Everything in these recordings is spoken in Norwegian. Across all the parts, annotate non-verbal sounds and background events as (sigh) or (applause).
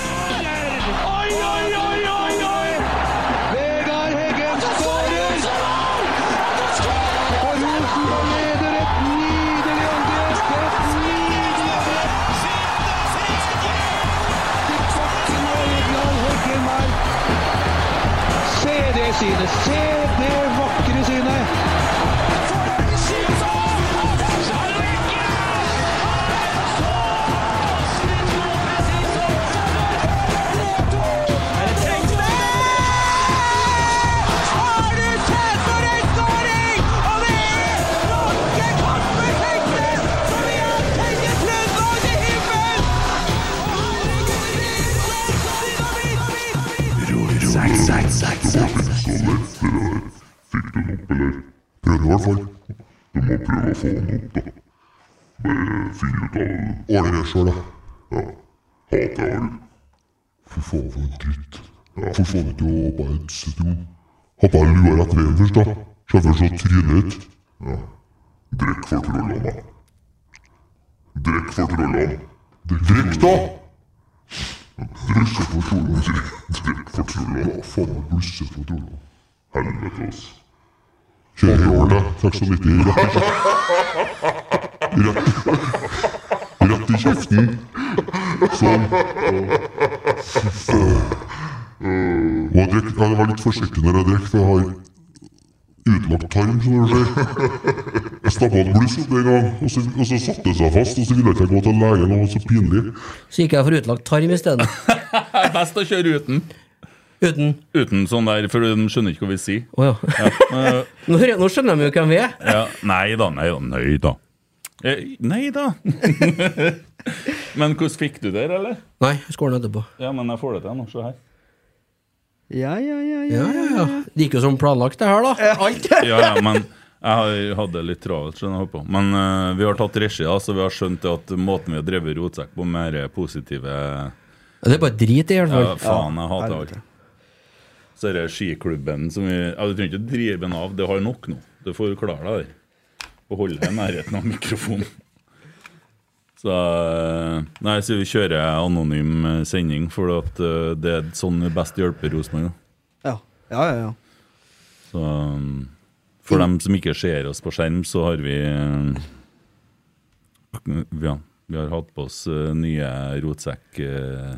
Oi, oi, oi, oi, oi! Vegard Heggen skårer! Og Rosenborg leder et nydelig angrep! Et nydelig angrep! Til bakken og Egil Heggen her. Se det synet! Se det vakre synet! Prøvde i hvert fall. Du må prøve å få den opp, da. Bare finne ut av det. Ordne det sjøl, da. Ja. Hater alv. Fy faen, for en dritt. Jeg forsvant jo og bare sitter jo Har bare lua rett veien først, da. Sjeffer så trynet ut. Ja. Drikk for trollene, da. Drikk for trollene. Drikk, da! Drikk for (laughs) trollene. Drikk for trollene. Faen, jeg blusser for trollene. Helvete, altså. Kjører i år, da. 96 rett, i- rett, rett i kjeften. Sånn. Og jeg drekk, ja, jeg var litt forsiktig når jeg drekk, for jeg har utlagt tarm, som du ser. Jeg stappa et bluss opp en gang, og så, og så satte det seg fast. Og så ville jeg ikke gå til legen, det var så pinlig. Så gikk jeg for utlagt tarm isteden. Det er best å kjøre uten. Uten Uten sånn der, for de skjønner ikke hva vi sier. Å ja. Eh, Nå, hører- nå skjønner de jo hvem vi er. ja. Nei da, nei da, nei da. Eh, Nei da. (laughs) Men hvordan fikk du det, eller? Nei, jeg skårer den etterpå. Ja, men jeg får det til nå, se her. Ja, ja, ja, Ja, ja, ja. Det gikk jo som planlagt, det her, da. Alt. Ja, ja, men jeg har- hadde det litt travelt, skjønner jeg holdt på. Men eh, vi har tatt regi, da, så vi har skjønt det at måten vi har drevet rotsekk på, mer er positive Ja, Det er bare drit i, i hvert Ja, fall. faen, jeg hater helvete. alt. Så er det skiklubben som vi ja, Du trenger ikke å drive den av, det har nok nå. Du får klare deg der. Og holde deg i nærheten av mikrofonen. Så eh, Nei, så vi kjører anonym eh, sending, for at eh, det er sånn vi best hjelper Rosenborg. da. ja. ja, ja, ja. Så um, for dem som ikke ser oss på skjerm, så har vi eh, Ja, vi har hatt på oss eh, nye rotsekk... eh,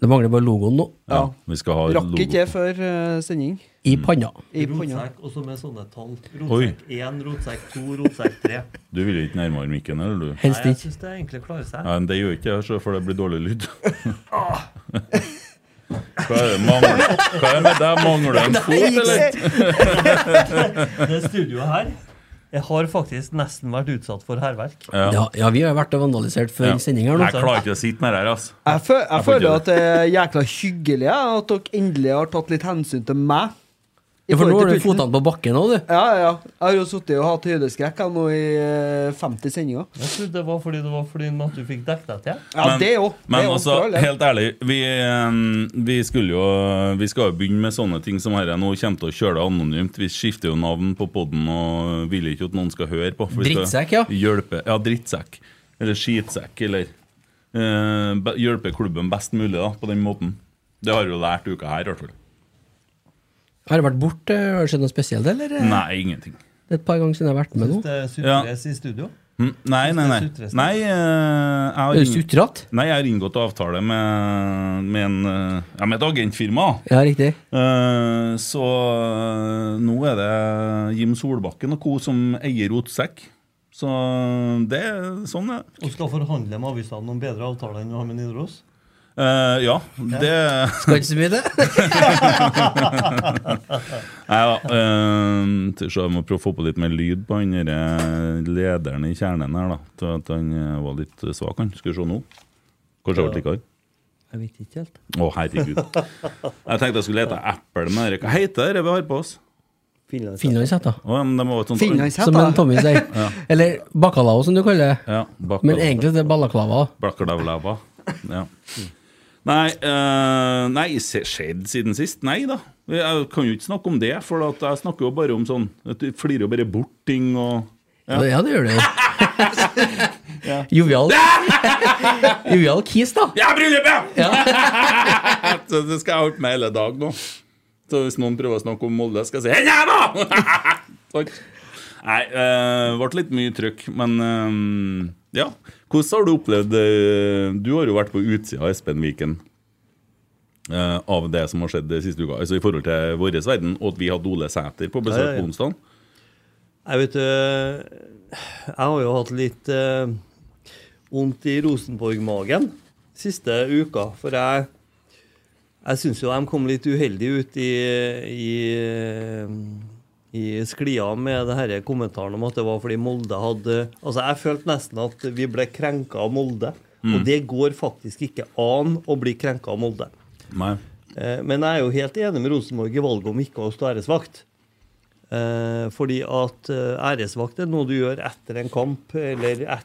Det mangler bare logoen nå. Ja, Ja. vi skal ha Rakk ikke det logo. før eh, sending. I panna. I panna. Rotsekk, og så med sånne tall. Rotsekk 1, rotsekk 2, rotsekk 3. Du vil ikke nærmere mikken, eller du? Nei, Helst jeg ikke. syns det egentlig klarer seg. Nei, men det gjør ikke jeg, så- for det blir dårlig (laughs) lyd. Hva er det mangler? Hva er det med deg? Mangler en fot, eller? Det studioet her Jeg har faktisk nesten vært utsatt for hærverk. Ja, ja, vi har vært og vandalisert før Ja. sending her nå. Jeg klarer ikke å sitte med det her, altså. Jeg, fø jeg, får føler ikke at det er jækla hyggelig ja, at dere endelig har tatt litt hensyn til meg. I Ja, for nå forhold har til du pulten. fotene på bakken òg, du. Ja, ja. ja. Jeg har jo sittet og hatt høydeskrekk jeg, nå i eh, 50 sendinger. Jeg trodde det var fordi det var fordi at du fikk dekket deg til. Ja, det òg. Men altså, helt ærlig, vi, eh, vi skulle jo Vi skal jo begynne med sånne ting som dette. Nå kommer til å kjøre det anonymt. Vi skifter jo navn på poden og vil ikke at noen skal høre på. for vi skal Drittsekk, ja. Hjelpe. Ja, drittsekk. Eller skitsekk, eller eh, be- Hjelpe klubben best mulig, da, på den måten. Det har vi jo lært uka her, i hvert fall. Har det vært borte? Har det skjedd noe spesielt, eller? Nei, ingenting. Det er et par ganger siden jeg har vært med nå. Det sutres i studio. Mm, Nei, nei, nei. Det er sutreste. Nei, eh, jeg har, Er du ing- sutrete? nei, jeg har inngått avtale med, med, en, eh, ja, med et agentfirma. Ja, riktig. Eh, Så eh, nå er det Jim Solbakken og co. som eier Rotsekk. Så det er sånn, det. Og skal forhandle med avisene om bedre avtaler enn du har med Nidaros. Eh, ja, det (laughs) Skal ikke så mye, det. Nei da. eh, til så jeg må prøve å få på litt mer lyd på han derre lederen i kjernen her, da. Til at han eh, var litt svak, han. Skal vi se nå. Kanskje jeg ble likere. Jeg vet ikke helt. Å, herregud. Jeg tenkte jeg skulle hete Apple, men det- hva heter det vi har på oss? Finlandshett, da. Å, ja, men det var et sånt Finlandshetta. Som en Tommy sier. Eller bacalao, som du kaller det. Ja, bak- Men egentlig det er balaklava. Blakkedavlava. Ja. Nei, eh, nei, se- skjedd siden sist? Nei da. Jeg kan jo ikke snakke om det, for at jeg snakker jo bare om sånn at Du flirer jo bare bort ting og (laughs) Ja, det gjør det jo. Jovial. Ual Kis, da. Ja, bryllupet! så det skal jeg holde på med hele dag nå. Så hvis noen prøver å snakke om Molde, skal jeg si «Hei, jeg da!» (laughs) Takk. Nei, det ble litt mye trøkk, men eh, ja. Hvordan har du opplevd eh, Du har jo vært på utsida av Espenviken eh, av det som har skjedd det siste uka, altså i forhold til vår verden, og at vi hadde Ole Sæter på Ja, ja, besøk ja. på onsdag. Jeg vet øh, Jeg har jo hatt litt øh, vondt i Rosenborg-magen siste uka, for jeg jeg syns jo de kom litt uheldig ut i, i, øh, i sklia med det denne kommentaren om at det var fordi Molde hadde Altså, jeg følte nesten at vi ble krenka av Molde, og det går faktisk ikke an å bli krenka av Molde. Nei. Eh, Men jeg er jo helt enig med Rosenborg i valget om ikke å stå æresvakt. Eh, fordi at eh, æresvakt er noe du gjør etter en kamp eller etter noe.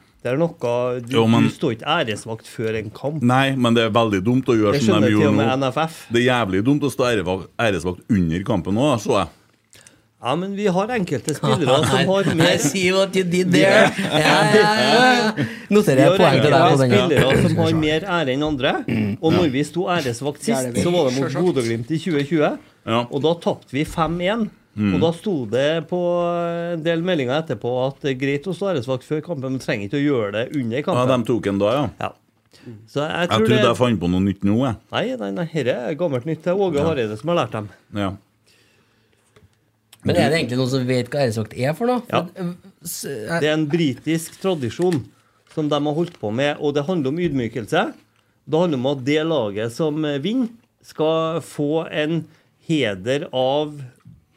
Du, Jo, men- du står ikke æresvakt før en kamp. Nei, men det er veldig dumt å gjøre Det som skjønner de til og gjorde med nå. NFF. Det er jævlig dumt å stå ærev- æresvakt under kampen nå, så jeg. Ja, men vi har enkelte (laughs) spillere som har I mer see what you did there. Ja, ja, ja. Noterer vi jeg har poeng til deg på enkelte den. ja. spillere som har mer ære enn andre. Og når vi sto æresvakt Det er sist, det vi. så var det mot Bodø-Glimt i 2020. Ja. Og da tapte vi 5-1. Og da sto det på eh, en del meldinger etterpå at det er greit å stå æresvakt før kampen, men trenger ikke å gjøre det under ja, kampen. de tok en da, ja. Ja. Så jeg Jeg tror trodde jeg det... fant på noe nytt nå, jeg. Nei, nei, nei, dette er gammelt nytt. Det er Åge Hareide som har lært dem. Ja. Men er det egentlig noen som vet hva æresvakt er for noe? Ja. For, øh, s- jeg- Det er en britisk tradisjon som de har holdt på med, og det handler om ydmykelse. Det handler om at det laget som eh, vinner, skal få en heder av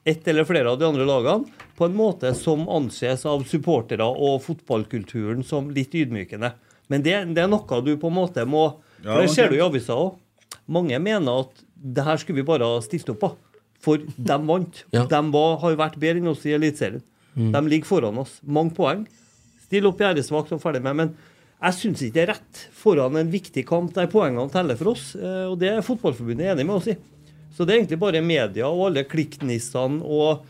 ett eller flere av de andre lagene på en måte som anses av supportere og fotballkulturen som litt ydmykende. Men det, det er noe du på en måte må Ja, For det ok. ser du i avisa òg. Mange mener at det her skulle vi bare ha stilt opp på. For de vant. (laughs) Ja. Mm. De var, har vært bedre enn oss i Eliteserien. De ligger foran oss. Mange poeng. Still opp i æresvakt og ferdig med. Men jeg syns ikke det er rett foran en viktig kamp der poengene teller for oss. eh, Og det er Fotballforbundet enig med oss i. Så det er egentlig bare media og alle klikknissene og,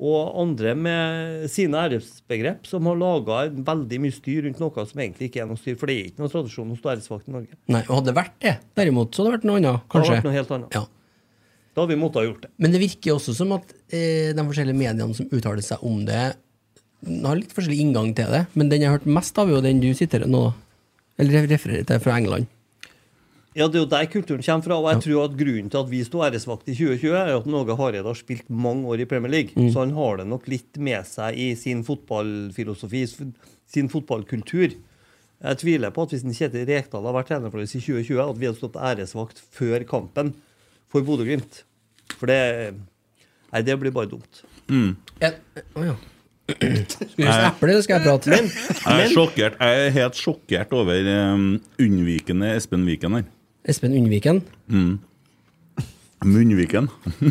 og andre med sine æresbegrep som har laga veldig mye styr rundt noe som egentlig ikke er noe styr. For det er ikke noen tradisjon å stå æresvakt i Norge. Nei, og hadde det vært det, derimot, så hadde det vært noe annet, Det har vært kanskje. noe helt annet. Ja. Da hadde vi måttet ha gjort det. Men det virker jo også som at eh, de forskjellige mediene som uttaler seg om det, har litt forskjellig inngang til det. Men den jeg har hørt mest av, er jo den du sitter nå, da. Eller refererer til fra England. Ja, Det er jo der kulturen kommer fra. og jeg tror at Grunnen til at vi sto æresvakt i 2020, er at Norge Hareide har spilt mange år i Premier League. Så han har det nok litt med seg i sin fotballfilosofi, sin fotballkultur. Jeg tviler på at hvis en Kjetil Rekdal har vært trener for oss i 2020, at vi hadde stått æresvakt før kampen for Bodø-Glimt. For det Nei, det blir bare dumt. Ja. Å ja. Skal vi spise eple, eller skal jeg prate? Men, Jeg er sjokkert. Jeg er helt sjokkert over um, unnvikende Espen Viken her. Espen Unnviken. Munnviken. (laughs)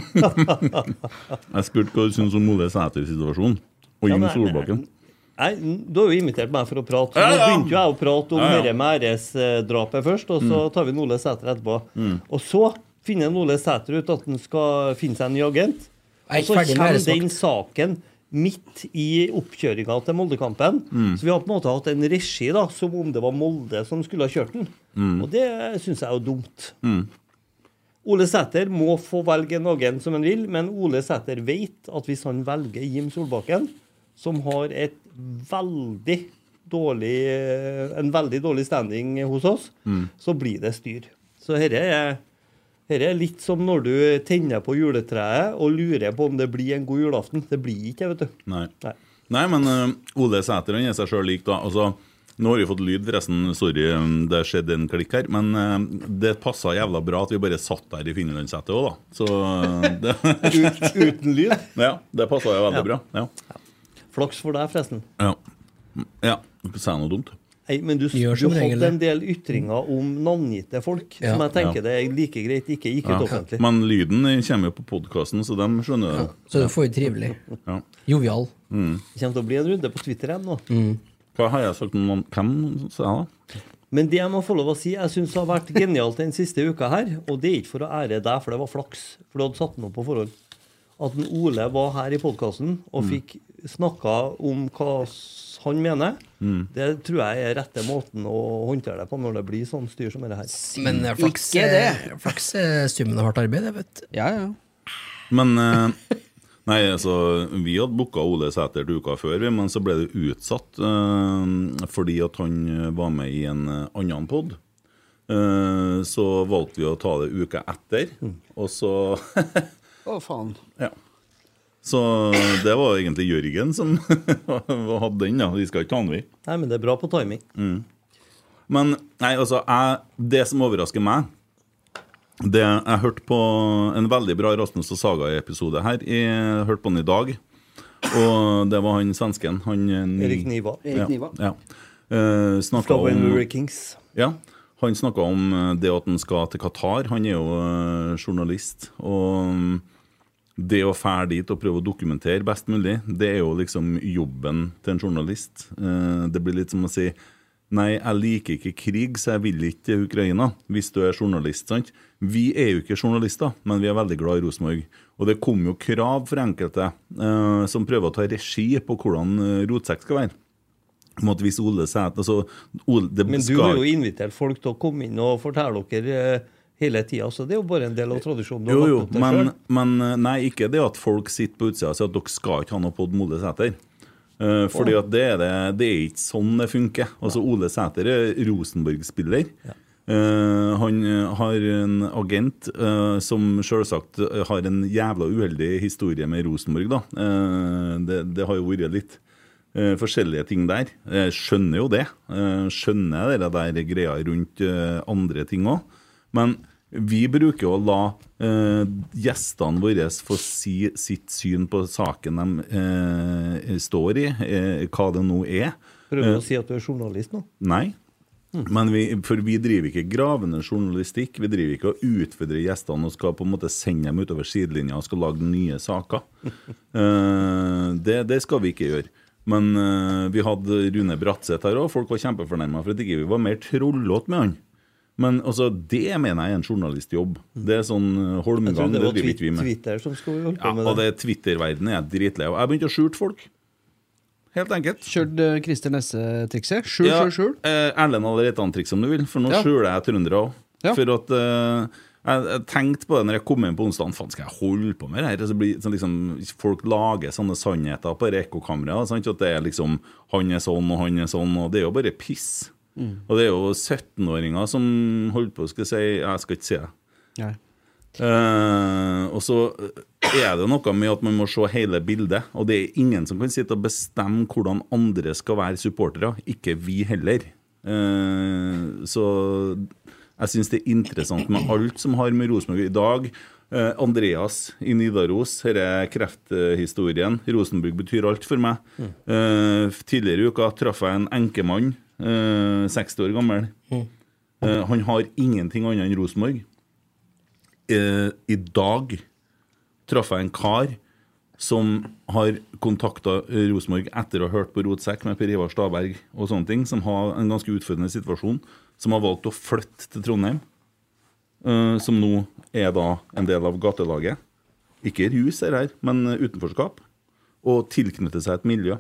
jeg spurte hva du syns om Ole Sæters situasjon. Og Ja, Jim men- Solbakken. Nei, Du har jo invitert meg for å prate. så Ja, Nå ja. begynte jo jeg å prate om Ja, Mm. ja. dette med æresdrapet først, og så tar vi en Ole Sæter etterpå. Mm. Og så finner en Ole Sæter ut at han skal finne seg en ny agent. Jeg er Og så ikke ferdig med kommer æresvakt. den saken midt i oppkjøringa til Moldekampen. Så vi har på en måte hatt en regi da, som om det var Molde som skulle ha kjørt den. Og det syns jeg er jo dumt. Ole Sæter må få velge noen som han vil, men Ole Sæter vet at hvis han velger Jim Solbakken, som har et veldig dårlig, en veldig dårlig standing hos oss, så blir det styr. Så dette er, dette er litt som når du tenner på juletreet og lurer på om det blir en god julaften. Det blir ikke det, vet du. Nei. Nei. Nei, men eh, Ole Sæter han er seg sjøl lik, da. Altså, nå har vi fått lyd, forresten. Sorry, um, det skjedde en klikk her. Men eh, det passa jævla bra at vi bare satt der i finlandssetet òg, da. (laughs) Så eh, det, (laughs) Ut, uten lyd. ja, det passa jo veldig bra. Ja. Flaks for deg, forresten. Ja. ja. Sa jeg noe dumt? Nei, men du, Gjør du som regel hadde det. en del ytringer om navngitte folk Ja. som jeg tenker det er like greit ikke gikk ut Ja. offentlig. Men lyden kommer jo på podkasten, så de skjønner det. Så det får jo trivelig. Ja. Jovial. Det kommer til å bli en runde på Twitter igjen nå. Hva har jeg sagt om han- hvem, sa jeg da? Men det jeg må få lov å si, jeg syns har vært genialt den siste uka her, og det er ikke for å ære deg, for det var flaks, for du hadde satt den opp på forhånd, Mm. at en Ole var her i podkasten og fikk snakka om hva s- han mener. Mm. Det tror jeg er rette måten å håndtere det på når det blir sånn styr som det her. Men eh, flaks, Ikke eh, det. flaks er summen av hardt arbeid, det, vet du. Ja, ja. Men eh, Nei, altså, vi hadde booka Ole Sæter til uka før, vi, men så ble det utsatt eh, fordi at han eh, var med i en eh, annen pod. Eh, så valgte vi å ta det uka etter, og så (laughs) Å, faen. Ja. Så det var egentlig Jørgen som (laughs) hadde den, da. Vi skal ikke ta den, vi. Nei, men det er bra på timing. Mm. Men nei, altså, jeg, det som overrasker meg det, Jeg hørte på en veldig bra Rasmus og Saga-episode her. Jeg hørte på den i dag. Og det var han svensken. Han, Ni- Erik Niva. Erik Niva. Ja, ja. Eh, snakket Fra om, Wenbury Kings. ja, han snakka om eh, det at han skal til Qatar. Han er jo eh, journalist. Og mm, det å fære dit og prøve å dokumentere best mulig, det er jo liksom jobben til en journalist. Eh, Det blir litt som å si Nei, jeg liker ikke krig, så jeg vil ikke til Ukraina. Hvis du er journalist, sant. Vi er jo ikke journalister, men vi er veldig glad i Rosenborg. Og det kom jo krav for enkelte eh, som prøver å ta regi på hvordan eh, rotsekk skal være. Om at hvis Ole Sæter altså, Ole, det Men du skal- har jo invitert folk til å komme inn og fortelle dere eh, hele tida, så det er jo bare en del av tradisjonen. du har Jo, jo, lagt opp til men, selv. men eh, nei, ikke det at folk sitter på utsida og sier at dere skal ikke ha noe pod med Ole Sæter. Eh, fordi at det er, det, det er ikke sånn det funker. Altså, Ole Sæter er Rosenborg-spiller. Eh, han eh, har en agent eh, som selvsagt eh, har en jævla uheldig historie med Rosenborg, da. Eh, det, det har jo vært litt eh, forskjellige ting der. Eh, skjønner jo det. Eh, skjønner det der greia rundt eh, andre ting òg. Men vi bruker jo å la eh, gjestene våre få si sitt syn på saken de eh, står i, eh, hva det nå er. Prøver eh, du å si at du er journalist nå? Nei. Men vi, for vi driver ikke gravende journalistikk. Vi driver ikke og utfordrer gjestene og skal på en måte sende dem utover sidelinja og skal lage nye (laughs) saker. Eh, det, det skal vi ikke gjøre. Men eh, vi hadde Rune Bratseth her òg. Folk var kjempefornærma for at ikke vi ikke var mer trollete med han. Men altså, det mener jeg er en journalistjobb. Det er sånn eh, Jeg Holmgang, trodde det det var driver Twi- ikke vi med. Twitter som skulle holde Ja, på med og det. det Twitter-verdenen er jeg dritlei av. Jeg begynte å skjule folk. Helt enkelt. Kjørt eh, Christer Nesse-trikset. Skjul, skjul, skjul. Eh, Erlend hadde rett an triks om du vil, for nå Ja. skjuler jeg trøndere òg. Ja. For at eh, jeg, jeg tenkte på det når jeg kom inn på onsdagen. Faen, skal jeg holde på med det her? Så blir, så liksom, folk lager sånne sannheter på ekkokameraet. sant? At det er liksom Han er sånn, og han er sånn, og det er jo bare piss. Mm. Og det er jo 17-åringer som holder på skal si Jeg skal ikke si det. Nei. Eh, og så eh, er det jo noe med at man må se hele bildet. Og det er ingen som kan sitte og bestemme hvordan andre skal være supportere. Ikke vi heller. Eh, så jeg syns det er interessant med alt som har med Rosenborg i dag. eh, Andreas i Nidaros, dette er krefthistorien. Rosenborg betyr alt for meg. Eh, tidligere i uka traff jeg en enkemann, eh, 60 år gammel. Eh, han har ingenting annet enn Rosenborg eh, I dag traff jeg en kar som har kontakta Rosenborg etter å ha hørt på Rotsekk med Per Ivar Staberg og sånne ting, som har en ganske utfordrende situasjon, som har valgt å flytte til Trondheim. eh, som nå er da en del av gatelaget. Ikke rus her, her men utenforskap. Og tilknytte seg et miljø.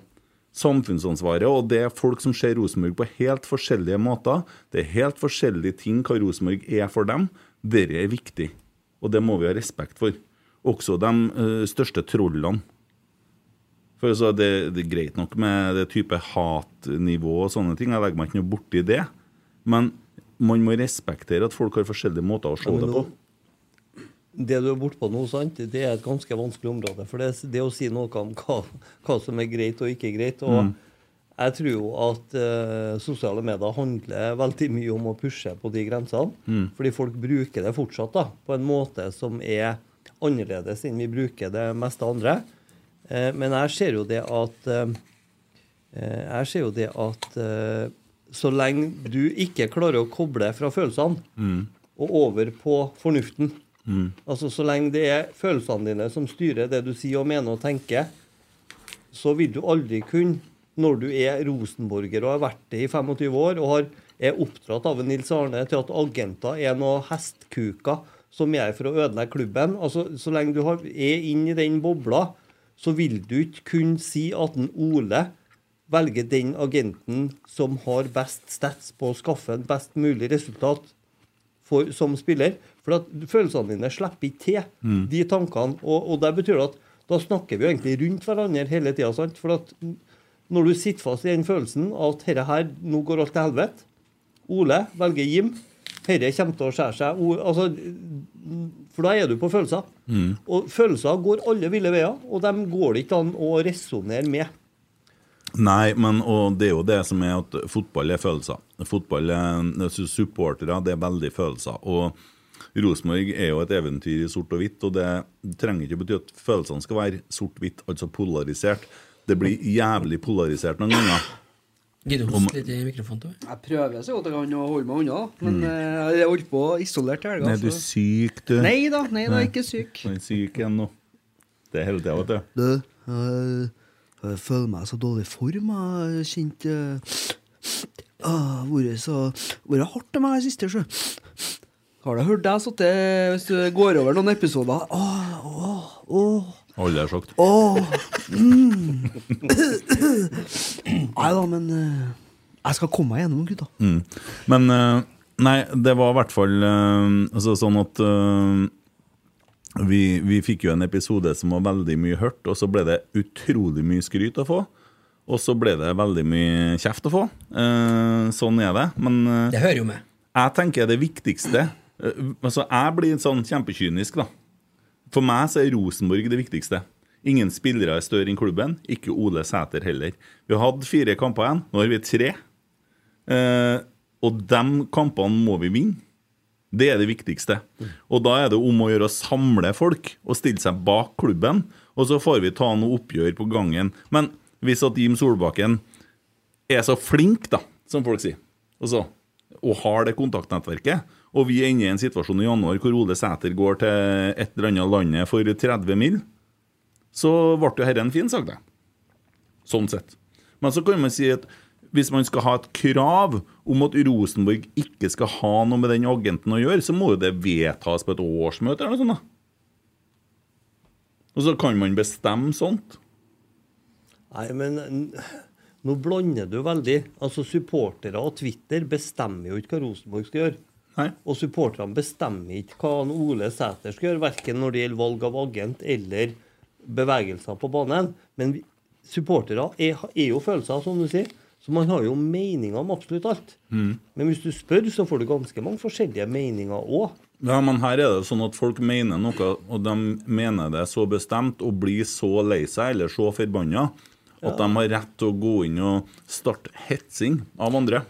Samfunnsansvaret og det er folk som ser Rosenborg på helt forskjellige måter. Det er helt forskjellige ting hva Rosenborg er for dem. Dette er viktig, og det må vi ha respekt for. Også de eh, største trollene. For altså, det, det er greit nok med det type hatnivå og sånne ting, jeg legger meg ikke noe borti det. Men man må respektere at folk har forskjellige måter å se men det på. nå- Det du er bortpå nå, sant, det er et ganske vanskelig område. For det, det å si noe om hva, hva som er greit og ikke greit. og Mm. Jeg tror jo at eh, sosiale medier handler veldig mye om å pushe på de grensene. Mm. Fordi folk bruker det fortsatt da, på en måte som er annerledes enn vi bruker det meste andre. Eh, men jeg ser jo det at eh, Eh, Jeg ser jo det at eh, så lenge du ikke klarer å koble fra følelsene og over på fornuften Altså så lenge det er følelsene dine som styrer det du sier og mener og tenker, så vil du aldri kunne, når du er rosenborger og har vært det i 25 år og har, er oppdratt av en Nils Arne til at agenter er noe hestkuker som gjør for å ødelegge klubben altså Så lenge du har, er inne i den bobla, så vil du ikke kunne si at en Ole velge den agenten som har best stats på å skaffe en best mulig resultat for, som spiller. For at følelsene dine slipper ikke til de tankene. Og, og det betyr at da snakker vi jo egentlig rundt hverandre hele tida. For at når du sitter fast i den følelsen at herre her, nå går alt til helvete Ole velger Jim. Herre kommer til å skjære seg. O- Altså, for da er du på følelser. Og følelser går alle ville veier, og dem går det ikke an å resonnere med. Nei, men og det er jo det som er at fotball er følelser. Fotball er, jeg synes Supportere det er veldig følelser. Og Rosenborg er jo et eventyr i sort og hvitt, og det trenger ikke bety at følelsene skal være sort-hvitt, altså polarisert. Det blir jævlig polarisert noen ganger. Gidder du Om- hoste litt i mikrofonen til meg? Jeg prøver så godt jeg kan å holde meg unna, men eh, jeg holdt på isolert i helga. Mm. Nei, du er så- syk, du. Nei da, nei da, Nei. ikke syk. Du er syk igjen nå. Det er hele tida, vet du. Du, jeg, jeg føler meg så dårlig i form. Jeg har kjent Det har vært så vært hardt til meg i det siste, sjø. Har du hørt deg sitte hvis du går over noen episoder Ah, Åh, åh, åh, Alle har sagt. åh. Mm. Nei da, men eh, jeg skal komme meg gjennom, gutta. Mm. Men eh, Nei, det var i hvert fall eh, altså, sånn at eh, vi, vi fikk jo en episode som var veldig mye hørt, og så ble det utrolig mye skryt å få. Og så ble det veldig mye kjeft å få. Eh, sånn er det. Men eh, Det hører jo med. jeg tenker det viktigste eh, Altså, jeg blir sånn kjempekynisk, da. For meg så er Rosenborg det viktigste. Ingen spillere er større enn klubben. Ikke Ole Sæter heller. Vi har hatt fire kamper igjen. Nå har vi tre. Eh, og de kampene må vi vinne. Det er det viktigste. Og da er det om å gjøre å samle folk og stille seg bak klubben. Og så får vi ta noe oppgjør på gangen. Men hvis at Jim Solbakken er så flink, da, som folk sier, og, så, og har det kontaktnettverket, og vi ender i en situasjon i januar hvor Ole Sæter går til et eller annet landet for 30 mil, så ble jo dette en fin sak, det. Sånn sett. Men så kan man si at hvis man skal ha et krav om at Rosenborg ikke skal ha noe med den agenten å gjøre, så må jo det vedtas på et årsmøte eller noe sånt. da. Og så kan man bestemme sånt. Nei, men n- nå blander du veldig. Altså, supportere og Twitter bestemmer jo ikke hva Rosenborg skal gjøre. Nei. Og supporterne bestemmer ikke hva han Ole Sæter skal gjøre, verken når det gjelder valg av agent eller bevegelser på banen. Men vi- supportere er, er jo følelser, som du sier. Så man har jo meninger om absolutt alt. Men hvis du spør, så får du ganske mange forskjellige meninger òg. Ja, men her er det sånn at folk mener noe, og de mener det så bestemt og blir så lei seg eller så forbanna at de har rett til å gå inn og starte hetsing av andre.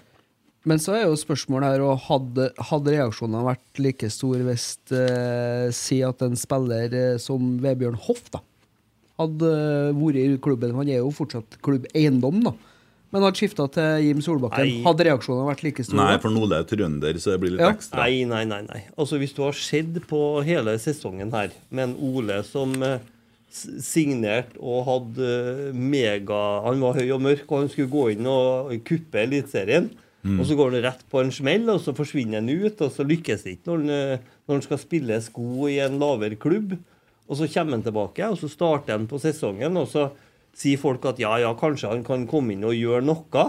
Men så er jo spørsmålet her, og hadde, hadde reaksjonene vært like store hvis eh, Si at en spiller eh, som Vebjørn Hoff da, hadde eh, vært i klubben Han er jo fortsatt klubbeiendom, da. Men hadde skifta til Jim Solbakken. Nei. Hadde reaksjonene vært like store? Nei, da? for Nole er trønder, så det blir litt Ja. ekstra. Nei, nei, nei. nei. Altså, Hvis du har sett på hele sesongen her, med en Ole som eh, s- signerte og hadde eh, mega Han var høy og mørk, og han skulle gå inn og kuppe Eliteserien. Og så går han rett på en smell, og så forsvinner han ut, og så lykkes det ikke når han, eh, når han skal spilles god i en lavere klubb. Og så kommer han tilbake, og så starter han på sesongen, og så sier folk at ja, ja, kanskje han kan komme inn og gjøre noe.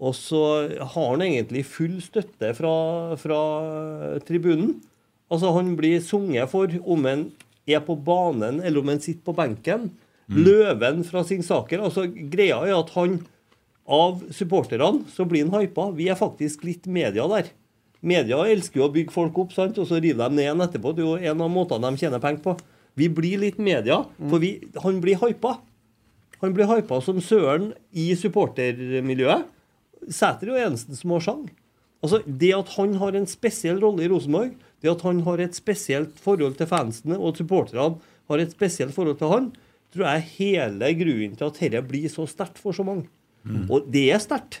Og så har han egentlig full støtte fra, fra tribunen. Altså, han blir sunget for om han er på banen eller om han sitter på benken. Løven fra Singsaker. Altså, greia er at han av supporterne så blir han hypa. Vi er faktisk litt media der. Media elsker jo å bygge folk opp, sant? og så river de ned igjen etterpå. Det er jo en av måtene de tjener penger på. Vi blir litt media, for vi, han blir hypa. Han blir hypa som søren i supportermiljøet. Sæter er jo eneste som har sang. Altså, Det at han har en spesiell rolle i Rosenborg, det at han har et spesielt forhold til fansene og at supporterne har et spesielt forhold til han, tror jeg er hele grunnen til at dette blir så sterkt for så mange. Og det er sterkt.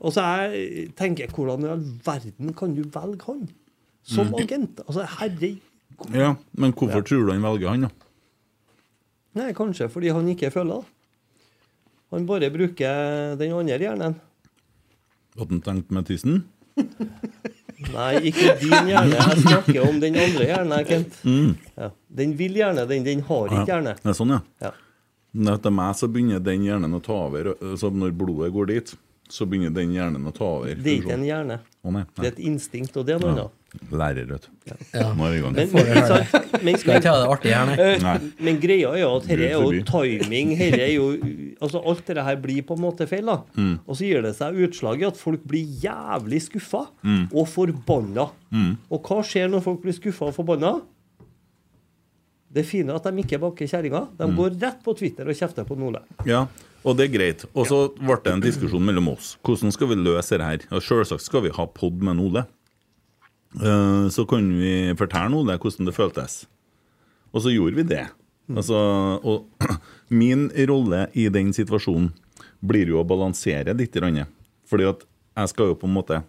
Altså, jeg tenker, Hvordan i all verden kan du velge han som agent? Altså, herre... Ja, Men hvorfor tror du han velger han, da? Nei, kanskje fordi han ikke føler det. Han bare bruker den andre hjernen. At han tenkte med tissen? Nei, ikke din hjerne. Jeg snakker om den andre hjernen, Kent. Ja. Den vil gjerne, den. Den har ikke hjerne. Ja, sånn, ja. Ja. Men Etter meg så begynner den hjernen å ta over. ø, Så når blodet går dit, så begynner den hjernen å ta over. Det er ikke en hjerne. Å, nei, Det nei. er et instinkt, og det er noe annet. Lærer, vet du. Nå er vi i gang. Men, men, ikke sant? men, Skal ikke ha det artig her, nei. Eh, Nei. Men greia er jo at dette er jo Gud timing. Herre er jo, altså alt dette her blir på en måte feil. da. Og så gir det seg utslag i at folk blir jævlig skuffa og forbanna. Og hva skjer når folk blir skuffa og forbanna? Det er fine er at de ikke baker kjerringa. De går rett på Twitter og kjefter på Nordland. Ja, og det er greit. Og så ble det en diskusjon mellom oss. Hvordan skal vi løse det her? Ja, Selvsagt skal vi ha pod med Ole. Eh, Så kan vi fortelle Ole hvordan det føltes. Og så gjorde vi det. Altså, og (clears throat) min rolle i den situasjonen blir jo å balansere litt. grann. Fordi at jeg skal jo på en måte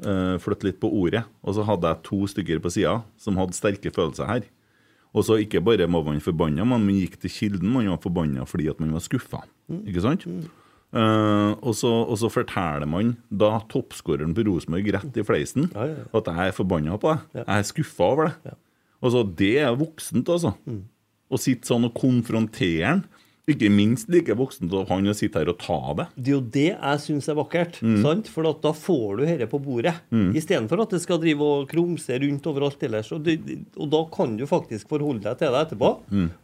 eh, flytte litt på ordet. Og så hadde jeg to stykker på sida som hadde sterke følelser her. Og så ikke bare var man forbanna, men man gikk til kilden. Man var forbanna fordi at man var skuffa. Ikke sant? Mm. Eh, og, så, og så forteller man da toppskåreren på Rosenborg rett i fleisen Ja, ja, ja. at jeg er forbanna på deg. Jeg er skuffa over det. Altså, det er voksent, altså. Mm. Å sitte sånn og konfrontere han. Ikke minst like voksent av han å sitte her og ta det. Det er jo det jeg syns er vakkert. sant? For at da får du dette på bordet. Istedenfor at det skal drive og krumse rundt overalt ellers. Og, det, og da kan du faktisk forholde deg til det etterpå.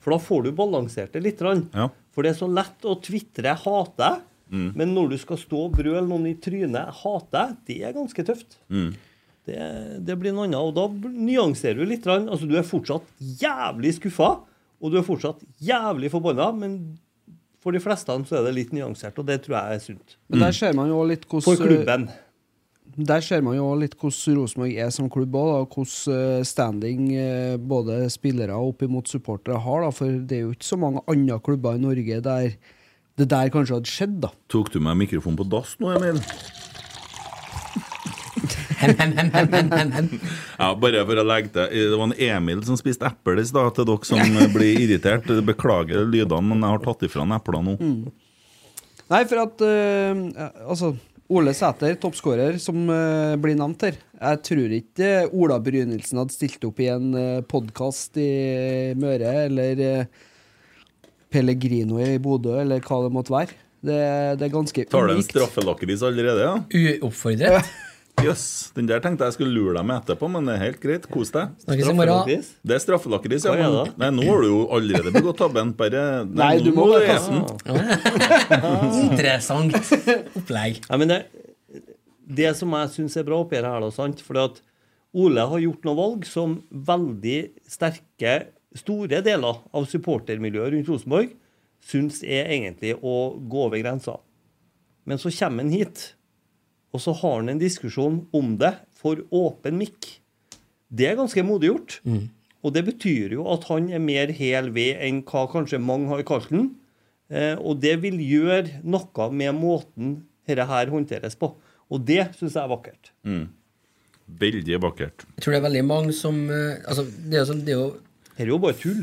For da får du balansert det litt. grann. Ja. For det er så lett å tvitre 'hate deg', men når du skal stå og brøle noen i trynet 'hate deg', det er ganske tøft. Det, det blir noe annet. Og da bl- nyanserer du litt. grann. Altså, du er fortsatt jævlig skuffa, og du er fortsatt jævlig forbanna, men for de fleste av dem så er det litt nyansert, og det tror jeg er sunt. Men der ser man jo litt mm. For hvordan eh, klubben. Der ser man jo litt hvordan Rosenborg er som klubb òg, og hvordan eh, standing eh, både spillere og opp imot supportere har. da, For det er jo ikke så mange andre klubber i Norge der det der kanskje hadde skjedd, da. Tok du meg mikrofonen på dass nå, Emil? Ja, bare for å legge til eh, Det var en Emil som spiste eple i stad, til dere som eh, blir irritert. Beklager lydene, men jeg har tatt ifra han epler nå. Nei, for at eh, Altså, Ole Sæter, toppskårer, som eh, blir nevnt her. Jeg tror ikke Ola Brynildsen hadde stilt opp i en uh, podkast i Møre, eller eh, Pellegrino i Bodø, eller hva det måtte være. Det, det er ganske Tar du en unikt. straffelakris allerede, ja? Uoppfordret. Jøss. Den der tenkte jeg skulle lure deg med etterpå, men det er helt greit. Kos deg. Snakkes i morgen. Forhåpentligvis. Det er straffelakris. Hva er Ja, det? men- nei, nå har du jo allerede begått tabben. Bare Nei, du må nå bare er kaste den. Interessant opplegg. Nei, men det, det som jeg syns er bra oppi det her, da, sant Fordi at Ole har gjort noen valg som veldig sterke, store deler av supportermiljøet rundt Rosenborg syns er egentlig å gå over grensa. Men så kommer han hit, og så har han en diskusjon om det for åpen mikk. Det er ganske modig gjort. Og det betyr jo at han er mer hel ved enn hva kanskje mange har kalt den. Eh, og det vil gjøre noe med måten dette her håndteres på. Og det syns jeg er vakkert. Veldig vakkert. Jeg tror det er veldig mange som eh, Altså, det er jo sånn, det er jo Dette er jo bare tull.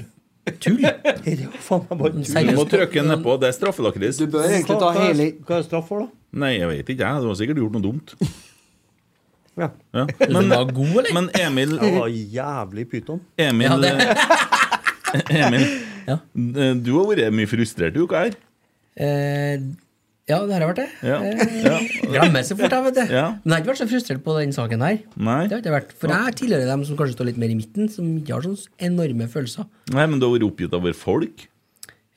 tull. (laughs) Dette er jo faen meg bare tull. Du må trykke nedpå. Det er straffelakris. Du bør egentlig ta Hva- hva er- hele Hva er straff for, da? Nei, jeg vet ikke. jeg. Du har sikkert gjort noe dumt. Ja. Ja. Men, Men, var god, eller? men Emil, Det var jævlig pyton. Emil, Ja, det- (laughs) Emil eh, Ja. Eh, du har vært mye frustrert i uka her. Eh, ja, det her har vært det. Ja. Eh, Glemmer så fort, jeg, vet du. Ja. Men jeg har ikke vært så frustrert på den saken her. Nei. Det har ikke jeg vært. For jeg er tidligere dem som kanskje står litt mer i midten, som ikke har sånne enorme følelser. Nei, men du har vært oppgitt over folk.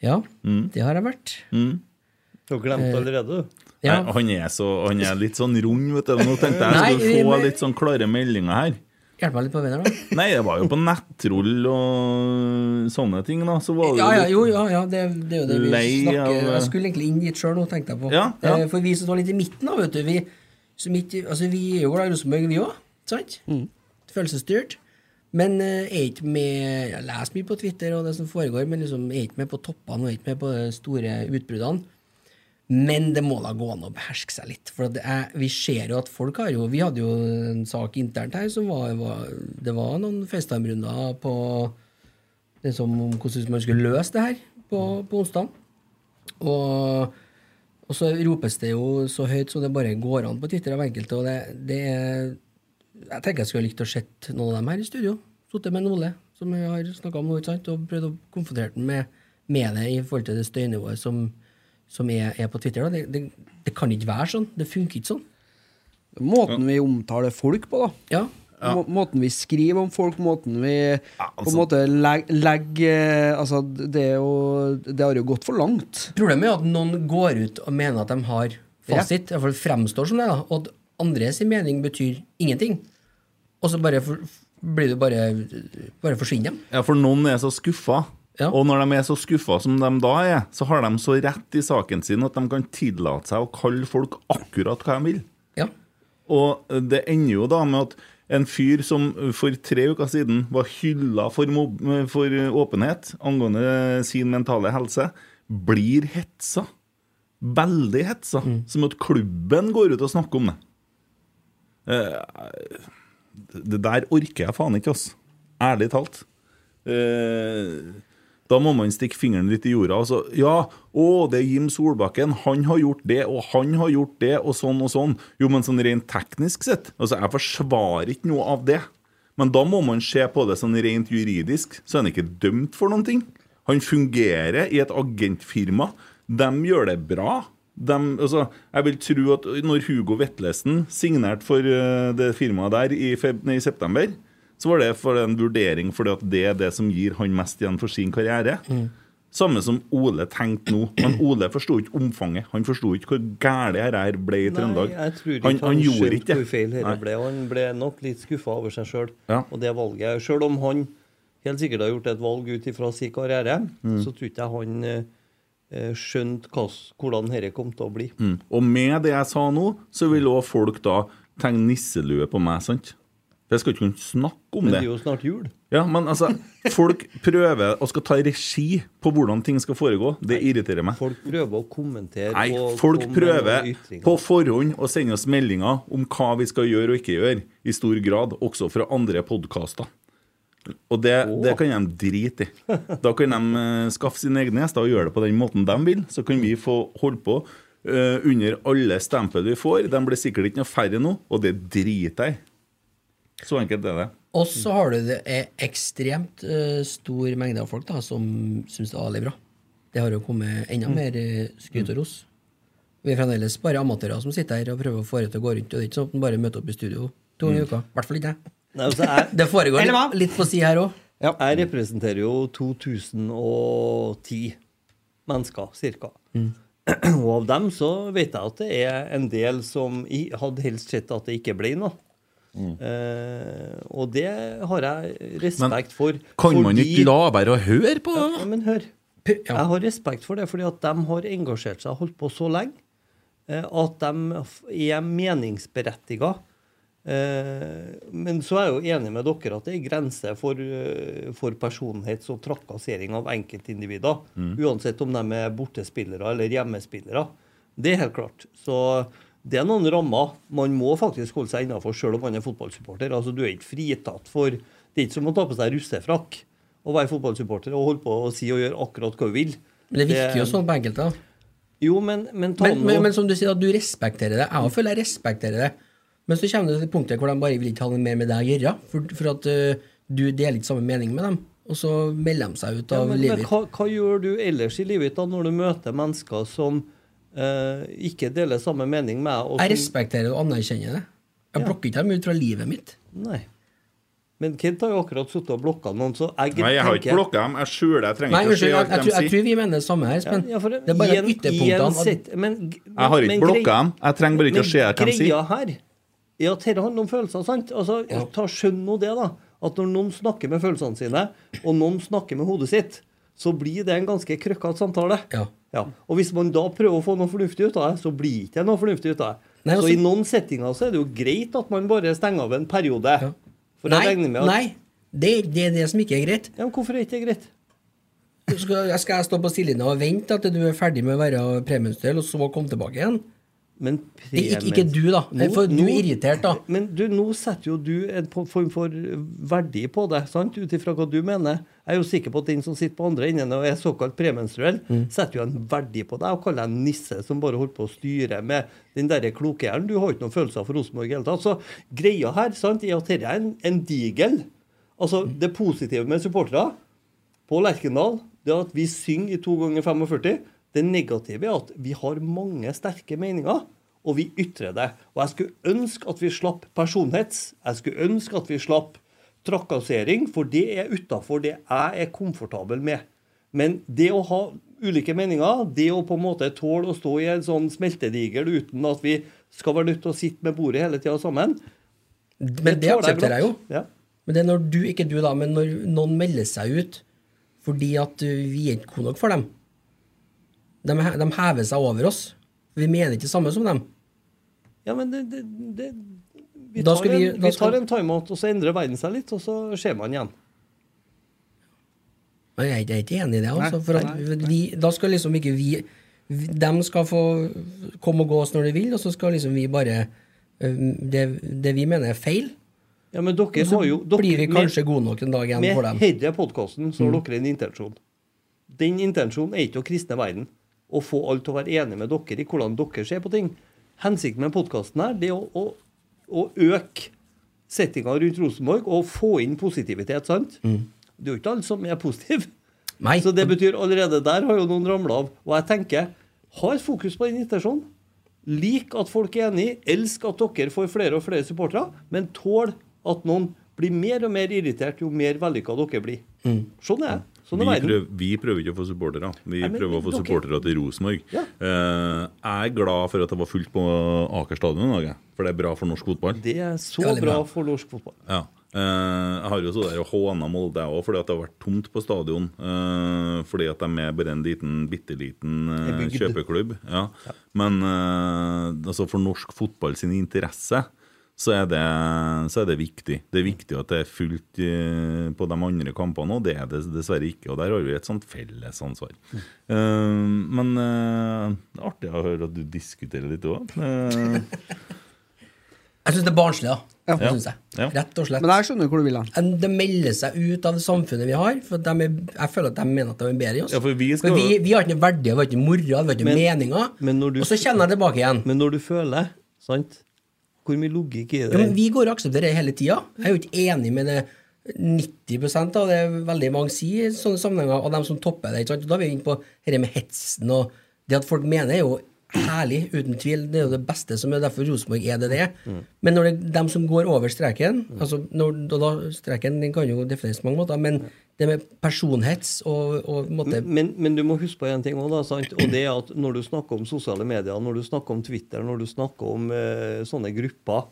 Ja, Mm. det har jeg vært. Du har glemt allerede, du. Ja. Nei, Eh, han, er så, han er litt sånn rund, vet du. Nå tenkte jeg Nei, jeg skulle få men- litt sånn klare meldinger her. Hjelp meg litt på veien her, da. Nei, det var jo på nettroll og sånne ting, da. Så var det Ja, ja, litt- jo, ja, ja det, det er jo det vi Lei snakker av- eh, Jeg skulle egentlig inn dit sjøl nå, tenkte jeg på. Ja, ja. Eh, For vi som står litt i midten, da, vet du, vi, som ikke, altså, vi er jo glad i Rosenborg, vi òg. Sant? Følelsesstyrt. Men eh, er ikke med Jeg leser mye på Twitter og det som foregår, men liksom er ikke med på toppene og er ikke med på de store utbruddene. Men det må da gå an å beherske seg litt. For at jeg, vi ser jo at folk har jo Vi hadde jo en sak internt her som var, var Det var noen FaceTime-runder på det som om hvordan man skulle løse det her på, på onsdag. Og, og så ropes det jo så høyt så det bare går an på Twitter av enkelte. Og det, det er Jeg tenker jeg skulle likt å sett noen av dem her i studio. Sittet med en Ole, som jeg har snakka om nå, ikke sant, og prøvd å konfrontere den med med det i forhold til det støynivået som, som er, er på Twitter. Da. Det, det, det kan ikke være sånn. Det funker ikke sånn. Måten vi omtaler folk på, da. Ja. Må, måten vi skriver om folk, måten vi på en måte legger Altså, det er jo Det har jo gått for langt. Problemet er at noen går ut og mener at de har fasit, i hvert fall fremstår som det, da, og at andre sin mening betyr ingenting. Og så bare for, blir du bare, bare forsvinner dem. Ja, for noen er så skuffa. Ja. Og når de er så skuffa som de da er, så har de så rett i saken sin at de kan tillate seg å kalle folk akkurat hva de vil. Ja. Og det ender jo da med at en fyr som for tre uker siden var hylla for, mob for åpenhet angående sin mentale helse, blir hetsa. Veldig hetsa. Som at klubben går ut og snakker om det. Eh, Det der orker jeg faen ikke, ass. Ærlig talt. Eh, Da må man stikke fingeren litt i jorda. Altså, ja, å, det er Jim Solbakken. Han har gjort det, og han har gjort det, og sånn og sånn. Jo, men sånn rent teknisk sett Altså, jeg forsvarer ikke noe av det. Men da må man se på det sånn rent juridisk, så er han ikke dømt for noen ting. Han fungerer i et agentfirma. De gjør det bra. De, altså, jeg vil tro at når Hugo Vetlesen signerte for eh, det firmaet der i, feb nei, i september, så var det for en vurdering fordi at det er det som gir han mest igjen for sin karriere. Mm. Samme som Ole tenkte nå. Men Ole forsto ikke omfanget. Han forsto ikke hvor gæli dette her ble i Trøndelag. Nei, jeg tror ikke han, han gjorde skjønte ikke det. hvor feil dette Nei. ble. og Han ble nok litt skuffa over seg sjøl Ja. og det valget. Sjøl om han helt sikkert har gjort et valg ut ifra sin karriere, Mm. så tror ikke jeg han eh, eh, skjønte hva s- hvordan dette kom til å bli. Mm. Og med det jeg sa nå, så vil òg folk da tegne nisselue på meg, sant? Jeg skal ikke kunne snakke om Men det det. er jo snart jul. Ja, men altså, Folk prøver og skal ta regi på hvordan ting skal foregå. Det irriterer meg. Folk prøver å kommentere Nei, og folk komme med prøver noen ytringer. på forhånd å sende oss meldinger om hva vi skal gjøre og ikke gjøre, i stor grad, også fra andre podkaster. Og det, det kan de drite i. Da kan de eh, skaffe sine egne gjester og gjøre det på den måten de vil. Så kan vi få holde på eh, under alle stempel vi får. De blir sikkert ikke noe færre nå, og det driter jeg i. Så enkelt er det. Og så har du det er ekstremt eh, stor mengde av folk da, som syns det er veldig bra. Det har jo kommet enda mer eh, skryt og ros. Vi er fremdeles bare amatører som sitter her og prøver å få det til å gå rundt. Og det er ikke sånn at man bare møter opp i studio to ganger i uka. I hvert fall ikke jeg. Nei, altså, jeg, Det foregår litt, litt på si her òg. jeg representerer jo 2010 mennesker, ca. Mm. Og av dem så vet jeg at det er en del som i- hadde helst sett at det ikke ble noe. Mm. Eh, og det har jeg respekt for. Kan man fordi- ikke la være å høre på Ja, men hør. Jeg har respekt for det, fordi at de har engasjert seg og holdt på så lenge eh, at de f- er meningsberettiga. Eh, Men så er jeg jo enig med dere at det er grenser for, eh, for personlighets- og trakassering av enkeltindivider. Mm. Uansett om de er bortespillere eller hjemmespillere. Det er helt klart. Så det er noen rammer man må faktisk holde seg innafor sjøl om man er fotballsupporter. Altså, du er ikke fritatt for Det er ikke som å ta på seg russefrakk å være fotballsupporter og holde på å si og gjøre akkurat hva du vil. Men det virker jo sånn på enkelte. da. Jo, men, men, ta Men, nå- men, men som du sier, at du respekterer det. Jeg også føler jeg respekterer det. Men så kommer det til punktet hvor de bare vil ikke ha noe mer med deg å gjøre. For, for at eh, du deler ikke samme mening med dem. Og så melder de seg ut Ja, av men, men livet. hva, hva gjør du ellers i livet ditt da, når du møter mennesker som eh, ikke deler samme mening med deg? og Jeg som- respekterer og anerkjenner det. Jeg blokker ikke dem ut fra livet mitt. Nei. Men Kent har jo akkurat sittet og blokka noen, så jeg Nei, jeg har tenker- ikke blokka dem. Jeg skjuler Jeg trenger Nei, ikke å unnskyld, se jeg, jeg, alt de tror- jeg sier. tror vi mener det samme her, Ja, Espen. ja, for det er bare i en- i en ytterpunktene. at- sitt- men g- Jeg har men ikke blokka grei- dem. Jeg trenger bare ikke å se hva de Men sier. greia her er at dette handler om følelser, sant? Altså, ta Skjønn nå det, da. At når noen snakker med følelsene sine, og noen snakker med hodet sitt, så blir det en ganske krøkkete samtale. Ja. Og hvis man da prøver å få noe fornuftig ut av det, så blir ikke det noe fornuftig ut av det. Nei, så altså- i noen settinger så er det jo greit at man bare stenger av en periode. For jeg Nei, regner med at nei det, er- det er det som ikke er greit. Ja, men hvorfor er ikke det greit? Du Skal, jeg skal jeg stå på sidelinja og vente til du er ferdig med å være premiumsdel, og så komme tilbake igjen? Men Det er Ikke, ikke du, da. Nå- For du er nå- irritert, da. Men du, nå setter jo du en po- form for verdi på det, sant? ut ifra hva du mener. Jeg er jo sikker på at den som sitter på andre enden og er såkalt premenstruell, Mm. setter jo en verdi på deg og kaller deg en nisse som bare holder på å styre med den derre klokehjernen. Du har jo ikke noen følelser for Rosenborg i det hele tatt. Så greia her sant, er at Mm. dette er en, en digel. Altså, det positive med supportere på Lerkendal Det er at vi synger i to ganger 45. Det negative er at vi har mange sterke meninger, og vi ytrer det. Og jeg skulle ønske at vi slapp personhets. Jeg skulle ønske at vi slapp trakassering, for det er utafor det jeg er komfortabel med. Men det å ha ulike meninger, det å på en måte tåle å stå i en sånn smeltedigel uten at vi skal være nødt til å sitte med bordet hele tida sammen Men det tåler jeg aksepterer jeg jo. godt. Ja. Men det er når du, ikke du da, men når noen melder seg ut fordi at uh, vi er ikke gode nok for dem. De, he- de hever seg over oss. Vi mener ikke det samme som dem. Ja, men det, det, det vi, Da tar skal vi- en, da vi skal- tar en timeout, og så endrer verden seg litt, og så ser man igjen. Men jeg, er ikke- jeg er ikke enig i det. Altså, Nei, for at vi, da skal liksom ikke vi, vi De skal få komme og gå oss når de vil, og så skal liksom vi bare um, Det, det vi mener er feil, Ja, men dere så har jo dere, blir vi med- kanskje gode nok en dag igjen Med for dem. Mm. denne podkasten så har dere en intensjon. Den intensjonen er ikke å kristne verden. Å få alle til å være enige med dere i hvordan dere ser på ting. Hensikten med podkasten her, det er å, å, å øke settinga rundt Rosenborg og få inn positivitet, sant? Det er jo ikke alle som er positive. Mm. Nei. Så det betyr allerede der har jo noen ramla av. Og jeg tenker, ha et fokus på den intensjonen. Lik at folk er enige, elsk at dere får flere og flere supportere, men tål at noen blir mer og mer irritert jo mer vellykka dere blir. Mm. Sånn er jeg. Sånn Vi er verden. prøver, vi prøver ikke å få supportere. Vi Nei, men prøver å få dere- supportere til Rosenborg. Ja. Eh, jeg er glad for at det var fullt på Aker stadion i dag, jeg. for det er bra for norsk fotball. Det er så Veldig bra. bra for norsk fotball. Ja. Eh, jeg har jo så der og håna Molde òg, fordi at det har vært tomt på stadion. eh, fordi at de er bare en liten, bitte liten eh, En bygd. kjøpeklubb. Ja. Men eh, altså for norsk fotball sin interesse så er, det, så er det viktig. Det er viktig at det er fullt eh, på de andre kampene, og det er det dessverre ikke. Og der har vi et sånt felles ansvar. Eh, men eh, det er artig å høre at du diskuterer litt eh, òg. (laughs) Jeg syns det er barnslig, da. Ja. Det synes jeg. Ja. Rett og slett. Men jeg skjønner hvor du vil hen. En- De melder seg ut av det samfunnet vi har. For at de er, jeg føler at de mener at de er bedre i oss. Ja, for vi skal- Men vi, vi har ikke noe verdier, vi har ikke noe moro, vi har ikke noe Men- meninger. men når du- Og så kjenner jeg tilbake igjen. Men når du føler, sant Hvor mye logikk er Ja, det? men vi går og aksepterer det hele tida. Jeg er jo ikke enig med det 90 av det veldig mange sier i sånne sammenhenger, og dem som topper det. ikke sant? Og Da er vi inne på dette med hetsen og Det at folk mener, er jo herlig, uten tvil. Det er jo det beste som er derfor Rosenborg er det det er. Mm. Men når det er dem som går over streken altså når, og da, Streken den kan jo defineres på mange måter, men det med personhets og, og på en måte men, men du må huske på én ting òg, og det er at når du snakker om sosiale medier, når du snakker om Twitter, når du snakker om eh, sånne grupper,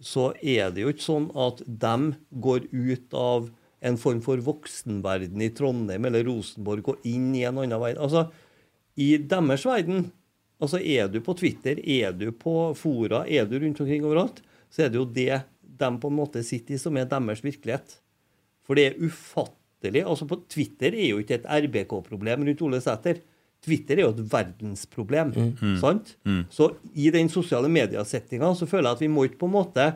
så er det jo ikke sånn at dem går ut av en form for voksenverden i Trondheim eller Rosenborg og inn i en annen verden. Altså, i deres verden, altså er du på Twitter, er du på fora, er du rundt omkring overalt, så er det jo det de på en måte sitter i, som er deres virkelighet. For det er ufattelig. altså på Twitter er jo ikke et RBK-problem rundt Ole Sæter. Twitter er jo et verdensproblem. Mm. sant? Så i den sosiale mediesettinga så føler jeg at vi må ikke på en måte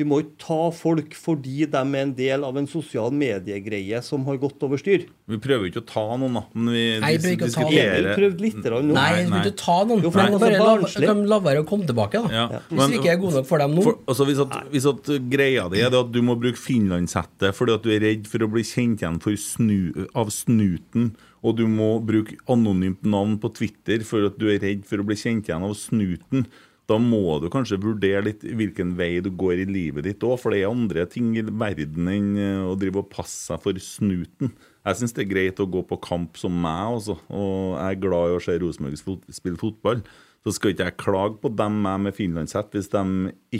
vi må ikke ta folk fordi de er en del av en sosial mediegreie som har gått over styr. Vi prøver jo ikke å ta noen, da. Men vi Nei, vi prøver ikke å ta noen. Emil diskuterer prøvde litt grann Nei, nå. Nei, jeg nei. skal ikke ta noen. Jo, for Nei. det er så Bare la, barnslig. kan la være å komme tilbake, da. Ja. Hvis Men- vi ikke er gode nok for dem nå. For, altså hvis, at, hvis at greia di er det at du må bruke finlandshette fordi at du er redd for å bli kjent igjen for snu, av snuten, og du må bruke anonymt navn på Twitter for at du er redd for å bli kjent igjen av snuten, da må du kanskje vurdere litt hvilken vei du går i livet ditt òg, for det er andre ting i verden enn eh, å drive og passe seg for snuten. Jeg syns det er greit å gå på kamp som meg, altså. Og jeg er glad i å se Rosenborg fot spille fotball. Så skal ikke jeg klage på dem jeg med finlandshett hvis de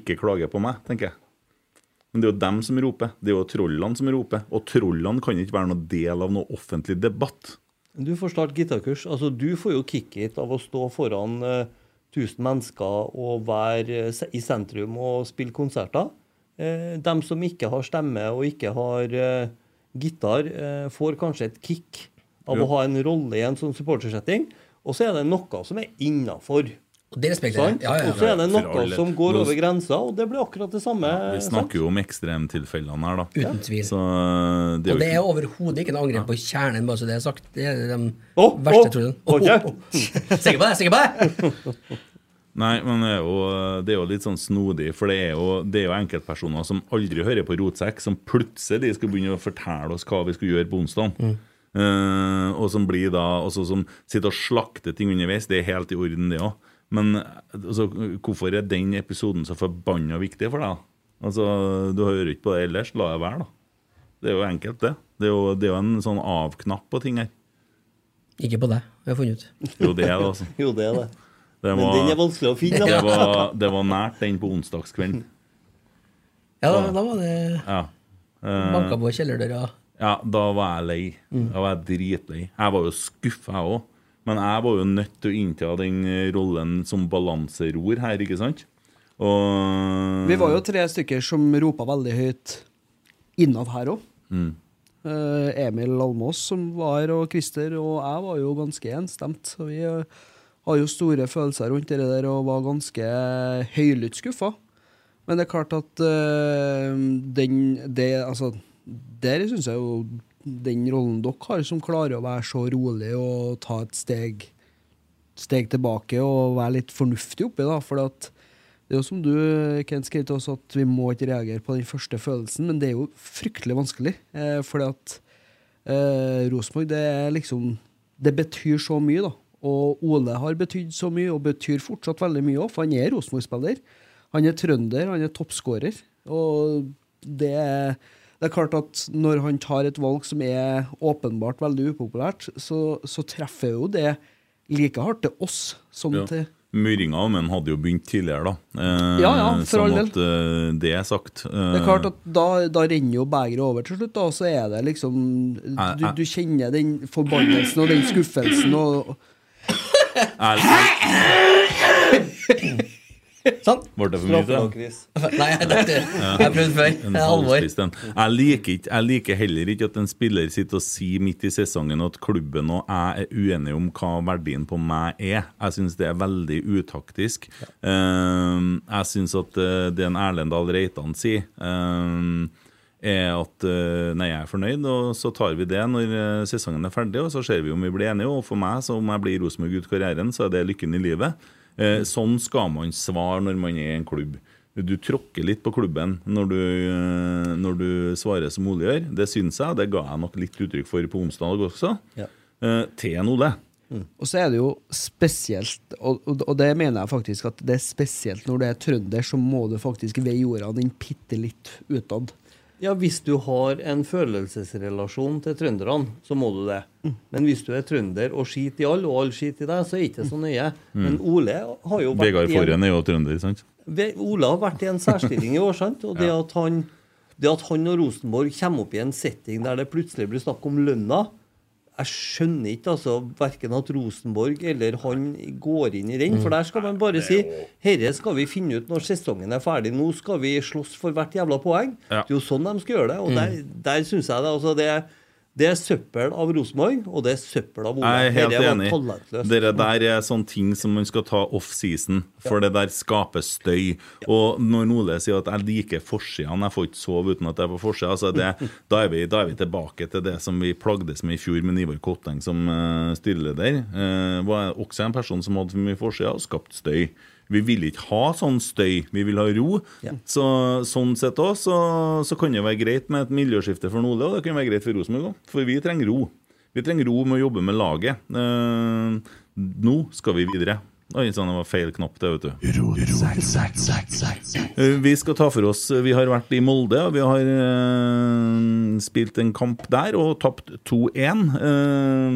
ikke klager på meg, tenker jeg. Men det er jo dem som roper. Det er jo trollene som roper. Og trollene kan ikke være noen del av noe offentlig debatt. Du får starte gitarkurs. Altså, du får jo kick-it av å stå foran eh, 1000 mennesker og være eh, se- i sentrum og spille konserter. Eh, dem som ikke har stemme og ikke har eh, gitar, eh, får kanskje et kick av Jo. å ha en rolle i en sånn supportersetting. Og så er det noe som er innafor. Og det respekterer jeg. sant? Ja, ja, Og ja. så er det For noe alle. som går Nå- over grensa, og det blir akkurat det samme. Vi sant? snakker jo om ekstremtilfellene her, da. Uten tvil. Så eh, det Og er det jo er overhodet ikke noe angrep på kjernen, bare så det er sagt. Det er de Å, verste å, truslene. å, Å, å, å. Sikker på det? Sikker på det? Nei, men det er, jo, det er jo litt sånn snodig, for det er jo, det er jo enkeltpersoner som aldri hører på Rotsekk, som plutselig skal begynne å fortelle oss hva vi skal gjøre på onsdag. Eh, og som blir da altså Som sitter og slakter ting underveis. Det er helt i orden, det òg. Men eh, altså, hvorfor er den episoden så forbanna viktig for deg? da? Altså, Du hører ikke på det ellers. La det være, da. Det er jo enkelt, det. Det er jo, det er jo en sånn av-knapp på ting her. Ikke på deg, har jeg funnet ut. Jo, det er det, altså. Jo, det er det. Det Men den er var, vanskelig å finne. det da. var, (laughs) det var nært den på onsdagskvelden. Ja, da, da var det Ja. Eh. banka på kjellerdøra. (laughs) Ja, da var jeg lei. Mm. Da var jeg dritlei. Jeg var jo skuffa, jeg òg. Men jeg var jo nødt til å innta den eh, rollen som balanseror her, ikke sant? Og Vi var jo tre stykker som ropa veldig høyt innad her òg. Emil Almås som var her, og Christer og jeg var jo ganske enstemt. Så vi eh, har jo store følelser rundt det der og var ganske høylytt skuffa. Men det er klart at eh, den det, altså, Der syns jeg jo den rollen dere har, som klarer å være så rolig og ta et steg steg tilbake og være litt fornuftig oppi, da. For at det er jo som du, Kent, skrev til oss, at vi må ikke reagere på den første følelsen, men det er jo fryktelig vanskelig. Eh, fordi at eh, Rosenborg, det er liksom Det betyr så mye, da. Og Ole har betydd så mye, og betyr fortsatt veldig mye òg, for han er Rosenborg-spiller. Han er trønder, han er toppskårer. Og det er det er klart at når han tar et valg som er åpenbart veldig upopulært, så, så treffer jo det like hardt til oss som ja. til Myringa og menn hadde jo begynt tidligere, da. Eh, Ja, ja, for sånn all at eh, det er sagt. Det er klart at da, da renner jo begeret over til slutt, da, og så er det liksom Du, du kjenner den forbannelsen og den skuffelsen og Eh, jeg, (laughs) Sånn. Ble det for mye til? Straffelag, Chris. Nei, jeg, tenkte, jeg prøvde før. En Det er alvor. halvspist en. Jeg liker, ikke, jeg liker heller ikke at en spiller sitter og sier midt i sesongen at klubben og jeg er uenige om hva verdien på meg er. Jeg syns det er veldig utaktisk. Um, jeg syns at eh, det en Erlend Dahl Reitan sier um, er at eh, nei, jeg er fornøyd, og så tar vi det når eh, sesongen er ferdig, og så ser vi om vi blir enige. Og for meg, så om jeg blir Rosenborg ut karrieren, så er det lykken i livet. Eh, Sånn skal man svare når man er i en klubb. Du tråkker litt på klubben når du, eh, når du svarer som Ole gjør. Det syns jeg, og det ga jeg nok litt uttrykk for på onsdag også. Ja. Eh, Til en Ole. Og så er det jo spesielt, og, og, og det mener jeg faktisk at det er spesielt når du er trønder, så må du faktisk veie ordene inn bitte litt utad. Ja, hvis du har en følelsesrelasjon til trønderne, så må du det. Men hvis du er trønder og skiter i alle, og alle skiter i deg, så er det ikke så nøye. Men Ole har jo vært Vegard i en- Forhen er jo trønder, sant? Ve- Ole har vært i en særstilling i år, sant? Og det at han, det at han og Rosenborg kommer opp i en setting der det plutselig blir snakk om lønna Jeg skjønner ikke altså verken at Rosenborg eller han går inn i den. For der skal man bare si herre skal vi finne ut når sesongen er ferdig. Nå skal vi slåss for hvert jævla poeng. Ja. Mm. Det er jo sånn de skal gjøre det. Og der, der syns jeg det. altså det er det er søppel av Rosenborg, og det er søppel av Ole. Jeg er helt Herre var enig. talentløs. Dere der er sånne ting som man skal ta off-season, for det der skaper støy. Og når Ole sier at 'jeg liker forsidene, jeg får ikke sove uten at jeg er på forsida', altså (laughs) det- da, er vi- da er vi tilbake til det som vi plagdes med i fjor med Nivor Kotteng som uh, styreleder. Eh, var også en person som hadde for mye forsida og skapte støy. Vi vil ikke ha sånn støy, vi vil ha ro. Ja. Så, sånn sett òg så, så kan det være greit med et miljøskifte for Ole, og det kan være greit for Rosenborg òg, for vi trenger ro. Vi trenger ro med å jobbe med laget. Eh, nå skal vi videre. Oi sann, det var feil knapp, det, vet du. Eh, Vi skal ta for oss Vi har vært i Molde, og vi har eh, spilt en kamp der og tapt 2-1. Eh,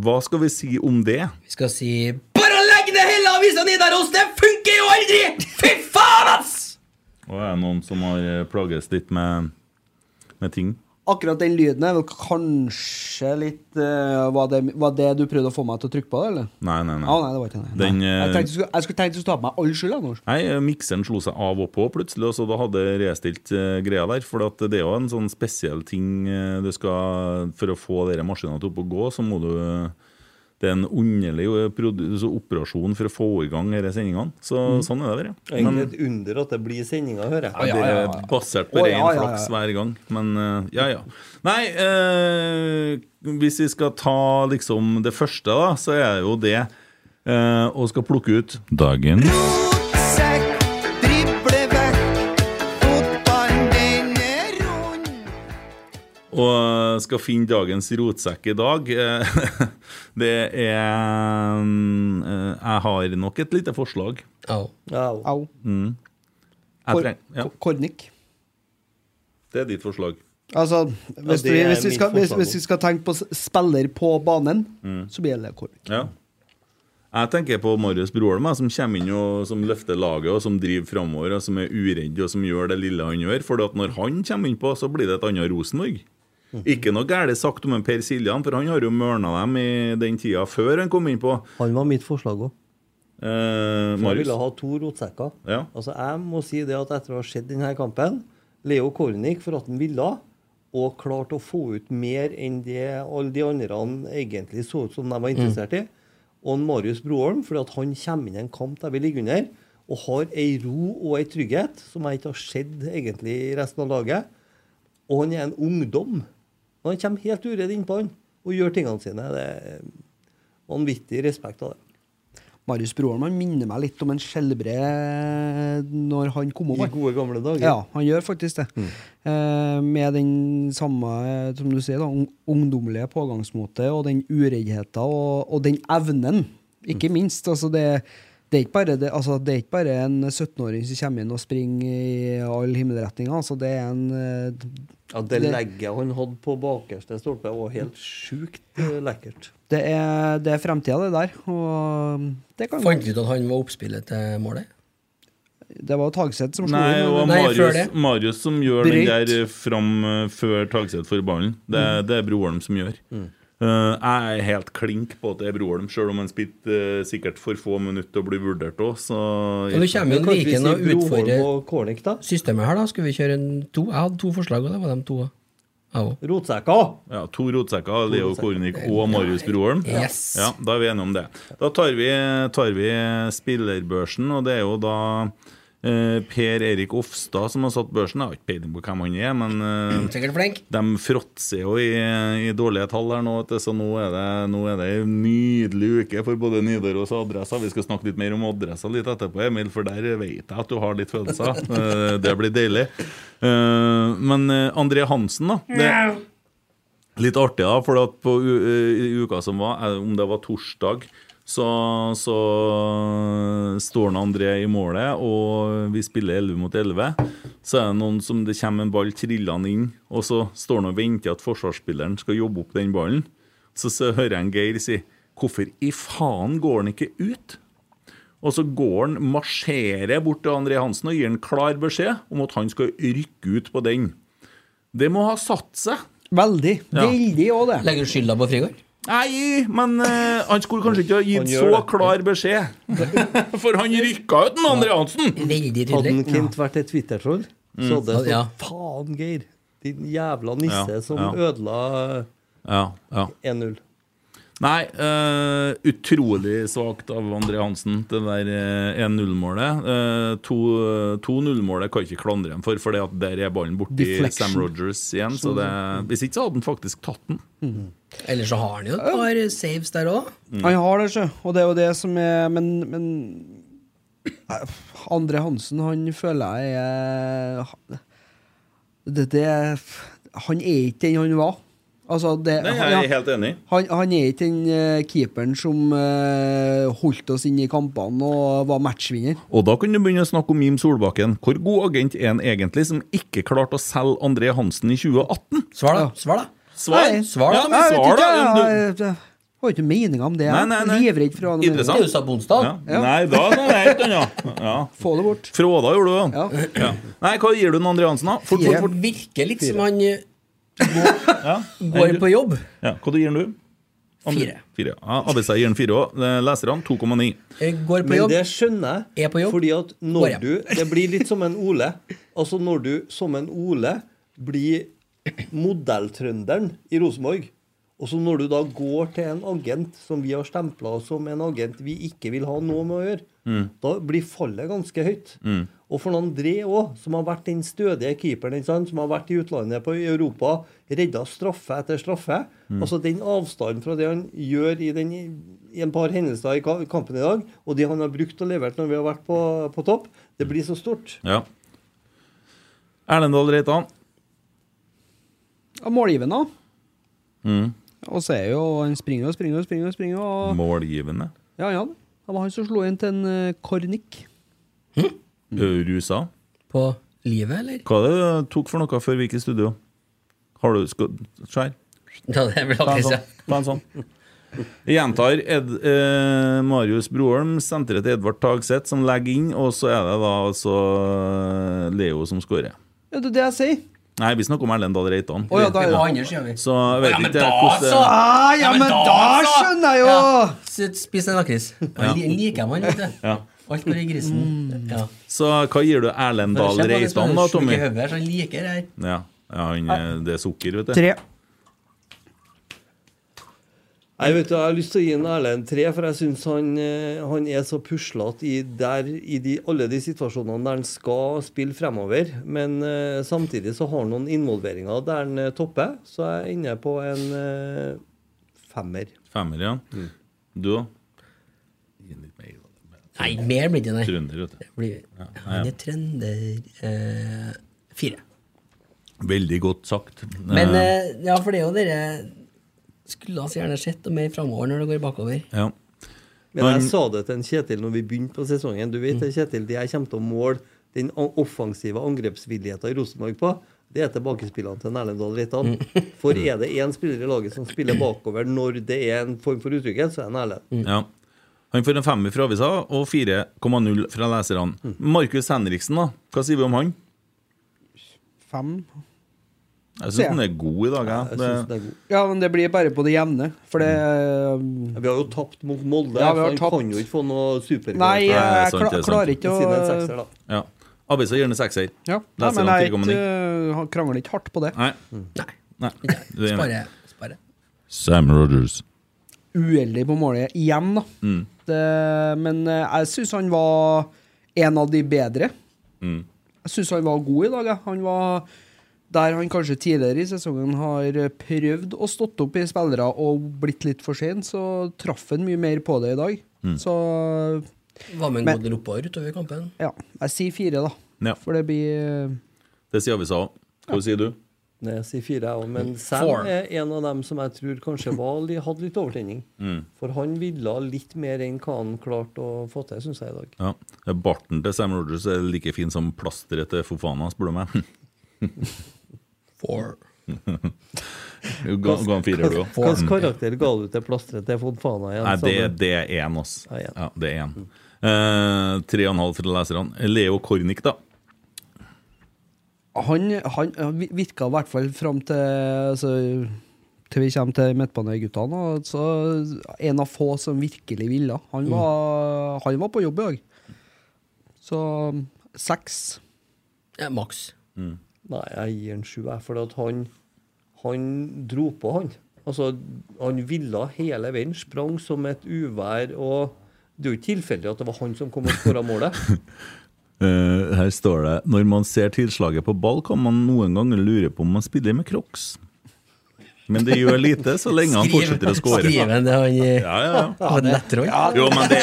hva skal vi si om det? Vi skal si Bare legg ned hele avisa Nidaros! Det funker jo aldri! Fy faen, ass! Og er det noen som har eh, plages litt med, med ting? Akkurat den lyden er vel kanskje litt eh, var, det, var det du prøvde å få meg til å trykke på, eller? Nei, nei, nei. Ja, nei, det var ikke det. Den, Nei. Jeg, eh, tenkte, du skulle- jeg skulle tenkt du skulle ta på meg all skyld. Jeg, nå. Nei, mikseren slo seg av og på plutselig, og så da hadde jeg restilt eh, greia der. For at det er jo en sånn spesiell ting eh, du skal For å få dere maskinene til opp å gå, så må du Det er en underlig eh, produ- så operasjon for å få i gang disse sendingene. Så sånn er det bare. Det er Egentlig et under at det blir sendinger, hører jeg. Ja, det er basert på Å, ren ja, ja, ja. flaks hver gang. Men eh, ja, ja. Nei, eh, hvis vi skal ta liksom det første, da, så er det jo det eh, å skal plukke ut dagen. Og eh, skal finne dagens rotsekk i dag. eh, (laughs) Det er mm, eh, Jeg har nok et lite forslag. Au. Ja. Au. Jeg treng, ja, Ko- Kornik. det er ditt forslag. Altså, hvis, det vi, er hvis, vi mitt skal, hvis, forslag Mm. hvis vi skal tenke på s- spiller på banen, så blir det Kornik. Ja. Jeg tenker på Marius Broholm, jeg, som kommer inn og som løfter laget og som driver framover, og som er uredd og som gjør det lille han gjør. For at når han kommer innpå, så blir det et annet Rosenborg. Ikke noe galt sagt om en Per Siljan, for han har jo mørna dem i den tida før han kom innpå. Han var mitt forslag òg. Eh, Jeg Marius. ville ha to rotsekker. Ja. Altså, jeg må si det at etter å ha sett denne kampen Leo Kornik for at han ville, og klarte å få ut mer enn det alle de andre han egentlig så ut som de Mm. var interessert i. Og en Marius Broholm, fordi at han kommer inn i en kamp der vi ligger under, og har ei ro og ei trygghet som jeg ikke har sett egentlig i resten av laget. Og han er en ungdom. Og han kommer helt uredd innpå han og gjør tingene sine. Det er vanvittig respekt av det. Marius Broholm han minner meg litt om en skjelbre eh, når han kom I over. gode gamle dager. Mm. Ja, han gjør faktisk det. Eh, med den samme eh, som du sier, da, ung- ungdommelige pågangsmotet og den ureddheten og, og den evnen, ikke Mm. minst. Altså det, det, er ikke bare det, altså det er ikke bare en 17-åring som kommer inn og springer i alle himmelretninger. Altså det er en eh, Ja, det Det- legget han hadde på bakerste stolpe, var helt sjukt eh, lekkert. Det er, det er fremtida, det der. Og det kan Fant vi ut at han var oppspillet til målet? Det var jo Tagseth som slo Nei, inn. det var men- Nei, før Marius, det. Marius som gjør Bryt. den der fram eh, før Tagseth får ballen. Det, det er Broholm som gjør. Eh, jeg er helt klink på at det er Broholm, sjøl om han spilte eh, sikkert for få minutter og blir vurdert òg, så Og nå kommer jo Kanskje vi Viken og sier Broholm utfordrer og Kornik, da? systemet her, da. Skulle vi kjøre en to? Jeg hadde to forslag, og det var de to. Jeg òg. Rotsekker! Ja, To rotsekker, Leo Kornik og Marius Broholm. Yes. Ja, Da er vi enige om det. Da tar vi, tar vi eh, spillerbørsen, og det er jo da eh, Per Erik Ofstad som har satt børsen. Jeg har ikke peiling på hvem han er, men eh, Sikkert flink. De fråtser jo i, i dårlige tall her nå, vet du, så nå er, det, nå er det en nydelig uke for både Nidaros og Adressa. Vi skal snakke litt mer om Adressa litt etterpå, Emil, for der vet jeg at du har litt følelser. Eh, Det blir deilig. Eh, Men eh, André Hansen, da. Det, litt artig, da, for at på u- eh, i uka som var, eh, om det var torsdag så, så står nå André i målet, og vi spiller 11 mot 11. Så er det noen som det kommer en ball trillende inn, og så står han og venter at forsvarsspilleren skal jobbe opp den ballen. Så, så hører jeg en Geir si 'Hvorfor i faen går han ikke ut?' Og så går han, marsjerer bort til André Hansen og gir han klar beskjed om at han skal rykke ut på den. Det må ha satt seg. Veldig. Ja. Veldig òg, det. Legger du skylda på Frigård? Nei, men eh, han skulle kanskje ikke ha Han gitt gjør så det. klar beskjed. (laughs) For han rykka ut den André Hansen! Veldig Hadde tydelig. han Kent vært et Twitter-troll, Mm. så hadde det stått Ja. Faen, Geir! Din jævla nisse Ja, som ja. ødela eh, Ja, ja. 1-0. Nei, eh, utrolig svakt av André Hansen, det der eh, 1-0-målet. Eh, to- 2-0-målet kan jeg ikke klandre ham for, for det at der er ballen borti Deflection. Sam Rogers igjen. Så det, hvis ikke så hadde han faktisk tatt den. Ellers så har han jo et par eh, saves der òg. Mm. Han har det, sjø. Og det er jo det som er Men, men Andre Hansen, han føler jeg er det, det, Han er ikke den han var. Altså, det Nei, ja. jeg er helt enig. Han, han er ikke den eh, keeperen som eh, holdt oss inne i kampene og var matchvinner. Og da kan du begynne å snakke om Jim Solbakken. Hvor god agent er han egentlig, som ikke klarte å selge André Hansen i 2018? Svar, da. Svar, da. Svar! Nei. Svar, da. Ja, men Jeg vet svar, ikke, da! Du- jeg, jeg, jeg har ikke meninga om det. Nei, Jeg nei, er nei. livredd for å ha noe mening. Det er jo Interessant. sa Bonstad. Ja. Nei, da er det helt annet. Ja. Få det bort. Fråda gjorde du, Ja. Ja. Nei, hva gir du den André Hansen, da? Fort, fort, Det fort. virker litt som han eh, går, Ja. går på jobb. Ja. Hva gir den du? Andre- Fire. fire. Ja, Adisa gir den fire òg. Leserne 2,9. Eh, Går på Men jobb. det skjønner jeg, Er på jobb. fordi at Går når hjem. du Det blir litt som en Ole. Altså når du som en Ole blir modelltrønderen i Rosenborg, og så når du da går til en agent som vi har stempla som en agent vi ikke vil ha noe med å gjøre, da blir fallet ganske høyt. Og for André òg, som har vært den stødige keeperen, ikke sant, som har vært i utlandet på i Europa, redda straffe etter straffe Altså den avstanden fra det han gjør i, den, i en par hendelser i ka- kampen i dag, og det han har brukt og levert når vi har vært på, på topp, det blir så stort. Ja. Erlendal Reitan. Ja, Målgivende, da? Og så er jo han springer og springer og springer. og springer og Målgivende. Ja, han hadde. Det var han som slo inn til en eh, Kornik. Mm. Eh, Rusa. På livet, eller? (laughs) Hva er det du tok for noe før vi gikk i studio? Har du skal, Skjær. Ja, det blir Ta en alltid sånn. Ta en sånn. Jeg gjentar Ed, eh, Marius Broholm, senteret til Edvard Tagseth, som legger inn, og så er det da altså eh, Leo som skårer. Ja, det er det jeg sier. Nei, vi snakker om Erlend Dahl Reitan. Å ja, da Det er det var andre siden vi. Så jeg vet Ja, men ikke da, hvordan det- så! ah, Ja, men da altså! så! skjønner jeg jo! Ja, så Spis en lakris. Ja. li- Liker man, vet du. Ja. Alt går i grisen. Mm. Ja. Så hva gir du Erlend Dahl Kjenn på det som Reitan, er sjuk da, i Tommy? hodet her, så han liker det her. Ja, ja han, eh, det er sukker, vet du. Tre. Jeg vet du, jeg har lyst til å gi en Erlend tre, for jeg syns han, eh, han er så puslete i, der- i de, alle de situasjonene der han skal spille fremover. Men eh, samtidig så har han noen involveringer der han eh, topper, så jeg er inne på en eh, femmer. Femmer, ja. Mm. Du òg? Nei, mer blir det ikke, nei. Trønder, vet du. Det blir- Han er trønder. Eh, fire. Veldig godt sagt. Men Eh, eh, ja, for det er jo dere skulle altså gjerne sett noe mer framover når det går bakover. ja. Men jeg Men- sa det til en Kjetil når vi begynte på sesongen. Du vet, det, Kjetil, det jeg kommer til å måle den an- offensive angrepsvilligheten i Rosenborg på, det er tilbakespillene til Erlend Dahl Reitan. For er det én spiller i laget som spiller bakover når det er en form for utrygghet, så er det Erlend. Ja. Han får en femmer fra avisa og 4,0 fra Mm. leserne. Markus Henriksen, da. Hva sier vi om han? Fem. Jeg Se. syns han er god i dag. Jeg. Jeg Det, synes den er god. Ja, men det blir bare på det jevne, for det Mm. Vi har jo tapt mot Molde, Ja, vi så har han tapt. kan jo ikke få noe supergodt. Nei, det er jeg sant, det kla er sant. klarer sånn ikke Siden en å sekser, da. ja. Avisa gir den en sekser. Ja, nei, Leser men han jeg er 4,9. ikke, han krangler ikke hardt på det. Nei. Nei. Nei. Du er enig. Spare. spare. Sam Rogers. Uheldig på målet igjen, da. Det, men eh, jeg syns han var en av de bedre. Jeg syns han var god i dag. jeg. Han var der han kanskje tidligere i sesongen har prøvd å stått opp i spillere og blitt litt for sen, så traff han mye mer på det i dag. Så Var med en Men- god del oppover utover kampen. ja, jeg sier fire, da. Ja. For det blir eh, Det sier avisa òg. Hva sier du? Nei, jeg sier fire, jeg òg. Men Sam Four. er en av dem som jeg tror kanskje var, li- hadde litt overtenning. For han ville litt mer enn hva han klarte å få til, syns jeg, i dag. Ja. Barten til Sam Rogers er like fin som plasteret til Fofana, spør du meg. (laughs) Four. Ga ga han firer, du òg. Hvilken karakter ga du til plasteret til Fontana igjen? Nei, det, Samme? det er én, ass. Ja, én. Ja, det er én. Eh, Tre og en halv fra leserne. Leo Kornik, da. Han, han han virka i hvert fall fram til altså, Til vi kommer til midtbaneguttene. og Så en av få som virkelig ville. Han var, han var på jobb i dag. Så um, seks. Ja, maks. Nei, jeg gir en sju, jeg. For at han, han dro på, han. Altså, han ville hele veien. Sprang som et uvær. Og det er jo ikke tilfeldig at det var han som kom og skåra målet. (laughs) Eh, her står det Når man ser tilslaget på ball, kan man noen ganger lure på om man spiller med crocs. Men det gjør lite så lenge han fortsetter å skåre. Ja, Skriven det han ja. ja, ja. hadde lettroll. Jo, men det,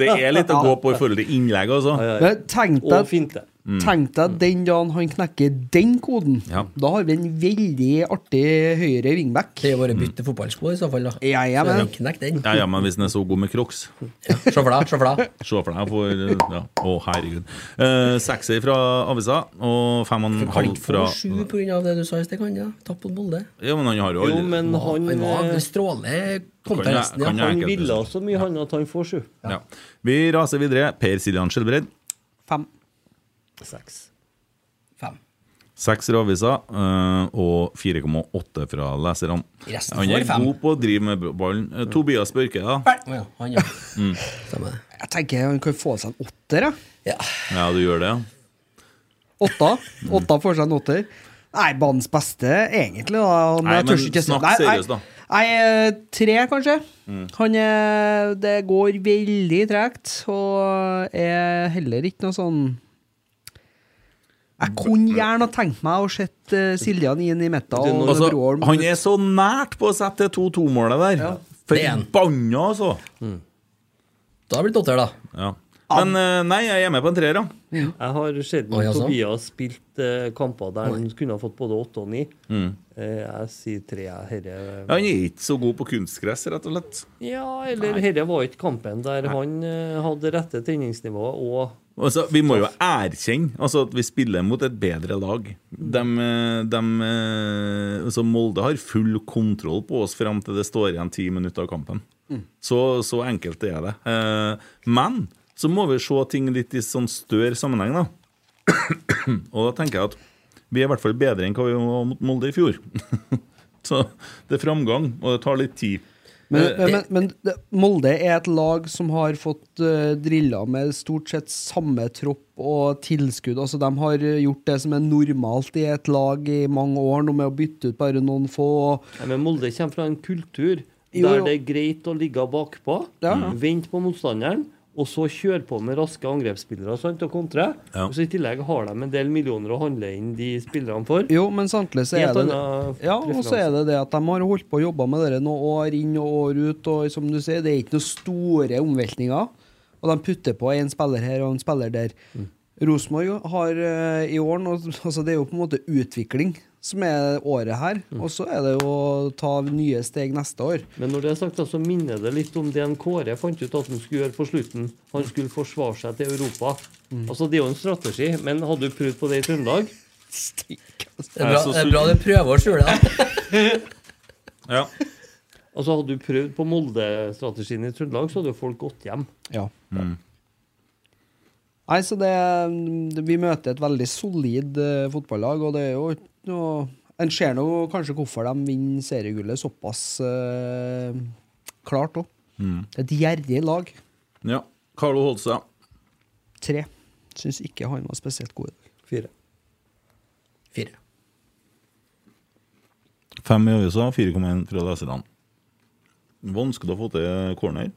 det er litt å gå på i forhold til innlegg, altså. Men tenk Og deg, finte. tenk deg den dagen han knekker den koden. Ja. Da har vi en veldig artig høyre wingback. Det er jo bare å bytte fotballsko i så fall, da. Ja, ja, Så men- den knekk den. Ja, ja, men hvis den er så god med crocs Se for deg, se for (laughs) deg. Se for deg for ja. Å, herregud. Eh, Sekser fra avisa og fem og en Kan halv ikke få fra sju på grunn av det du sa i sted, kan ja. Tapp mot Molde. Ja, men han har jo Jo, aldri men han, Han var eh, strålende kom Kan til jeg- resten, kan ja. jeg- han enkelt, ville liksom. så mye, han, at han får sju. ja. Vi raser videre. Per Siljan Skjelbred. Fem. Seks. Fem. Seks fra avisa eh, og 4,8 fra leserne. Resten Han er får fem. god på å drive med ballen. Eh, Tobias Børke, da. Å ja, han, ja. Stemmer det. Jeg tenker han kan få seg en åtter. Jeg. Ja. Ja, du gjør det? Åtta. Åtta får seg en åtter. Nei, banens beste, egentlig. Da. Nei, jeg men tør ikke si- snakk Nei, nei. seriøst, da. Mm. Nei, eh, tre, kanskje. Han er Det går veldig tregt, og er heller ikke noe sånn Jeg kunne gjerne ha tenkt meg å sett eh, Siljan inn i midten Du, og nå- Altså, Broholm han er så nært på å sette det 2-2-målet der. Det er han. Forbanna, altså! Da har det blitt åtter, da. Ja. Men eh, nei, jeg er med på en treer, da. Jeg har sett Oi, sånn. altså. Tobias spilt eh, kamper der han kunne ha fått både åtte og ni. Mm. Eh, jeg sier tre. jeg. Herre, Ja, han er ikke så god på kunstgress, rett og slett. ja, eller herre var ikke kampen der han eh, hadde rette tenningsnivået og Altså, vi må jo erkjenne altså, at vi spiller mot et bedre lag. De, eh, de, eh, altså, Molde har full kontroll på oss fram til det står igjen ti minutter av kampen. Så, så enkelt er det. Eh, Men så må vi se ting litt i sånn større sammenheng, da. (clears throat) Og da tenker jeg at vi er i hvert fall bedre enn hva vi var mot Molde i fjor. (laughs) Så det er framgang, og det tar litt tid. Men, men, men, men det, Molde er et lag som har fått uh, drilla med stort sett samme tropp og tilskudd. Altså, de har eh, gjort det som er normalt i et lag i mange år, nå med å bytte ut bare noen få. Og, Nei, men Molde kommer fra en kultur Jo, der jo. det er greit å ligge bakpå, Mm. Ja. vente på motstanderen, og så kjøre på med raske angrepsspillere sant, og kontre. Ja. Og så I tillegg har de en del millioner å handle inn de spillerne for. jo, men samtidig så er Helt det annen Ja, og så er det det at de har holdt på å jobbe med det noen år inn og år ut, og som du sier, det er ikke noen store omveltninger. Og de putter på en spiller her og en spiller der. Rosenborg har eh, i år nå (laughs) altså Det er jo på en måte utvikling som er året her. Og så er det jo å ta nye steg neste år. Men når det er sagt, da, så minner det litt om det en Kåre fant ut at han skulle gjøre på slutten. Han skulle forsvare seg til Europa. Mm. Altså, Det er jo en strategi, men hadde du prøvd på det i Trøndelag? Det er bra, det er bra du prøver å skjule det. Ja. Altså, Hadde du prøvd på Molde-strategien i Trøndelag, så hadde jo folk gått hjem. Ja. Nei, så det, det Vi møter et veldig solid eh, fotballag, og det er jo ikke noe En ser nå kanskje hvorfor de vinner seriegullet såpass eh, klart òg. Det er et gjerrig lag. ja. Carlo Holse. Tre. Syns ikke han var spesielt god i dag. Fire. Fire. Fem i øyesa, 4,1 fra leserne. Vanskelig å få til corner.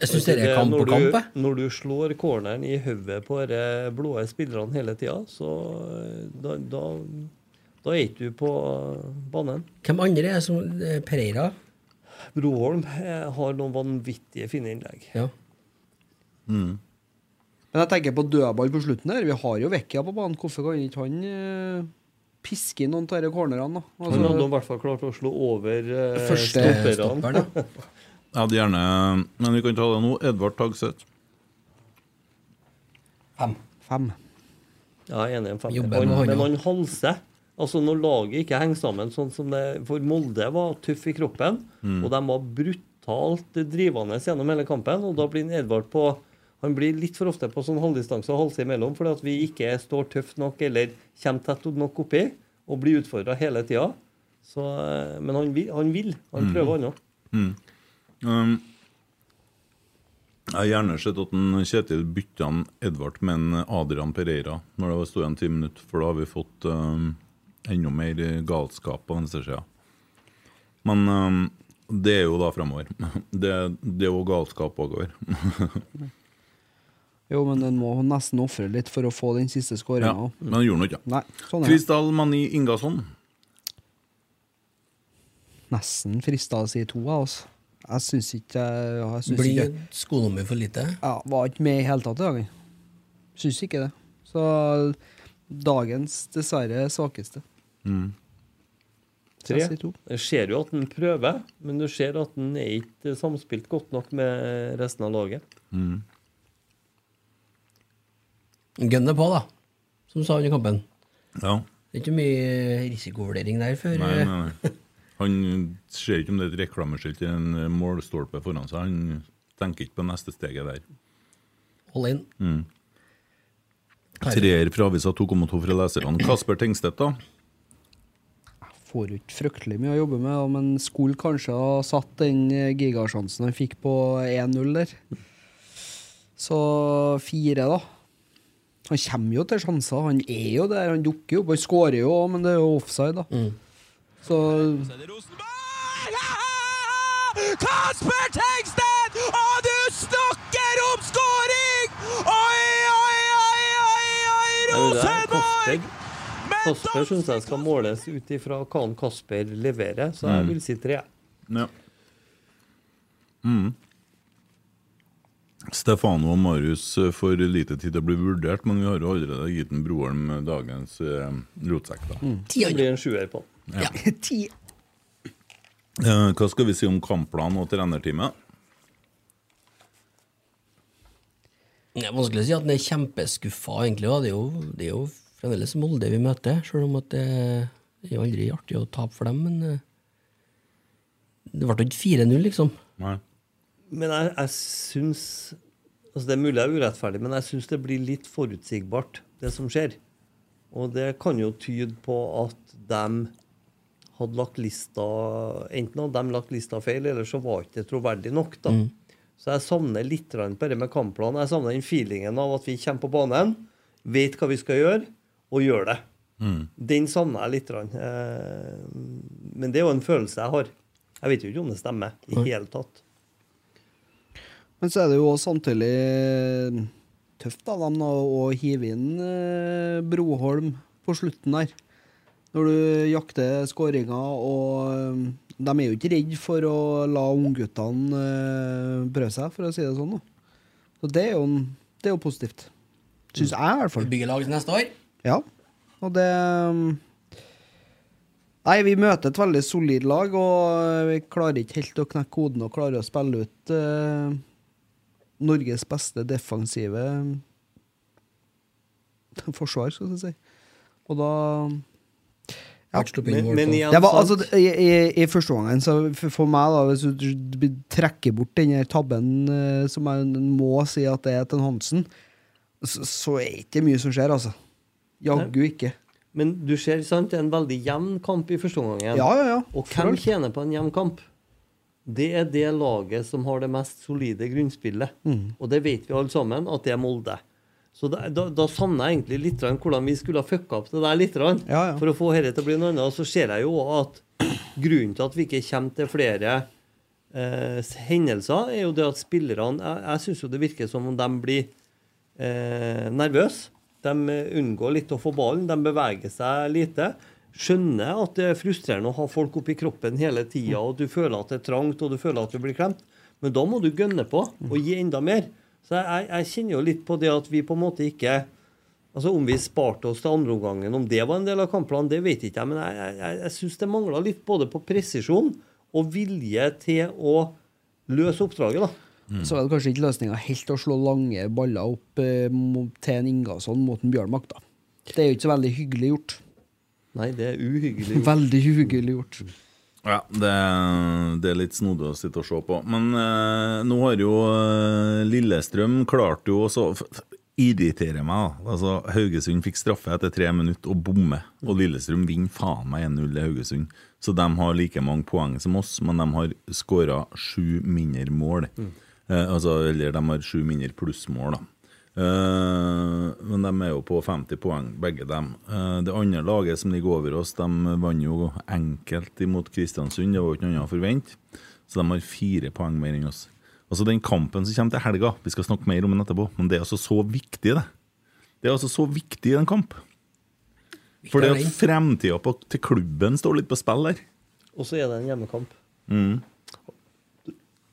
Jeg syns det er Det kamp på Eh, når du- kamp. jeg. Når du slår corneren i hodet på de blå spillerne hele tida, så eh, da, da, da er ikke du på eh, banen. Hvem andre er som eh, Pereira? Broholm eh, har noen vanvittige fine innlegg. Ja. Men jeg tenker på dødball på slutten her. Vi har jo Vekkia på banen. Hvorfor kan ikke han eh, piske inn noen av disse cornerne? da? Han hadde Altså, i hvert fall klart å slå over eh, Første stopperne. stopperen, ja. Jeg hadde gjerne Men vi kan ta det nå. Edvard Tagseth. Fem. fem. Ja, jeg er enig i en femmer. Jobber med Han, han, men ja. han halser. Altså Når laget ikke henger sammen sånn som det For Molde var tøff i kroppen, Mm. og de var brutalt drivende gjennom hele kampen. Og da blir han Edvard på Han blir litt for ofte på sånn halvdistanse og halse imellom fordi at vi ikke står tøft nok eller kommer tett nok oppi og blir utfordra hele tida. Så, eh, Men han vil. Han, vil. Mm. han prøver, han òg. Um, jeg har gjerne sett at en Kjetil bytta en Edvard med en Adrian Pereira når det sto igjen ti minutter, for da har vi fått um, enda mer galskap på venstresida. Men um, det er jo da framover. (laughs) Det, det er jo galskap bakover. Jo, men en må nesten ofre litt for å få den siste Ja, skåringa. men det gjorde han ikke. Nei, sånn er det. Kristal Mani Ingasson. nesten frista å si to, jeg, altså. Jeg syns ikke jeg, ja, jeg syns Blir ikke, skonummer for lite? ja, Var ikke med i hele tatt i dag. jeg. Syns ikke det. Så dagens dessverre svakeste. Så jeg Tre. sier to. Jeg ser jo at han prøver, men du ser at han er ikke samspilt godt nok med resten av laget. Gunner på, da, som du sa under kampen. Ja. Det er ikke mye risikovurdering der før. Nei, eh, nei, nei. Han ser ikke om det er et reklameskilt i en eh, målstolpe foran seg. Han tenker ikke på neste steget der. Hold inn. Herre. Treer fra avisa 2,2 fra leserne. Kasper Tengstedt, da. Jeg Får jo ikke fryktelig mye å jobbe med, da, men skulle kanskje ha satt den eh, gigasjansen han fikk på 1-0 der. Så fire, da. Han kommer jo til sjanser. Han er jo der, han dukker jo opp. Han skårer jo òg, men det er jo offside, da. Så Kasper Tengstedt! Og du snakker om skåring! Oi, oi, oi, oi, oi, Nei, men det er Rosenborg! Kasper. Men Kasper syns jeg skal måles ut ifra hva han Kasper leverer, så jeg vil si tre. Ja. Mm. Stefano og Marius eh, for lite tid til å bli vurdert, men vi har jo allerede gitt en Broholm eh, dagens eh, rotsekk. da. Det blir en sjuer på. Ja. Ti. Eh, hva skal vi si om kampplan og trenerteamet? Det er vanskelig å si at den er kjempeskuffa, egentlig. da. Det er jo, det er jo fremdeles Molde vi møter, sjøl om at det det er jo aldri artig å tape for dem, men eh, det ble jo ikke 4-0, liksom. Nei. Men jeg, jeg syns altså Det er mulig jeg er urettferdig, men jeg syns det blir litt forutsigbart, det som skjer. Og det kan jo tyde på at de hadde lagt lista Enten hadde de lagt lista feil, eller så var ikke det troverdig nok. da. Så jeg savner litt grann på det med kampplanen. Jeg savner den feelingen av at vi kommer på banen, vet hva vi skal gjøre, og gjør det. Den savner jeg litt. grann. Eh, Men det er jo en følelse jeg har. Jeg vet jo ikke om det stemmer i hele tatt. Men så er det jo også samtidig tøft av dem da, å hive inn eh, Broholm på slutten der. Når du jakter skåringer, og eh, de er jo ikke redd for å la ungguttene eh, prøve seg, for å si det sånn. Da. Så det er jo, en- det er jo positivt. Syns jeg, i hvert fall. Bygge lag til neste år. Ja, og det um, Nei, vi møter et veldig solid lag, og vi klarer ikke helt å knekke koden og klarer å spille ut eh, Norges beste defensive mm, (laughs) forsvar, skal jeg si. Og da Ja. Ble sluppet inn Men- mål men på- igjen- det var, altså, sant. det- i, i, I første omgang, så for for meg, da, hvis du d- d- trekker bort den her tabben eh, som jeg må si at det er til Hansen, så, så er ikke det mye som skjer, altså. Jaggu ikke. Men du ser, sant, det er en veldig jevn kamp i første omgang. igjen. Ja, ja, ja. Og For hvem alt. tjener på en jevn kamp? Det er det laget som har det mest solide grunnspillet. Mm. Og det vet vi alle sammen at det er Molde. Så da, da, da savner jeg egentlig litt grann hvordan vi skulle ha fucka opp det der litt grann, Ja, ja. for å få dette til å bli noe annet. Og så ser jeg jo at grunnen til at vi ikke kommer til flere eh, hendelser, er jo det at spillerne Jeg, jeg syns jo det virker som om de blir eh, nervøse. De eh, unngår litt å få ballen, de beveger seg lite. Skjønner at det er frustrerende å ha folk oppi kroppen hele tida, og du føler at det er trangt, og du føler at du blir klemt. Men da må du gønne på og gi enda mer. Så jeg, jeg, jeg kjenner jo litt på det at vi på en måte ikke Altså Om vi sparte oss til andreomgangen, om det var en del av kampplanen, det vet ikke jeg. Men jeg, jeg- jeg, jeg syns det mangla litt både på presisjon og vilje til å løse oppdraget, da. Så er det kanskje ikke løsninga helt å slå lange baller opp eh, mo- til en Ingasson mot en Bjørnbakk, da. Det er jo ikke så veldig hyggelig gjort. Nei, det er (laughs) uhyggelig. Veldig hyggelig gjort. Ja, det, det er litt snodig å sitte og se på. Men eh, nå har jo eh, Lillestrøm klart jo også f- f- Irriterer meg, da. Altså, Haugesund fikk straffe etter tre minutter og bommer. Og Lillestrøm vinner faen meg 1-0 i Haugesund. Så de har like mange poeng som oss, men de har skåra sju mindre mål. Eh, altså, eller de har sju mindre plussmål, da. Eh, men de er jo på 50 poeng, begge dem. Eh, det andre laget som ligger over oss, de vant jo enkelt imot Kristiansund. Det var jo ikke noe annet å forvente. Så de har fire poeng mer enn oss. Altså Den kampen som kommer til helga, vi skal snakke mer om den etterpå, men det er altså så viktig, det. Det er altså så viktig i en kamp. Fordi at fremtida på- til klubben står litt på spill der. Og så er det en hjemmekamp. (laughs)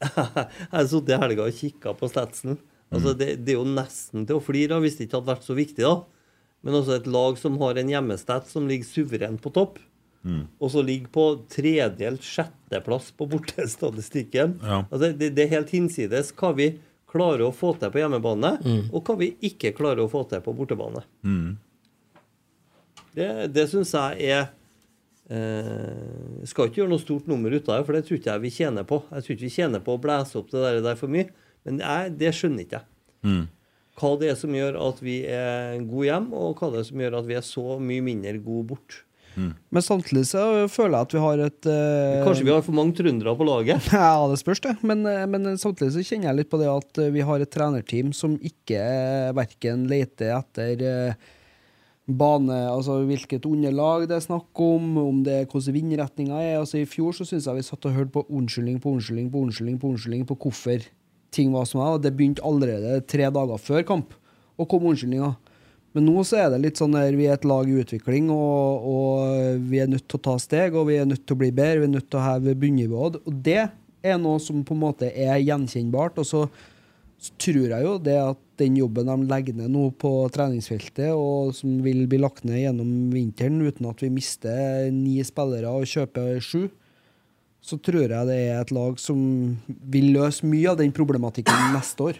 jeg satt i helga og kikka på statsen. Altså, det, det er jo nesten til å flire av hvis det ikke hadde vært så viktig, da. Men altså et lag som har en hjemmestat som ligger suverent på topp, og så ligger på tredelt sjetteplass på bortestatistikken Ja. altså, det, det er helt hinsides hva vi klarer å få til på hjemmebane, og hva vi ikke klarer å få til på bortebane. Det, det syns jeg er Eh, skal ikke gjøre noe stort nummer ut av det, for det tror ikke jeg vi tjener på. Jeg tror ikke vi tjener på å blæse opp det der, der for mye. Men jeg, det skjønner ikke jeg. Mm. Hva det er som gjør at vi er gode hjem, og hva det er som gjør at vi er så mye mindre gode bort. Men samtidig så føler jeg at vi har et eh, Kanskje vi har for mange trøndere på laget? (laughs) Ja, det spørs, det. Men, eh, men samtidig så kjenner jeg litt på det at eh, vi har et trenerteam som ikke verken leter etter eh, bane, altså hvilket underlag det er snakk om, om det er hvordan vindretninga er. Altså I fjor så syns jeg vi satt og hørte på unnskyldning på unnskyldning på unnskyldning på unnskyldning på hvorfor ting var som det var. og Det begynte allerede tre dager før kamp og kom unnskyldninga. Men nå så er det litt sånn der vi er et lag i utvikling, og, og vi er nødt til å ta steg, og vi er nødt til å bli bedre, vi er nødt til å heve bunnivået. Og det er noe som på en måte er gjenkjennbart. og så så tror jeg jo det at den jobben de legger ned nå på treningsfeltet, og som vil bli lagt ned gjennom vinteren uten at vi mister ni spillere og kjøper sju, så tror jeg det er et lag som vil løse mye av den problematikken neste år.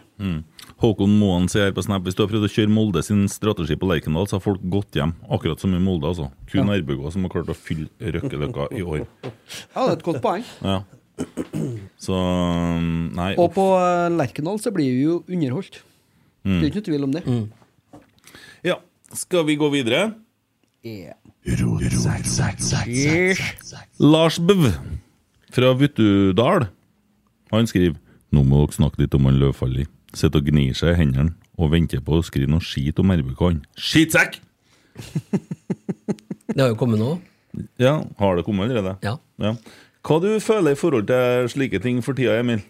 Håkon Moen sier her på Snap hvis du har prøvd å kjøre Molde sin strategi på Lerkendal, så har folk gått hjem. Akkurat som i Molde, altså. Kun Erbøgå som har klart å fylle Røkkeløkka i år. Ja, det er et godt poeng. Ja. Så mm, Nei. Og på eh, Lerkendal så blir vi jo underholdt. Det er ikke noe tvil om det. Mm. Ja. Skal vi gå videre? Yeah. Lars Bøv fra Vuttudal Han skriver Nå må dere snakke litt om han Løvfalli. Sitter og gnir seg i hendene og venter på å skrive noe skit om RBK. han. Skitsekk! (laughs) Det har jo kommet nå. Ja, har det kommet allerede? Ja. Hva du føler i forhold til slike ting for tida, Emil?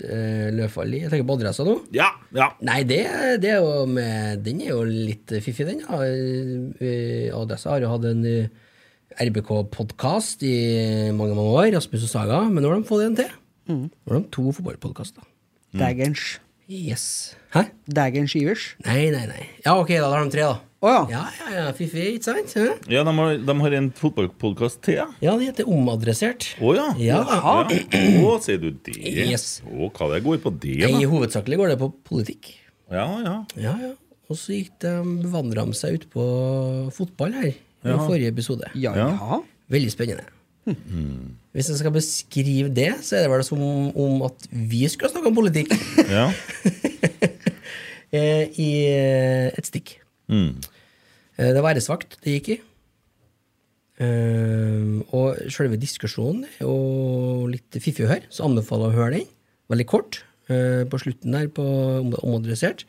Eh, Løfali. Jeg tenker på adressa nå. Ja, ja. Nei, det, det er jo med, den er jo litt fiffig, den. Ja. Eh, Adressa har jo hatt en eh, RBK-podkast i mange mange år, Rasmus og Saga, men nå har de fått en til. Mm. Nå har de to fotballpodkaster. Dagens. Yes. Hæ? Dagens Ivers. Nei, nei, nei. Ja, ok, da har de tre, da. Å ja. Ja, ja, ja, fiffig, ikke sant? Hæ? Ja, de har, de har en fotballpodkast til, ja. Ja, det heter Omadressert. Å ja. Ja. Å, sier du det? Yes. Å, hva det går på det, Nei, da? hovedsakelig går det på politikk. Ja, ja. Ja, ja. Og så gikk de, vandra de seg ut på fotball her i forrige episode. Ja, ja. Veldig spennende. Hvis jeg skal beskrive det, så er det vel som om at vi skulle snakke om politikk ja. eh, i eh, et stikk. Eh, Det var æresvakt det gikk i. Eh, Og selve diskusjonen er jo litt fiffig å høre, så anbefaler jeg å høre den. Veldig kort eh, på slutten der, på om- omadressert.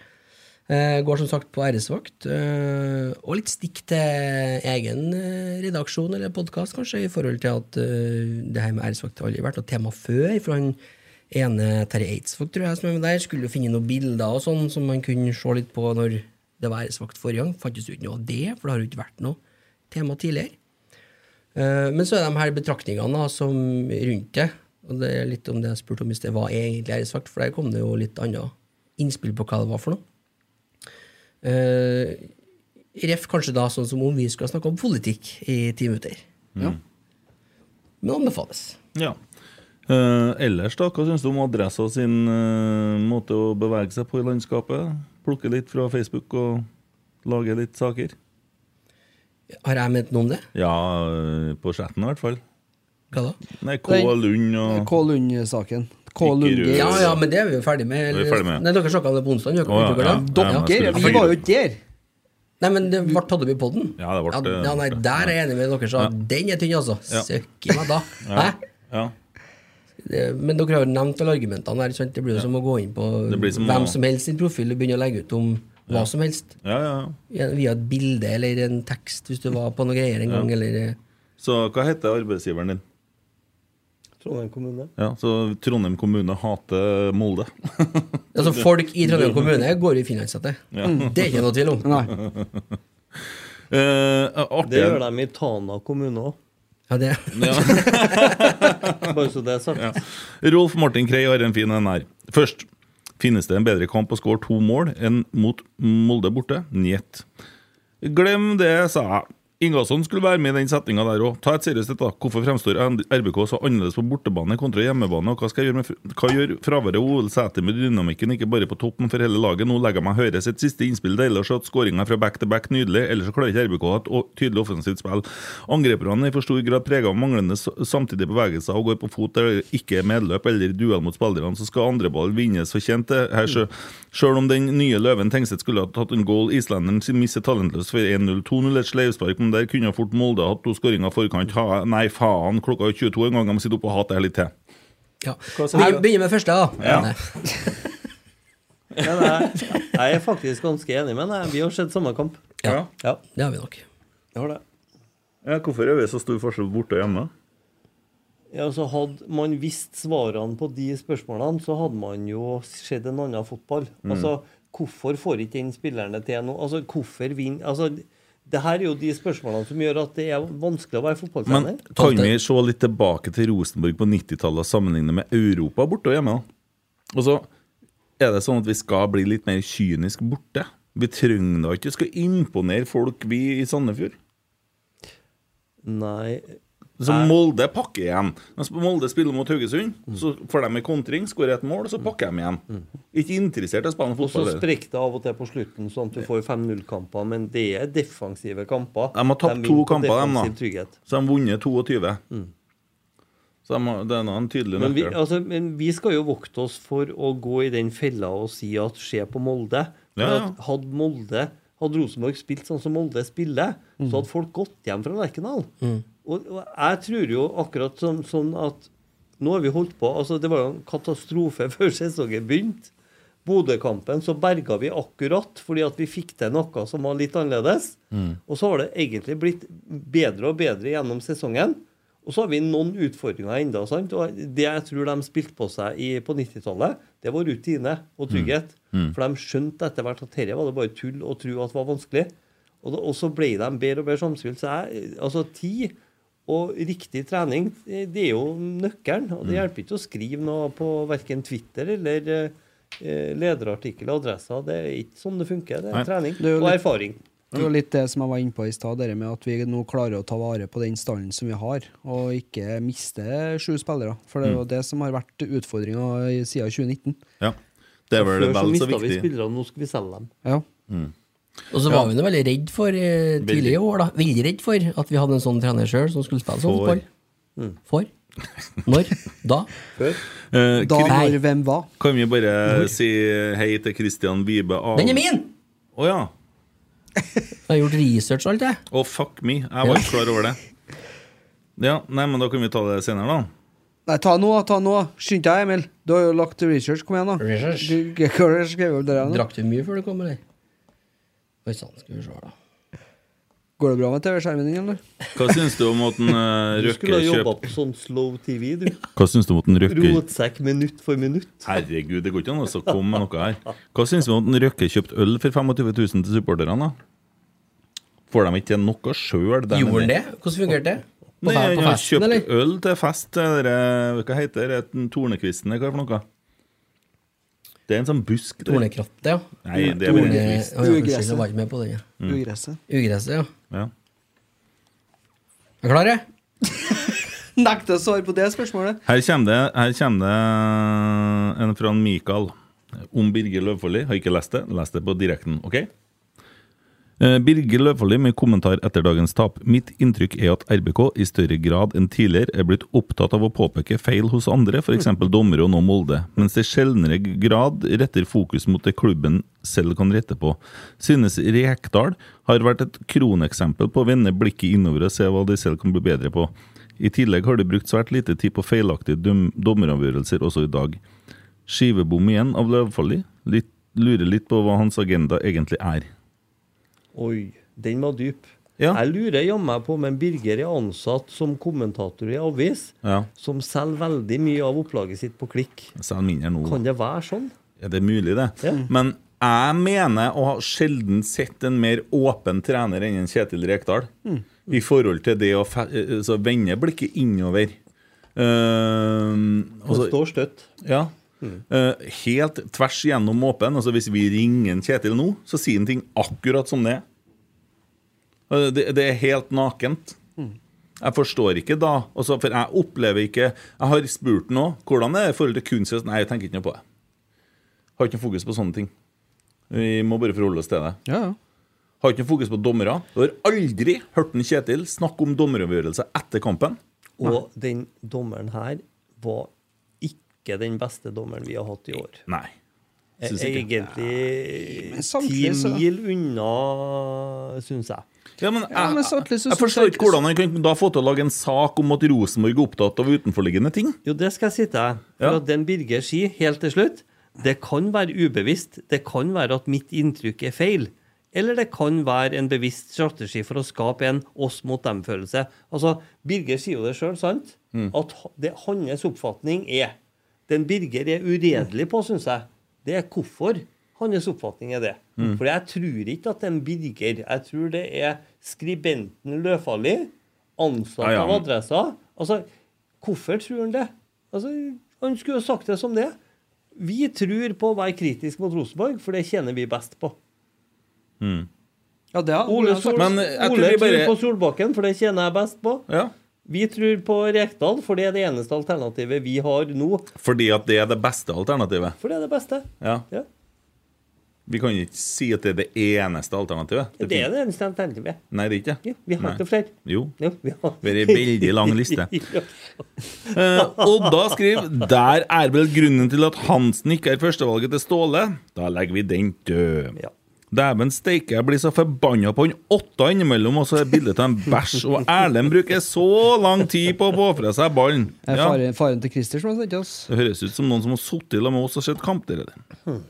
Eh, Går som sagt på æresvakt. eh, Og litt stikk til egen eh, redaksjon eller podkast, kanskje, i forhold til at eh, det her med æresvakt har aldri vært noe tema før. for han ene Terje Eidsvåg, tror jeg, som er med der, skulle jo finne noen bilder og sånn som man kunne se litt på når det var æresvakt forrige gang. Fantes jo ikke noe av det, for det har jo ikke vært noe tema tidligere. Eh, Men så er de her betraktningene da, som rundt det. Og det er litt om det jeg spurte om i sted. Hva er egentlig æresvakt? For der kom det jo litt annet innspill på hva det var for noe. Eh, ref kanskje da sånn som om vi skal snakke om politikk i ti minutter. Men anbefales. ja. Eh, ellers, da? Hva syns du om Adressa sin eh, måte å bevege seg på i landskapet? Plukke litt fra Facebook og lage litt saker? Har jeg ment noe om det? Ja, eh, på chatten i hvert fall. Hva da? Nei, K. Den- Lund og K. Lund-saken. K. Ikke Lund. rød. Ja, ja, men det er vi jo ferdig med. Det er vi ferdig med. Nei, dere snakka om det på onsdag. Dere, Å, ja, dere, ja. da. Ja, men- Dere, vi var jo ikke der! Nei, men det ble tatt opp i poden. Ja, det ble- ja, nei, det ble- Der er jeg enig med dere. Så Den er tynn, altså. Søkki meg da. Hæ? (laughs) Ja. Det- Men dere har jo nevnt alle argumentene her. ikke Sant? Det blir jo som å gå inn på Det blir som hvem å- som helst sin profil og begynne å legge ut om hva som helst. ja, ja. Via et bilde eller en tekst, hvis du var på noe greier en gang, eller eh, Så hva heter arbeidsgiveren din? Trondheim kommune. Ja, Så Trondheim kommune hater Molde. Altså, Mm. folk i Trondheim kommune går i finlandshette. Det er ikke noe tvil om. Nei. Eh, Det artig. gjør de i Tana kommune òg, Ja, det. bare så det er sagt. Rolf Martin Krei har en fin en her. Først. Finnes det en bedre kamp å skåre to mål enn mot Molde borte? Njet. Glem det, sa jeg. Ingasson skulle være med i den setninga der òg. Ta et seriøst et, da. Hvorfor fremstår RBK så annerledes på bortebane kontra hjemmebane? Og hva skal jeg gjøre med fr- Hva gjør fraværet av Ole Sæter med dynamikken, ikke bare på topp, men for hele laget? Nå legger jeg meg høre sitt siste innspill. Deilig å se at skåringa fra back to back nydelig, ellers så klarer ikke RBK å ha et o- tydelig offensivt spill. Angriperne er i for stor grad prega av manglende s- samtidige bevegelser og går på fot der det ikke er medløp eller duell mot spillerne, så skal andreball vinnes fortjent. Det Her, sjø- selv om den nye løven Tengstedt skulle ha tatt en goal, islenderen sin misser talentløst for 1-0. 2-0 et sleivspark, men der kunne fort Molde hatt to skåringer forkant. Ha, nei, faen, klokka er 22 en gang, jeg må sitte oppe og hate det her litt til. Ja. Jeg begynner med første, da. Nei. Men jeg, jeg er faktisk ganske enig med deg. Vi har sett samme kamp. Ja. Ja, Det har vi nok. jeg har det. Ja, hvorfor er det så stor forskjell borte og hjemme? Ja, så Hadde man visst svarene på de spørsmålene, så hadde man jo sett en annen fotball. Mm. Altså, Hvorfor får ikke den spilleren det til nå? Altså, hvorfor vinner altså, Det her er jo de spørsmålene som gjør at det er vanskelig å Men være fotballtrener. kan vi se litt tilbake til Rosenborg på 90-tallet og sammenligne med Europa borte og hjemme? da? Altså, er det sånn at vi skal bli litt mer kynisk borte? Vi trenger da ikke skal imponere folk, vi i Sandefjord. Nei Så Nei. Molde pakker igjen. Mens Molde spiller mot Haugesund, så får de en kontring, skårer et mål, så pakker de igjen. Ikke interessert i å spille Mm. Og så fotball. De sprekker det av og til på slutten, sånn at du får 5-0-kamper. Men det er defensive kamper. har tapt vinner to på kamper, de, defensiv da. trygghet. Så de har vunnet 22. Så de har, det er nå en tydelig Mm. Men vi, nøkkel. altså, men vi skal jo vokte oss for å gå i den fella og si at se på Molde. For Ja, ja. at hadde Molde hadde Rosenborg spilt sånn som Molde spiller, så hadde folk gått hjem fra Lerkendal. Og, og jeg tror jo akkurat sånn, sånn at nå har vi holdt på altså Det var jo en katastrofe (laughs) før sesongen begynte. Bodø-kampen så berga vi akkurat fordi at vi fikk til noe som var litt annerledes. Mm. Og så har det egentlig blitt bedre og bedre gjennom sesongen. Og så har vi noen utfordringer ennå. Og det jeg tror de spilte på seg i, på 90-tallet, det var rutine Mm. og trygghet. For de skjønte etter hvert at dette var det bare tull å tro at var vanskelig. Og, da, og så ble de bedre og bedre samspill. Så jeg, altså tid og riktig trening, eh, det er jo nøkkelen. Og Mm. det hjelper ikke å skrive noe på verken Twitter eller eh, eh, lederartikkel og adresser. Det er ikke sånn det funker. Det Nei. er trening er jo og litt- erfaring. Det var litt det som jeg var inne på i stad, det med at vi nå klarer å ta vare på den stallen som vi har, og ikke miste sju spillere. For Mm. det er jo det som har vært utfordringa i- siden 2019. Ja. Det er vel Før så vel så mista vi viktig. spillerne, nå skal vi selge dem. Ja. Og så var vi nå veldig redd for eh, Veldig. tidligere år, da. Veldig redd for at vi hadde en sånn trener sjøl som skulle spille sånn For. fotball. For? Når? (laughs) Da? Da, Eh, Kri- når, hvem, hva? Kan vi bare si hei til Christian Vibe Av... Den er min! Å ja. Jeg har gjort research og alt, jeg. Å, fuck me. Jeg var ikke klar over det. Ja, nei, men da kan vi ta det senere, da. Nei, ta nå, ta nå. Skynd deg, Emil. Du har jo lagt research. Kom igjen, da. Research. Du- hva er det som skrev opp det der nå? Drakk du mye før du kom, eller? Oi sann, skal vi se, da. Går det bra med TV-skjermen din, eller? Hva syns du om at en, eh, Du Røkke skulle ha jobba kjøp... på sånn slow TV, du. Hva syns du om at en Røkke Rotsekk minutt for minutt. Herregud, det går ikke an å så komme med noe her. Hva syns du om at en Røkke kjøpte øl for 25 000 til supporterne, da? Får de ikke til noe sjøl? Gjorde han det? Hvordan fungerte det? På, Nei, fe- han på har festen, kjøpt eller? øl til fest til dere- Hva heter det? Tornekvisten, eller hva er det for noe? Det er en sånn busk. det. Tornekrattet, ja. Nei, det er Torne... bare en kvist. Å, ja, unnskyld, Ugresset. jeg var ikke med på den. ja. Ugresset. Ugresset, ja. Ja. Er du klar, jeg? Nekter å svare på det spørsmålet. Her kommer det, her kommer det eh, en fra Mikael om Birger Løvfolli. Har ikke lest det. Les det på direkten, OK? Eh, Birger Løvfolli med kommentar etter dagens tap. Mitt inntrykk er at RBK i større grad enn tidligere er blitt opptatt av å påpeke feil hos andre, f.eks. dommere og nå Molde, mens de sjeldnere grad retter fokus mot det klubben selv kan rette på. Synes Rekdal har vært et kroneksempel på å vende blikket innover og se hva de selv kan bli bedre på. I tillegg har de brukt svært lite tid på feilaktige dom dommeravgjørelser også i dag. Skivebom igjen av Løvfalli. Litt, lurer litt på hva hans agenda egentlig er. Oi, den var dyp. Ja. Jeg lurer jammen på om en Birger er ansatt som kommentator i avis, Ja. som selger veldig mye av opplaget sitt på klikk. Selv mindre nå. Kan det være sånn? Ja, det er mulig, det. Ja. Men jeg mener å ha sjelden sett en mer åpen trener enn en Kjetil Rekdal. Mm. I forhold til det å fe altså, vende blikket innover. Uh, Det Altså- står støtt. Ja. Eh, helt tvers gjennom åpen. Altså Hvis vi ringer en Kjetil nå, så sier han ting akkurat som det er. Eh, Det, det er helt nakent. Jeg forstår ikke da altså, For jeg opplever ikke Jeg har spurt han òg hvordan er det i forhold til kunst. Nei, jeg tenker ikke noe på det. Har ikke noe fokus på sånne ting. Vi må bare forholde oss til det. Ja, ja. Har ikke noe fokus på dommere. Jeg har aldri hørt en Kjetil snakke om dommeravgjørelser etter kampen. Og den dommeren her var ikke den beste dommeren vi har hatt i år. Nei. Er Synes ikke. Egentlig ti samtidig så- mil unna, syns jeg. Ja, men, Ja, men sånn samtidig jeg, så jeg synes forstår jeg ikke hvordan han kan da få til å lage en sak om at Rosenborg er opptatt av utenforliggende ting. Jo, det skal jeg si til deg. Ja. For at den Birger sier helt til slutt, det kan være ubevisst. Det kan være at mitt inntrykk er feil. Eller det kan være en bevisst strategi for å skape en oss-mot-dem-følelse. Altså, Birger sier jo det sjøl, sant? Mm. At ha- det hans oppfatning er Den Birger er uredelig på, syns jeg, det er hvorfor hans oppfatning er det. Mm. For jeg tror ikke at den Birger Jeg tror det er skribenten Løfali, ansatt Ja, ja, av men- adressa. Altså, hvorfor tror han det? Altså, han skulle jo sagt det som det. Vi tror på å være kritisk mot Rosenborg, for det tjener vi best på. Ja, det altså- har Ole, Sol Men jeg tror Ole vi tror bare- på Solbakken, for det tjener jeg best på. Ja. Vi tror på Rekdal, for det er det eneste alternativet vi har nå. Fordi at det er det beste alternativet. For det er det beste. Ja. Ja. Vi kan ikke si at det er det eneste alternativet. Det er det eneste alternativet. Nei, det er ikke Ja, det. vi har Nei. ikke flere. Jo. Ja, vi har. Det er en veldig lang liste. (laughs) Ja. Eh, Odda skriver Der er vel grunnen til at Hansen ikke er førstevalget til Ståle. Da legger vi den død. Ja. Dæven steike, jeg blir så forbanna på han åtta innimellom, og så er bildet av en bæsj. Og Erlend bruker så lang tid på å få fra seg ballen. er Ja, faren, faren til Christer som har sendt oss. det høres ut som noen som har sittet sammen med oss og sett kamp der. eller?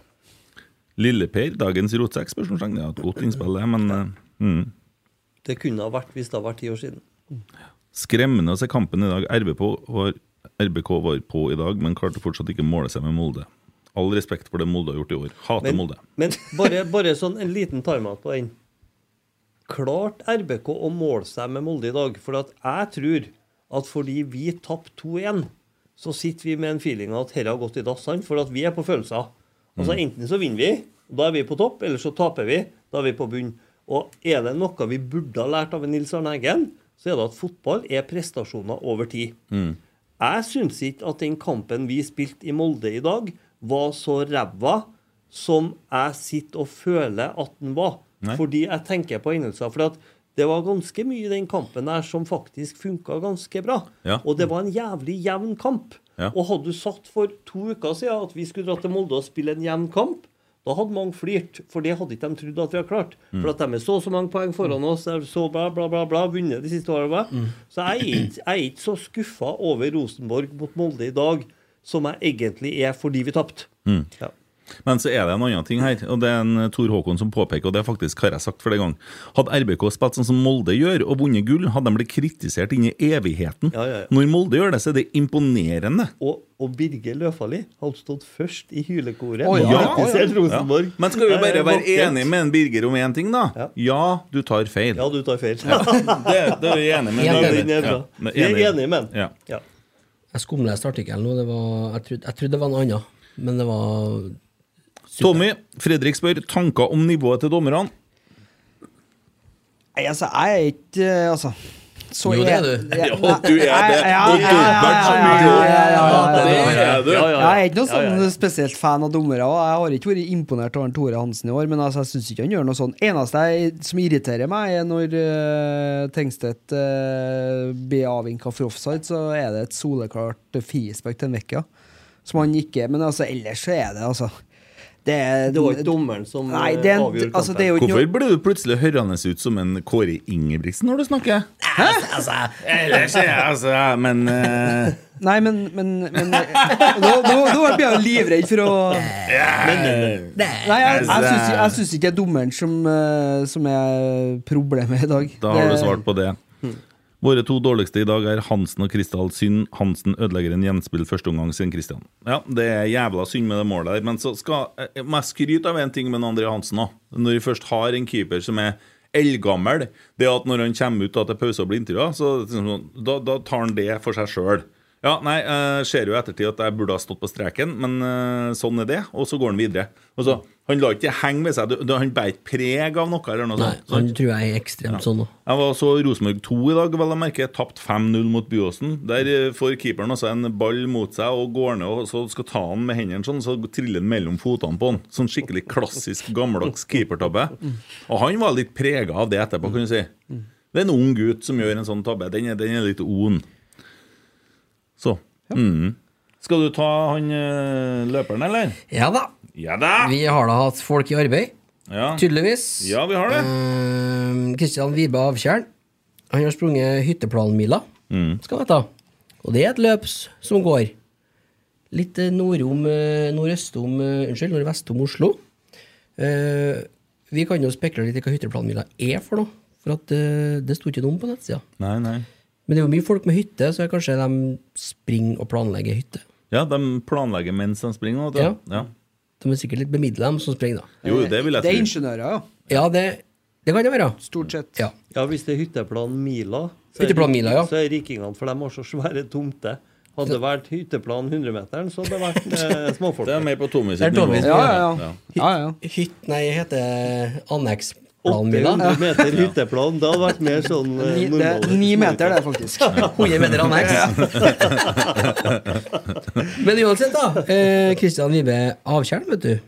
Lille-Per, dagens rotsekk? Spørsmålstegn. Det er et godt innspill, det, men eh, mm. Det kunne ha vært hvis det hadde vært ti år siden. Skremmende å se kampen i dag. RBK var, RBK var på i dag, men klarte fortsatt ikke å måle seg med Molde. All respekt for det Molde har gjort i år. Hater Men, Molde. men (laughs) bare, bare sånn en liten timeout på den. Klart RBK å måle seg med Molde i dag. For at jeg tror at fordi vi tapte 2-1, så sitter vi med en feeling av at dette har gått i dass. sant? For at vi er på følelser. Altså Enten så vinner vi, og da er vi på topp, eller så taper vi, da er vi på bunn. Og er det noe vi burde ha lært av en Nils Arne Eggen, så er det at fotball er prestasjoner over tid. Jeg syns ikke at den kampen vi spilte i Molde i dag, var så ræva som jeg sitter og føler at den var. Fordi jeg tenker på hendelser. For at det var ganske mye i den kampen der som faktisk funka ganske bra. Ja. Og det var en jævlig jevn kamp. Ja. Og hadde du satt for to uker siden at vi skulle dra til Molde og spille en jevn kamp, da hadde mange flirt, for det hadde ikke de trodd at vi hadde klart. Mm. For at de er så og så mange poeng foran oss, er så bla, bla, bla, bla, vunnet de siste årene. Mm. Så jeg er ikke, jeg er ikke så skuffa over Rosenborg mot Molde i dag som jeg egentlig er fordi vi tapte. Mm. Ja. Men så er det en annen ting her, og det er en eh, Tor Håkon som påpeker, og det er faktisk hva jeg har sagt flere ganger. Hadde RBK spilt sånn som Molde gjør, og vunnet gull, hadde de blitt kritisert inn i evigheten. Ja, ja, ja. Når Molde gjør det, så er det imponerende. Og, og Birger Løfali hadde stått først i hylekoret. Å, ja, Og kritisert ja, Rosenborg. Men skal vi Jeg bare er være vakkert. enige med en Birger om én ting, da? Ja. du tar feil. Ja, du tar feil. Det, det er vi enige med Ja, (laughs) Ja, Birger. den er bra. Ja, Vi er enige med den. Ja. Ja. Jeg skumleste artikkelen nå. Det var, jeg, trodde, jeg trodde det var noe annet, men det var Tommy, Fredrik spør tanker om nivået til dommerne. Nei, altså, jeg er ikke eh, Altså. Så Jo, det er du. Jeg, Ja, du er det. Ja, ja, Og ja, ja, dobbelt så ja, ja, mye. ja, ja, ja, ja. du. Ja, ja, ja. Jeg er ikke noen Ja, ja, sånn ja. spesielt fan av dommere. og Jeg har ikke vært imponert over Tore Hansen i år, men altså, jeg syns ikke han gjør noe sånn. Eneste jeg, som irriterer meg, er når uh, Tengstedt eh, blir avvinka for offside, så er det et soleklart frispark til en Vecchia. Som han ikke Men altså, ellers så er det altså Det er Det var ikke dommeren som eh, Nei, det er, en- avgjorde kampen. altså, det er jo ikke Hvorfor ble du plutselig hørende ut som en Kåre Ingebrigtsen når du snakker? Hæ? altså, Ellers er jeg altså Men eh, Nei, men, men, men eh, (laughs) Nå, nå, nå ble jeg jo livredd for å Nei, eh, jeg, jeg, syns, jeg syns ikke det er dommeren som, eh, som er problemet i dag. Da har du Det- svart på det. Våre to dårligste i dag er Hansen og Kristall. Synd Hansen ødelegger en gjenspill første omgang siden Kristian. Ja, det er jævla synd med det målet der, men så skal jeg må jeg skryte av en ting med André Hansen òg. Når vi først har en keeper som er eldgammel, det er at når han kommer ut da til pause og blir intervjua, så liksom sånn, da, da tar han det for seg sjøl. Ja, nei, jeg ser jo i ettertid at jeg burde ha stått på streken, men eh, sånn er det. Og så går han videre. Og så, Han lar ikke det henge med seg. Du- du- Han bærer ikke preg av noe. eller noe Nei, sånt. han tror jeg er ekstremt sånn nå. Jeg var så Rosenborg 2 i dag, vel å merke. Tapt 5-0 mot Byåsen. Der eh, får keeperen altså en ball mot seg og går ned og så skal ta han med hendene sånn, så triller han mellom fotene på han. Sånn skikkelig klassisk gammeldags keepertabbe. Og han var litt prega av det etterpå, kan du si. Det er en ung gutt som gjør en sånn tabbe. Den er, den er litt on. Så. Mm. Skal du ta han eh, løperen, eller? Ja da. Ja da! Vi har da hatt folk i arbeid, Ja, tydeligvis. Ehm, ja vi har det. Kristian Vibe Avtjern. Han har sprunget hytteplanmila, skal du vite. Og det er et løp s- som går litt eh, nordom, eh, nordøst om eh, Unnskyld, nordvest om Oslo. Eh, vi kan jo spekulere litt i hva hytteplanmila er for noe, for at, eh, det sto ikke noe om på nettsida. Nei, nei. Men det er jo mye folk med hytte, så kanskje de springer og planlegger hytte. Ja, de planlegger mens de springer. nå, vet du. ja. De er sikkert litt bemidla, de som springer, da. Jo, det vil jeg Det er tro. ingeniører, ja. Ja, det, det kan det være. Stort sett. Ja. Ja, hvis det er hytteplan Mila, så er, Hytteplan Mila, ja. så er rikingene, for de har så svære tomter. Har Hadde det vært hytteplan 100-meteren, så hadde det vært eh, småfolk. (laughs) Det er mer på Tommy Det er sitt nivå. Tommy som Ja, gjør ja, det. ja. ja, ja. Hytt, nei, heter anneksplanmila. 800 meter hytteplan, det hadde vært mer sånn eh, Ni, det normal. er ni meter, det, faktisk. 100 meter anneks. (laughs) Men uansett, da. eh, Kristian Vibe Avtjern, vet du.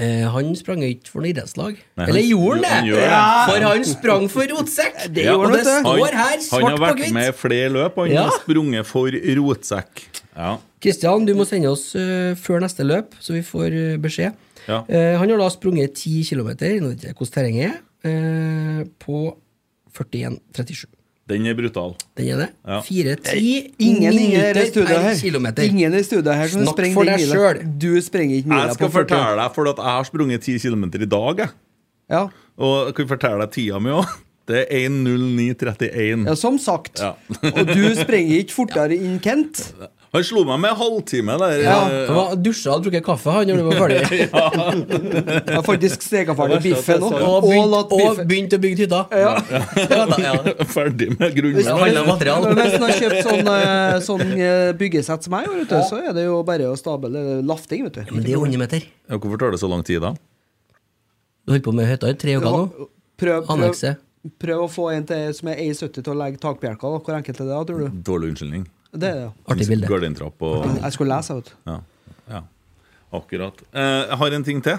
Eh, han sprang jo ikke for noe idrettslag. Nei, han- Eller gjorde han han det? gjorde det. Ja, For han sprang for rotsekk! Det gjorde og han, det vet du. står her, han har svart på vært med i hvitt. flere løp, og han Ja. har sprunget for rotsekk. Ja. Kristian, Mm. du må sende oss eh, før neste løp, så vi får eh, beskjed. Ja. Eh, han har da sprunget 10 km, nå vet jeg ikke hvordan terrenget er, eh, på 41,37. Den er brutal. Den er det. Ja. 4-10 Ingen i minutter det studioet per her kilometer. Ingen i studioet her som Snakk sprenger for den deg mila. selv. Du sprenger ikke mila Jeg skal på 40. fortelle deg, for at jeg har sprunget 10 km i dag. Jeg. Ja. Og jeg kan fortelle deg tida mi òg. Det er 1.09,31. ja, som sagt. Ja. Og du sprenger ikke fortere enn Kent. Han slo meg med en halvtime der. eh, (laughs) Han var dusja og drukket kaffe han når du var (laughs) ferdig. Jeg har faktisk steka ferdig Det verste er biffen at jeg sa òg. jo- Og Og begynt, latt og biffen begynt å bygge hytta. Ja. (laughs) ja. Ferdig med Hvis grunnmuren. handler om materiale. Men hvis han har kjøpt sånn, eh, sånn eh, byggesett som jeg har, vet du, så er det jo bare å stable det er lafting, vet du. Men det er 100 meter. Ja, Hvorfor tar det så lang tid, da? Du holder på med hytta i tre uker nå. Prøv, prøv, prøv, Annekset. å få en til som er 1,70 til å legge takbjelker. da. Hvor enkelt er det, da, tror du? Dårlig unnskyldning. Det er det. jo. Artig bilde. Gardintrapp og Jeg skulle lese, vet du. Ja. ja. Akkurat. Eh, jeg har en ting til.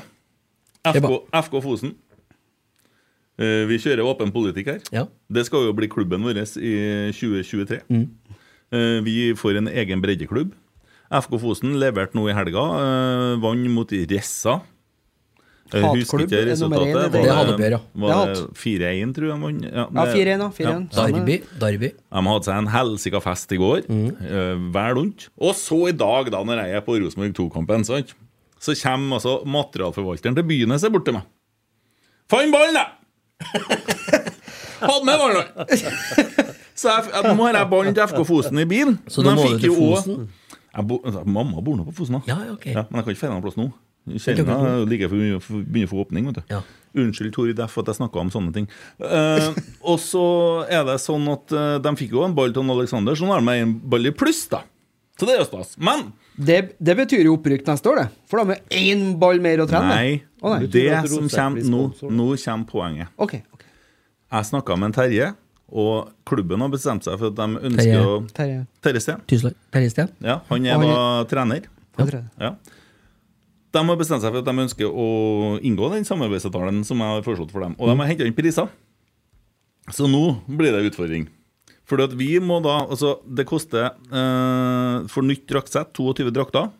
FK, FK Fosen. Eh, vi kjører åpen politikk her. Ja. Det skal jo bli klubben vår i 2023. Mm. Eh, vi får en egen breddeklubb. FK Fosen leverte nå i helga. Eh, vant mot Ressa. Jeg husker Hatklubb ikke er nummer én, resultatet. det er det hatoppgjør, ja. Var Det det er 4-1, tror jeg? Man, Ja, 4-1, da. 4-1. Samme. Darby. Darby. de hadde seg en helsika fest i går. Mm. Vel ondt. Og så i dag, da, når jeg er på Rosenborg 2-kampen, sant? så kommer altså materialforvalteren til byen og ser bort til meg. Fant ballen, (laughs) jeg! Hadde med ballen! (laughs) så jeg, jeg, nå har jeg ballen til FK Fosen i bilen. Så da men må du jeg fikk til jo også- Fosen. Jeg bo, altså, mamma bor nå på Fosen, da. Ja, ja, ok. men jeg kan ikke feire noen plass nå. Kjerringa er like før hun begynner å få åpning. vet du Ja. Unnskyld, Tori Deff, at jeg snakka om sånne ting. (laughs) Eh, og så er det sånn at eh, de fikk jo en ball til han Alexander, så nå har de en ball i pluss, da. Så det er jo stas. Men Det, det betyr jo opprykk neste år, det. For da har vi én ball mer å trene. nei, Å, nei. det Betyr det at som Rosek blir kommer nå, sponsor, da? nå kommer poenget. Ok, ok. Jeg snakka med en Terje, og klubben har bestemt seg for at de ønsker å Terje. Terje. Terje Steen. Tyskland. Terje Steen. Ja, han er Og han da trener. hva tror du? Ja. De har bestemt seg for at de ønsker å inngå den samarbeidsavtalen som jeg har foreslått for dem. Og de har henta inn priser. Så nå blir det utfordring. Fordi at vi må da Altså, det koster eh, for nytt draktsett, 22 drakter,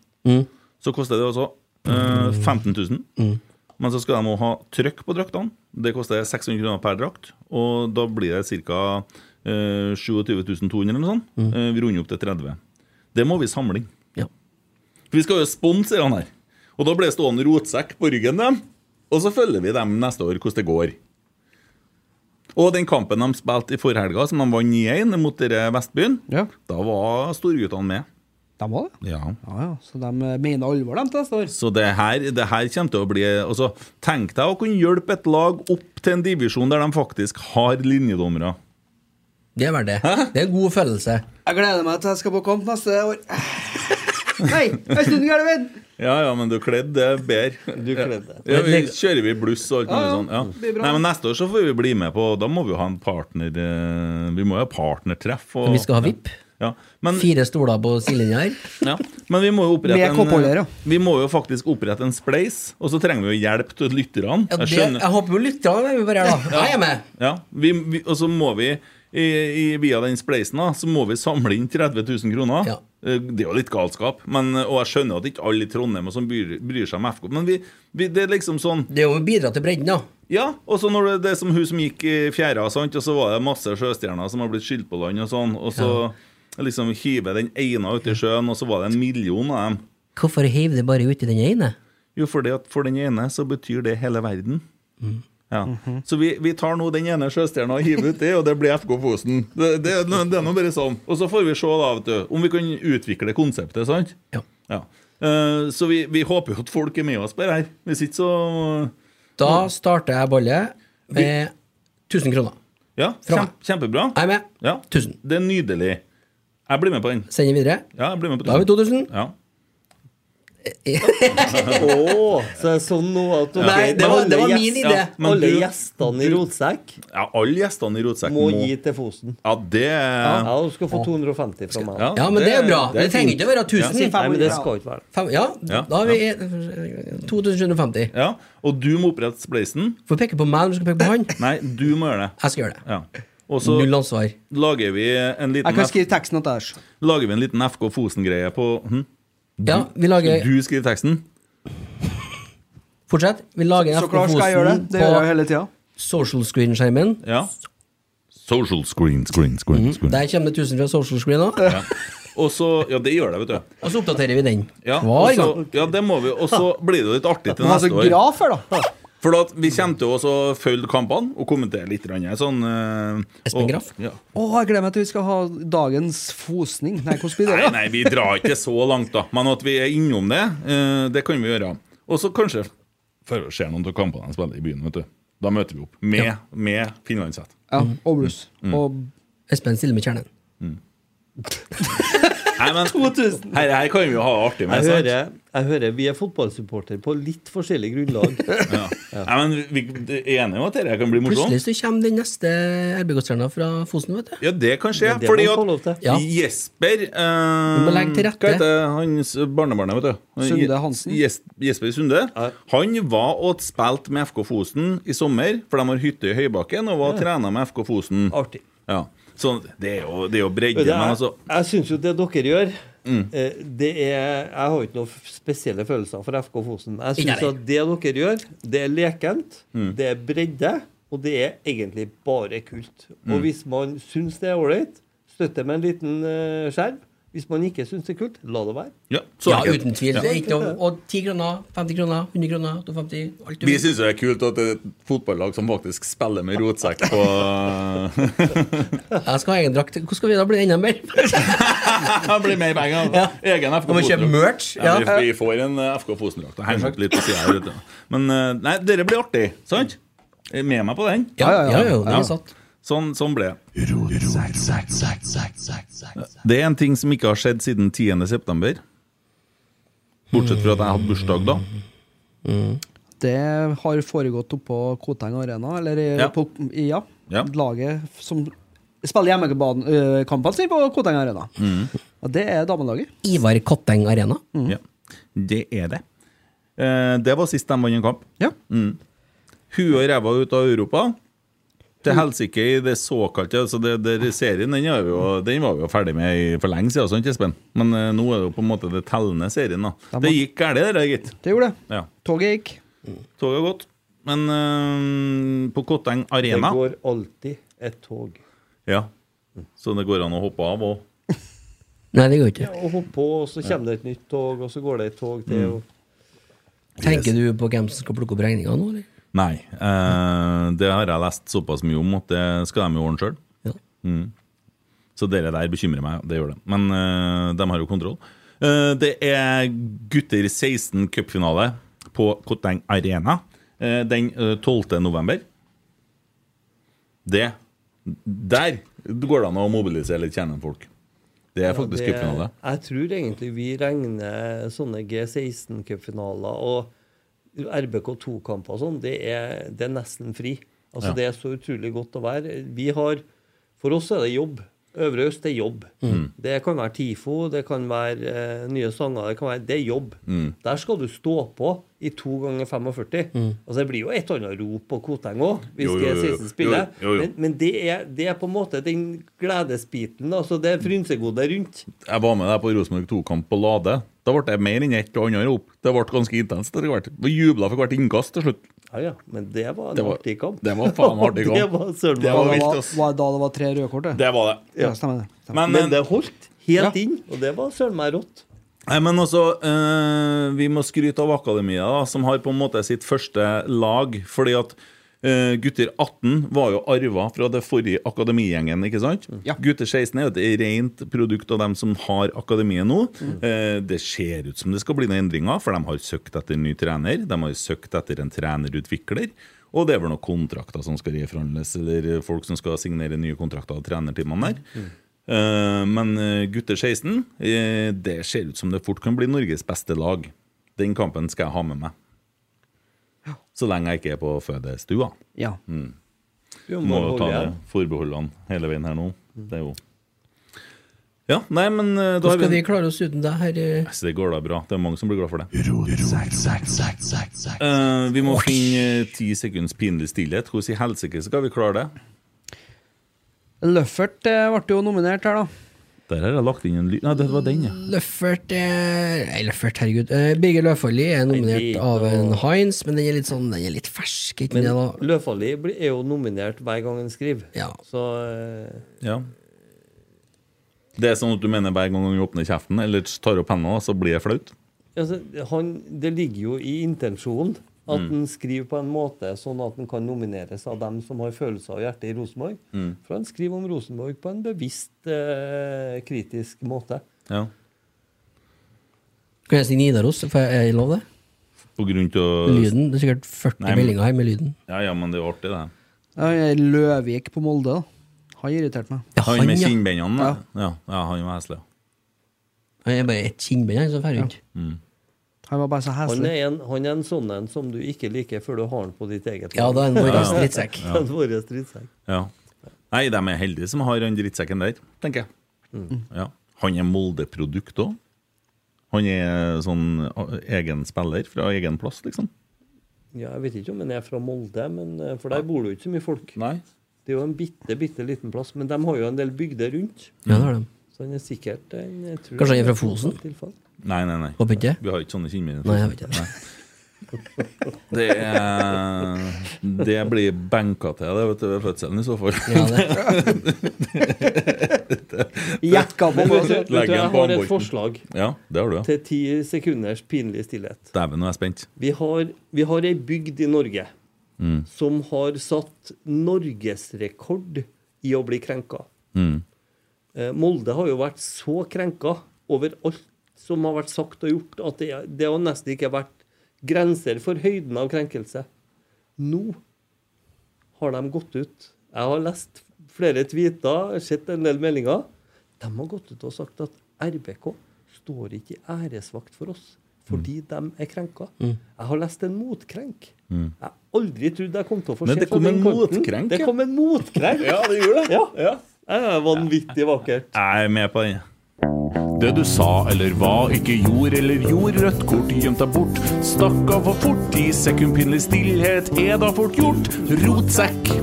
så koster det altså eh, 15 000. Men så skal de også ha trykk på draktene. Det koster 600 kroner per drakt. Og da blir det ca. Eh, 27 200 eller noe sånt. Eh, vi runder opp til 30 Det må vi samle inn. Ja. For vi skal jo sponse han her. Og da ble det stående rotsekk på ryggen dem. Og så følger vi dem neste år hvordan det går. Og den kampen de spilte i forhelga, som de vant 9-1 mot dere Vestbyen, Ja, da var storguttene med. de var det. Ja. Ja, ja. Så de eh, mener alvor, de, til neste år. Så det her, det her kommer til å bli altså, Tenk deg å kunne hjelpe et lag opp til en divisjon der de faktisk har linjedommere. Det er verdt det. Det er en god følelse. Jeg gleder meg til jeg skal på kamp neste år. (laughs) Nei, jeg snudde gærent! Ja, ja, men du kledd det er (laughs) bedre. Du kledde. Ja, vi kjører vi bluss og alt mulig Ja, ja, sånn. Ja. det blir bra. Nei, men neste år så får vi bli med på Da må vi jo ha en partner eh, Vi må jo ha partnertreff. og- Vi skal ha VIP. Ja. Men, Fire stoler på sidelinja her. ja. men vi må jo opprette Med koppholder, ja. en Vi må jo faktisk opprette en spleis, og så trenger vi jo hjelp til lytterne. Ja, Jeg det, skjønner. jeg håper jo lytterne er med på det her, da. Jeg er med. Ja, vi, vi, og så må vi i, i, via den spleisen da, så må vi samle inn 30 000 kroner. Ja. Eh, Det er jo litt galskap. Men, eh, og jeg skjønner at ikke alle i Trondheim og sånn bryr, bryr seg om FK, men vi, vi, det er liksom sånn Det er jo å bidra til bredden, da. Ja, og så når det, det er som hun som gikk i fjæra, sant? og så var det masse sjøstjerner som har blitt skylt på land og sånn, og så liksom hiver den ene ut i sjøen, og så var det en million av dem. Hvorfor heiv det bare uti den ene? Jo, fordi at for den ene så betyr det hele verden. Mm. Ja. Mhm. Så vi, vi tar nå den ene sjøstjerna og hiver ut det, og det blir FK Fosen. Det, det, er nå- det er nå bare sånn. Og så får vi se da, vet du, om vi kan utvikle konseptet, sant? Ja. Ja. Eh, så vi, vi håper jo at folk er med oss på det her. Hvis ikke så Da starter jeg ballet med 1000 kroner. Ja, Fra meg. kjem- kjempebra. Jeg er med. Ja. 1000. Det er nydelig. Jeg blir med på den. Sender videre. Ja, jeg blir med på Da har vi 2000. Ja. Å, så er det sånn nå at ok, Nei, det men var- alle det var gjest- min idé. Ja, men alle du- gjestene i rotsekk ja, alle gjestene i Rotsekken må må, gi til Fosen. Ja, det Ja, du skal få 250 fra meg. Ja, men det er bra. Det trenger fint. ikke å være 1000. Nei, men det skal ikke være det. Fem, ja, Ja, da har vi 2750. Ja, og du må opprette spleisen. Får peke på meg når du skal peke på han. Nei, du må gjøre det. Jeg skal gjøre det. Ja. Og så Null ansvar. lager vi en Jeg liten, kan F skrive teksten etter her. lager vi en liten FK Fosen-greie på hm? Ja, vi lager Du skriver teksten? Fortsett. Vi lager Så FK klart skal jeg gjøre det. Fosen Det gjør jeg jo på hele tida. social screen-skjermen. Ja. Social screen, screen, Mhm. screen. screen. Der kommer det 1000 fra social screen òg. Og så Ja, det gjør det, vet du. Og så oppdaterer vi den. Ja, og Hver gang. så- ja det må vi. Og så blir det jo litt artig til Men altså, neste år. graf her, da. For at vi kommer til å også følge kampene og kommentere litt. grann, Sånn, eh, Espen og- Graff? Ja. Å, jeg gleder meg til vi skal ha dagens fosning. Nei, hvordan blir det? Nei, da? nei, vi drar ikke så langt, da. Men at vi er innom det, eh, det kan vi gjøre. Og så kanskje For å se noen av kampene de spiller i byen, vet du. Da møter vi opp med, med finlandshett. Ja, og blues. Mm, Og Espen stiller med kjernen. Nei, (laughs) men her, her kan vi jo ha det artig med. Jeg sant? hører, jeg hører vi er fotballsupporter på litt forskjellig grunnlag. Ja. Nei, men vi vi er enige om at dette kan bli morsomt? Plutselig så kommer den neste RBK-stjerna fra Fosen, vet du. Ja, det kan skje. Men det må fordi vi få lov til. at Ja. Jesper eh, Vi må legge til rette. Hva heter hans barnebarnet, vet du? Han- Sunde Hansen. Jes Jesper Sunde. Han var og spilte med FK Fosen i sommer, for de har hytte i Høybakken, og var og trena med FK Fosen. Artig. Ja. Så det er jo, det er jo Men bredde, det men er, altså Mm. jeg syns jo det dere gjør eh, det er, Jeg har jo ikke noen spesielle følelser for FK Fosen. Jeg Ikke syns jeg. at det dere gjør, det er lekent, Mm. det er bredde, og det er egentlig bare kult. Mm. Og hvis man syns det er ålreit, støtte med en liten eh, skjerv. Hvis man ikke syns det er kult, la det være. ja, så Ja, enkelt. uten tvil. Ja. Det er ikke noe, og 10 kroner, 50 kroner, 100 kroner, 250 alt du Vi vil. syns det er kult at det er et fotballag som faktisk spiller med rotsekk på (laughs) Jeg skal ha egen drakt. Hvor skal vi da bli enda mer? Det blir mer penger. da. Egen FK Kan man kjøpe Fosen-drakt. merch? Ja, Ja. vi, vi får en eh, FK Fosen-drakt. Jeg henger opp litt på siden her, vet du. Men eh, nei, dere blir artig, sant? Eh, Med meg på den. Ja, ja, ja. ja, den Ja. er satt. Sånn, sånn ble det. Det er en ting som ikke har skjedd siden 10. september. Bortsett fra at jeg hadde bursdag da. det har foregått oppå Koteng Arena, eller i- Ja. på i- ja. Ja. Laget som spiller hjemmekampene sine på Koteng Arena. Mm. Og det er damelaget. Ivar Kotteng Arena. Mm. Ja. Det er det. Eh, Det var sist de vant en kamp. Ja. Huet og ræva ut av Europa. Til Mm. helsike i det såkalte altså det, det Serien den, er vi jo, den var vi jo ferdig med i, for lenge siden, sant, Espen? Men eh, nå er det jo på en måte det tellende serien. da må- Det gikk galt, det der, gitt. Det gjorde det. Ja. Toget gikk. Toget har gått. Men eh, på Kotteng Det Arena går alltid et tog. Ja. Så det går an å hoppe av òg. Nei, det går ikke. Og hopp på, og så kommer det et nytt tog, og så går det et tog Mm. til. og- Tenker du på hvem som skal plukke opp regninga nå, eller? Nei. eh, det har jeg lest såpass mye om at det skal de jo ordne sjøl. Ja. Så dere der bekymrer meg, det gjør det. Men eh, de har jo kontroll. Eh, det er gutter 16 cupfinale på Koteng Arena eh, den eh, 12. november. Det Der går det an å mobilisere litt kjernefolk. Det er faktisk Det- cupfinale. Jeg tror egentlig vi regner sånne G16-cupfinaler og RBK2-kamper og sånn, det er, det er nesten fri. Altså Ja. Det er så utrolig godt å være. Vi har, For oss er det jobb. Øvre Øst er jobb. Mm. Det kan være TIFO, det kan være eh, nye sanger. Det kan være, det er jobb. Mm. Der skal du stå på i to ganger 45. Altså Det blir jo et annet rop på Koteng òg, hvis Jo, jo, jo, jo. G16 spiller. Jo, jo, jo. Men, men det, er, det er på en måte den gledesbiten. altså Det er frynsegodet rundt. Jeg var med deg på Rosenborg 2-kamp på Lade. Da ble det mer enn ett og annet rop. Det ble ganske intenst etter hvert. Vi jubla for hvert innkast til slutt. Ja, ja, men det var en Det var- artig kamp. det var faen artig kamp. (laughs) det var søren Det meg var Da, vilt, var, ass. var, da det var tre røde kort, det. Det var det. Ja, stemmer det. Stemmer. Men, Men men, det holdt helt inn, og det var søren meg rått. nei, men også, eh, vi må skryte av akademiet, da, som har på en måte sitt første lag. Fordi at eh, gutter 18 var jo arva fra det forrige akademigjengen, ikke sant? Ja. Gutter 16 er jo et rent produkt av dem som har akademiet nå. Eh, det ser ut som det skal bli noen endringer, for de har søkt etter ny trener. De har søkt etter en trenerutvikler. Og det er vel noen kontrakter som skal reforhandles, eller folk som skal signere nye kontrakter av trenertimene der. Eh, Men eh, gutter 16, eh, det ser ut som det fort kan bli Norges beste lag. Den kampen skal jeg ha med meg. Så lenge jeg ikke er på fødestua. Ja. Vi Må må jo ta holde det igjen. forbeholdene hele veien her nå. Det er jo Ja, nei, men eh, da Nå har skal vi vi klare oss uten deg her. eh. Så det går da bra. Det er mange som blir glad for det. Eh, vi må finne eh, ti sekunds pinlig stillhet. Hvordan i helsike skal vi klare det? Løffert eh, ble jo nominert her, da. Der har jeg lagt inn en lyd Nei, det var den, ja. Løffert eh, Nei, Løffert, herregud. Eh, Birger Løfaldli er Nei, det- nominert av en Heinz, men den er litt sånn Den er litt fersk, ikke Men det, da? Løfaldli blir- er jo nominert hver gang han skriver. Ja. Så eh, ja. Det er sånn at du mener hver gang du åpner kjeften eller tar opp hendene, så blir det flaut? altså, han, det ligger jo i intensjonen at han skriver på en måte sånn at han kan nomineres av dem som har følelser og hjerte i Rosenborg. For han skriver om Rosenborg på en bevisst, eh, kritisk måte. Ja. Kan jeg si Nidaros? Får jeg jeg lov det? På grunn til å Lyden. Det er sikkert 40 Nei, men- meldinger her med lyden. Ja, ja, men det er jo artig, det. Ja, han er Løvik på Molde, da. Han irriterte meg. Ja, Han med ja. kinnbeinene? Ja. Ja, ja, han var heslig. ja. Han er bare et kinnbein, han, som fer rundt. Han var bare så Han heslig. er en, han er en sånn en som du ikke liker før du har den på ditt eget Ja, da er han vår drittsekk. Ja. (laughs) Vår stridssekk. Ja. Nei, de er heldige som har han drittsekken der, tenker jeg. Ja. Han er Molde-produkt òg. Han er sånn eh, egen spiller fra egen plass, liksom. Ja, jeg vet ikke om han er fra Molde, men, eh, for der bor det jo ikke så mye folk. Nei. Det er jo en bitte, bitte liten plass, men de har jo en del bygder rundt. Ja, det har de. Så han er sikkert en, jeg tror Kanskje han er fra Fosen? Tilfall. Nei, nei, nei. Håper ikke. Vi har ikke sånne kinnbein. Nei, jeg vet ikke. Det, er- det blir benka til det vet du, ved fødselen, i så fall. Ja, (laughs) det. Jekka på altså. Men vet du, Molde. vet du, en jeg på har et håndbolten. forslag Ja, det har du, ja. til ti sekunders pinlig stillhet. Dæven, nå er jeg spent. Vi har, vi har ei bygd i Norge som har satt norgesrekord i å bli krenka. Mm. Eh, Molde har jo vært så krenka over alt som har vært sagt og gjort, at det, det har nesten ikke vært grenser for høyden av krenkelse. Nå har de gått ut. Jeg har lest flere tweeter, sett en del meldinger. De har gått ut og sagt at RBK står ikke i æresvakt for oss fordi Mm. de er krenka. Jeg har lest en motkrenk. Jeg har aldri trodd jeg kom til å få Mm. Men se det fra kom den en kanten. motkrenk, Det ja. kom en motkrenk! (laughs) ja, det gjorde det. Ja. Det er vanvittig vakkert. Jeg er med på den. Det du sa eller hva, ikke gjorde eller gjorde, rødt kort gjemt deg bort. Stakk av for fort, ti sekund pinlig stillhet er da fort gjort. Rotsekk.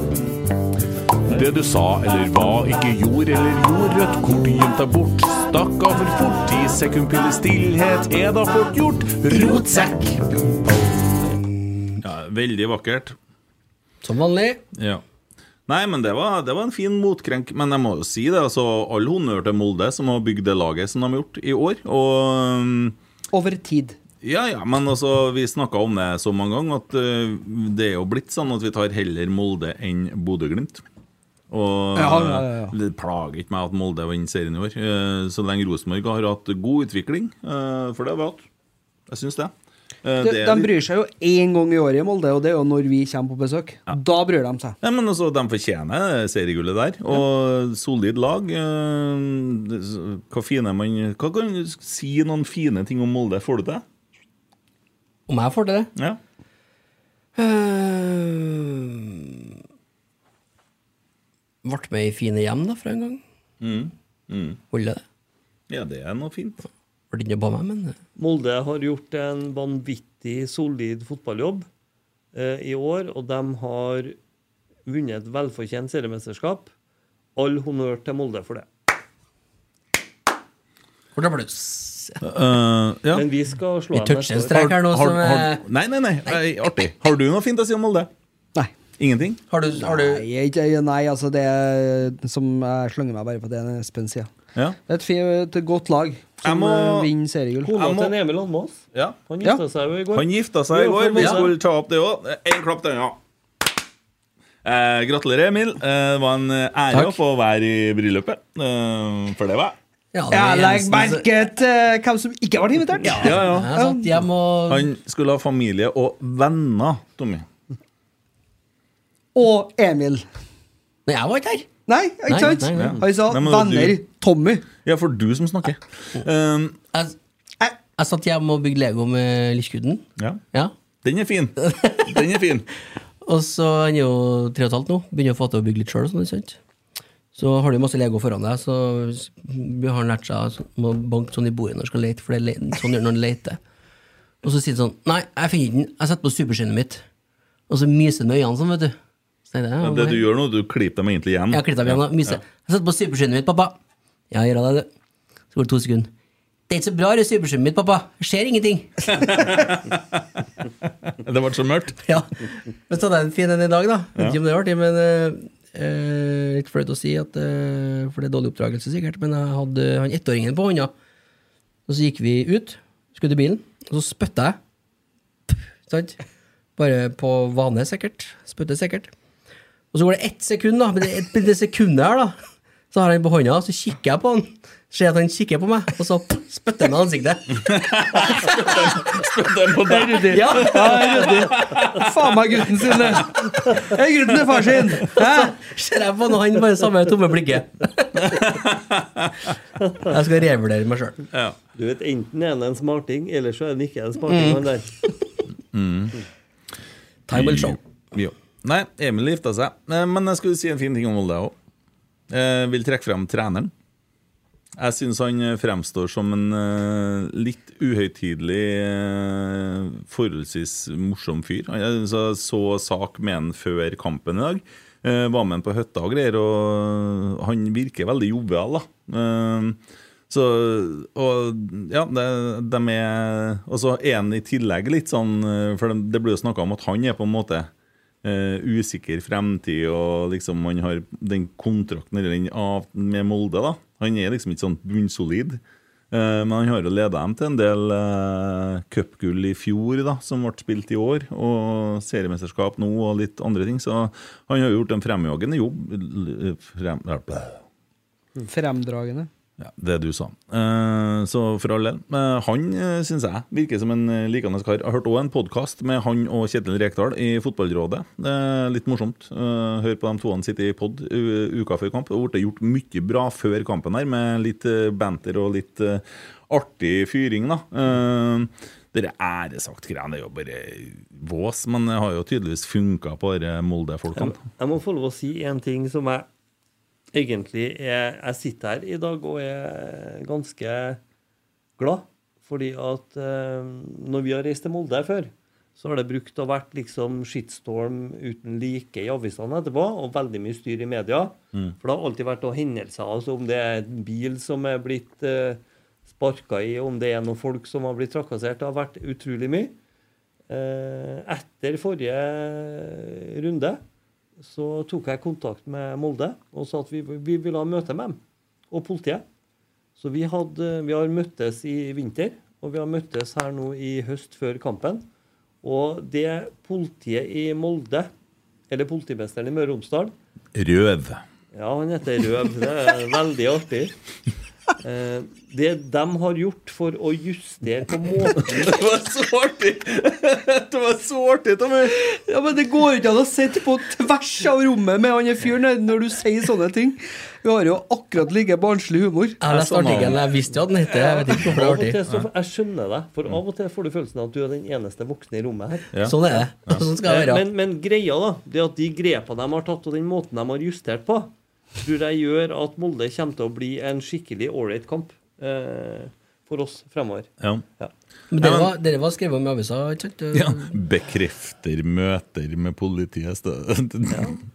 Det du sa eller hva, ikke gjorde eller gjorde, rødt kort gjemt deg bort. Stakk av for fort, ti sekund pinlig stillhet er da fort gjort. Rotsekk. Ja, veldig vakkert. (laughs) Som vanlig. Ja. Nei, men det var, det var en fin motkrenk. Men jeg må jo si det, altså, all honnør til Molde, som har bygd det laget som de har gjort i år. Og um, Over tid. ja, ja, men altså, vi snakka om det så mange ganger at uh, det er jo blitt sånn at vi tar heller Molde enn Bodø-Glimt. Og eh, Ja, ja, ja, ja. det plager ikke meg at Molde vinner serien i år. Uh, så lenge Rosenborg har hatt god utvikling, uh, for det har vi hatt. Jeg syns det. Uh, De, det er de litt- bryr seg jo én gang i året i Molde, og det er jo når vi kommer på besøk. Da bryr de seg. Ja, men altså, De fortjener seriegullet der. Og solid lag. eh, det- Hva fine man Hva kan du si noen fine ting om Molde? Får du til? Om jeg får til det? Eh, Ja. Uh, ble med i fine hjem, da, for en gang. Holder det. ja, det er noe fint. Ble ikke på meg, men eh, Molde har gjort en vanvittig solid fotballjobb eh, i år, og de har vunnet et velfortjent seriemesterskap. All honnør til Molde for det. Hvor det pluss? Eh, ja. Men vi skal slå Vi dem toucher neste en år. strek her nå Har, som har, eh, nei, nei, nei, eh, artig. Har du noe fint å si om Molde? Nei. Ingenting? Har du, har du Nei, ikke- nei, altså det er- som Jeg slenger meg bare på det Espen sier. Ja. Det er et, fint, et godt lag Jeg som må- eh, vinner seriegull. Kona Jeg må- til Emil Almås. ja. Han Ja. gifta seg jo i går. Han gifta seg i Jo, for går. Vi Molde. skulle ta opp det òg. Én klapp til øynene. Eh, gratulerer, Emil. Eh, det var en ære å Takk. få være i bryllupet. Eh, for det var jeg. Ja, det var Jeg legger Jensen som- merke til hvem eh, som ikke ble invitert. Ja, ja. Jeg satt hjemme og Han skulle ha familie og venner, Tommy. Og Emil. Nei, jeg var ikke her. Nei, ikke Nei, sant? nei, nei. Han sa Nei, men da du- 'venner Tommy'. Ja, for du som snakker. Um, Jeg, jeg, jeg satt hjemme og bygde Lego med lilleskuden. ja. Ja. Den er fin. Den er fin. Og så han er jo tre og et halvt nå. Begynner å få til å bygge litt sjøl. Så har du masse Lego foran deg, så har han lært seg å må banke sånn i bordet når han skal lete. For det er le- sånn gjør han når han leter. Og så sier han sånn Nei, jeg finner ikke den. Jeg setter på superskinnet mitt. Og så myser han med øynene sånn, vet du. Så tenkte jeg, ja, Det hva du her? gjør nå, du klipper dem egentlig igjen. Jeg har klippet av igjen, da. Myse. Jeg setter på superskinnet mitt, pappa. Ja, gjør det, du. Så går det to sekunder. Det er ikke så bra, det superskinnet mitt, pappa. Det skjer ingenting. Det ble så mørkt. (laughs) Ja. Men så hadde jeg en fin en i dag, da. Vet ikke om det var artig, men eh, eh, litt flaut å si, at, eh, for det er dårlig oppdragelse sikkert, men jeg hadde han ettåringen på hånda. Og så gikk vi ut, skulle til bilen, og så spytta jeg. Sant? Bare på vane, sikkert. Spytte sikkert. Og så går det ett sekund, da. Men det, et, det sekundet her, da, så har jeg han på hånda, så kikker jeg på han. Ser at han kikker på meg, og så spytter han i ansiktet. Den på der. Ja, ja ryddig. Faen meg gutten sin, det. Det er Gutten er far sin. Hæ? Ser jeg på han, og han bare samme tomme blikket. Jeg skal revurdere meg sjøl. Du vet, Enten er han en smarting, eller så er han ikke en smarting. Mm. han der. Time will show. Jo. Nei, Emil gifta seg. Eh, Men jeg skulle si en fin ting om Molde òg. Vil trekke frem treneren. Jeg syns han eh, fremstår som en eh, litt uhøytidelig, eh, forholdsvis morsom fyr. Han- Jeg så, så sak med han før kampen i dag. Eh, var med han på hytta og greier, og han virker veldig jovial, da. Eh, så, og ja, det, de er Og så er han i tillegg litt sånn eh, For det, det blir jo snakka om at han er på en måte eh, usikker fremtid, og liksom han har den kontrakten eller den av, med Molde, da. Han er liksom ikke sånn bunnsolid. Eh, men han har jo leda dem til en del uh, cupgull i fjor, da, som ble spilt i år. Og seriemesterskap nå, og litt andre ting. Så han har jo gjort en fremjagende jobb. l- Frem, Fremdragende. ja, det du sa. Eh, så for all del. Eh, han uh, syns jeg virker som en eh, likende kar. Jeg hørte òg en podkast med han og Kjetil Rekdal i Fotballrådet. Eh, litt morsomt. Eh, hør på de to han sitter i pod u- uka før kamp. Det ble gjort mye bra før kampen her, med litt eh, banter og litt eh, artig fyring, da. Eh, det der æresakt-greiene er jo bare vås, men det har jo tydeligvis funka på disse Molde-folkene. Jeg må få lov å si en ting som jeg egentlig er, Jeg sitter her i dag og er ganske glad. Fordi at eh, når vi har reist til Molde før, så har det brukt å vært liksom shitstorm uten like i avisene etterpå, og veldig mye styr i media. For det har alltid vært noen hendelser, altså om det er en bil som er blitt uh, sparka i, om det er noen folk som har blitt trakassert. Det har vært utrolig mye. Eh, etter forrige runde så tok jeg kontakt med Molde og sa at vi, vi ville ha møte med dem og politiet. Så vi, hadde, vi har møttes i vinter, og vi har møttes her nå i høst før kampen. Og det politiet i Molde, eller politimesteren i Møre og Romsdal Røv. Ja, han heter Røv. Det er veldig artig. Eh, Det de har gjort for å justere på måten Det var så artig! det var så artig, Tommy! Ja, men Det går jo ikke an å sitte på tvers av rommet med han der fyren der når du sier sånne ting. Vi har jo akkurat like barnslig humor. Jeg har lest artikkelen, jeg visste jo at den het det. Jeg vet ikke hvorfor Av og det er til artig. så, Jeg skjønner det, for av og til får du følelsen av at du er den eneste voksne i rommet her. Ja. Sånn er det. Sånn skal det være. Eh, Men, men greia, da, det at de grepene de har tatt, og den måten de har justert på, tror jeg gjør at Molde kommer til å bli en skikkelig ålreit-kamp eh, for oss fremover. Ja. Men dere var, dere var skrevet om i avisa, ikke sant? Ja, bekrefter møter med politiet. stø-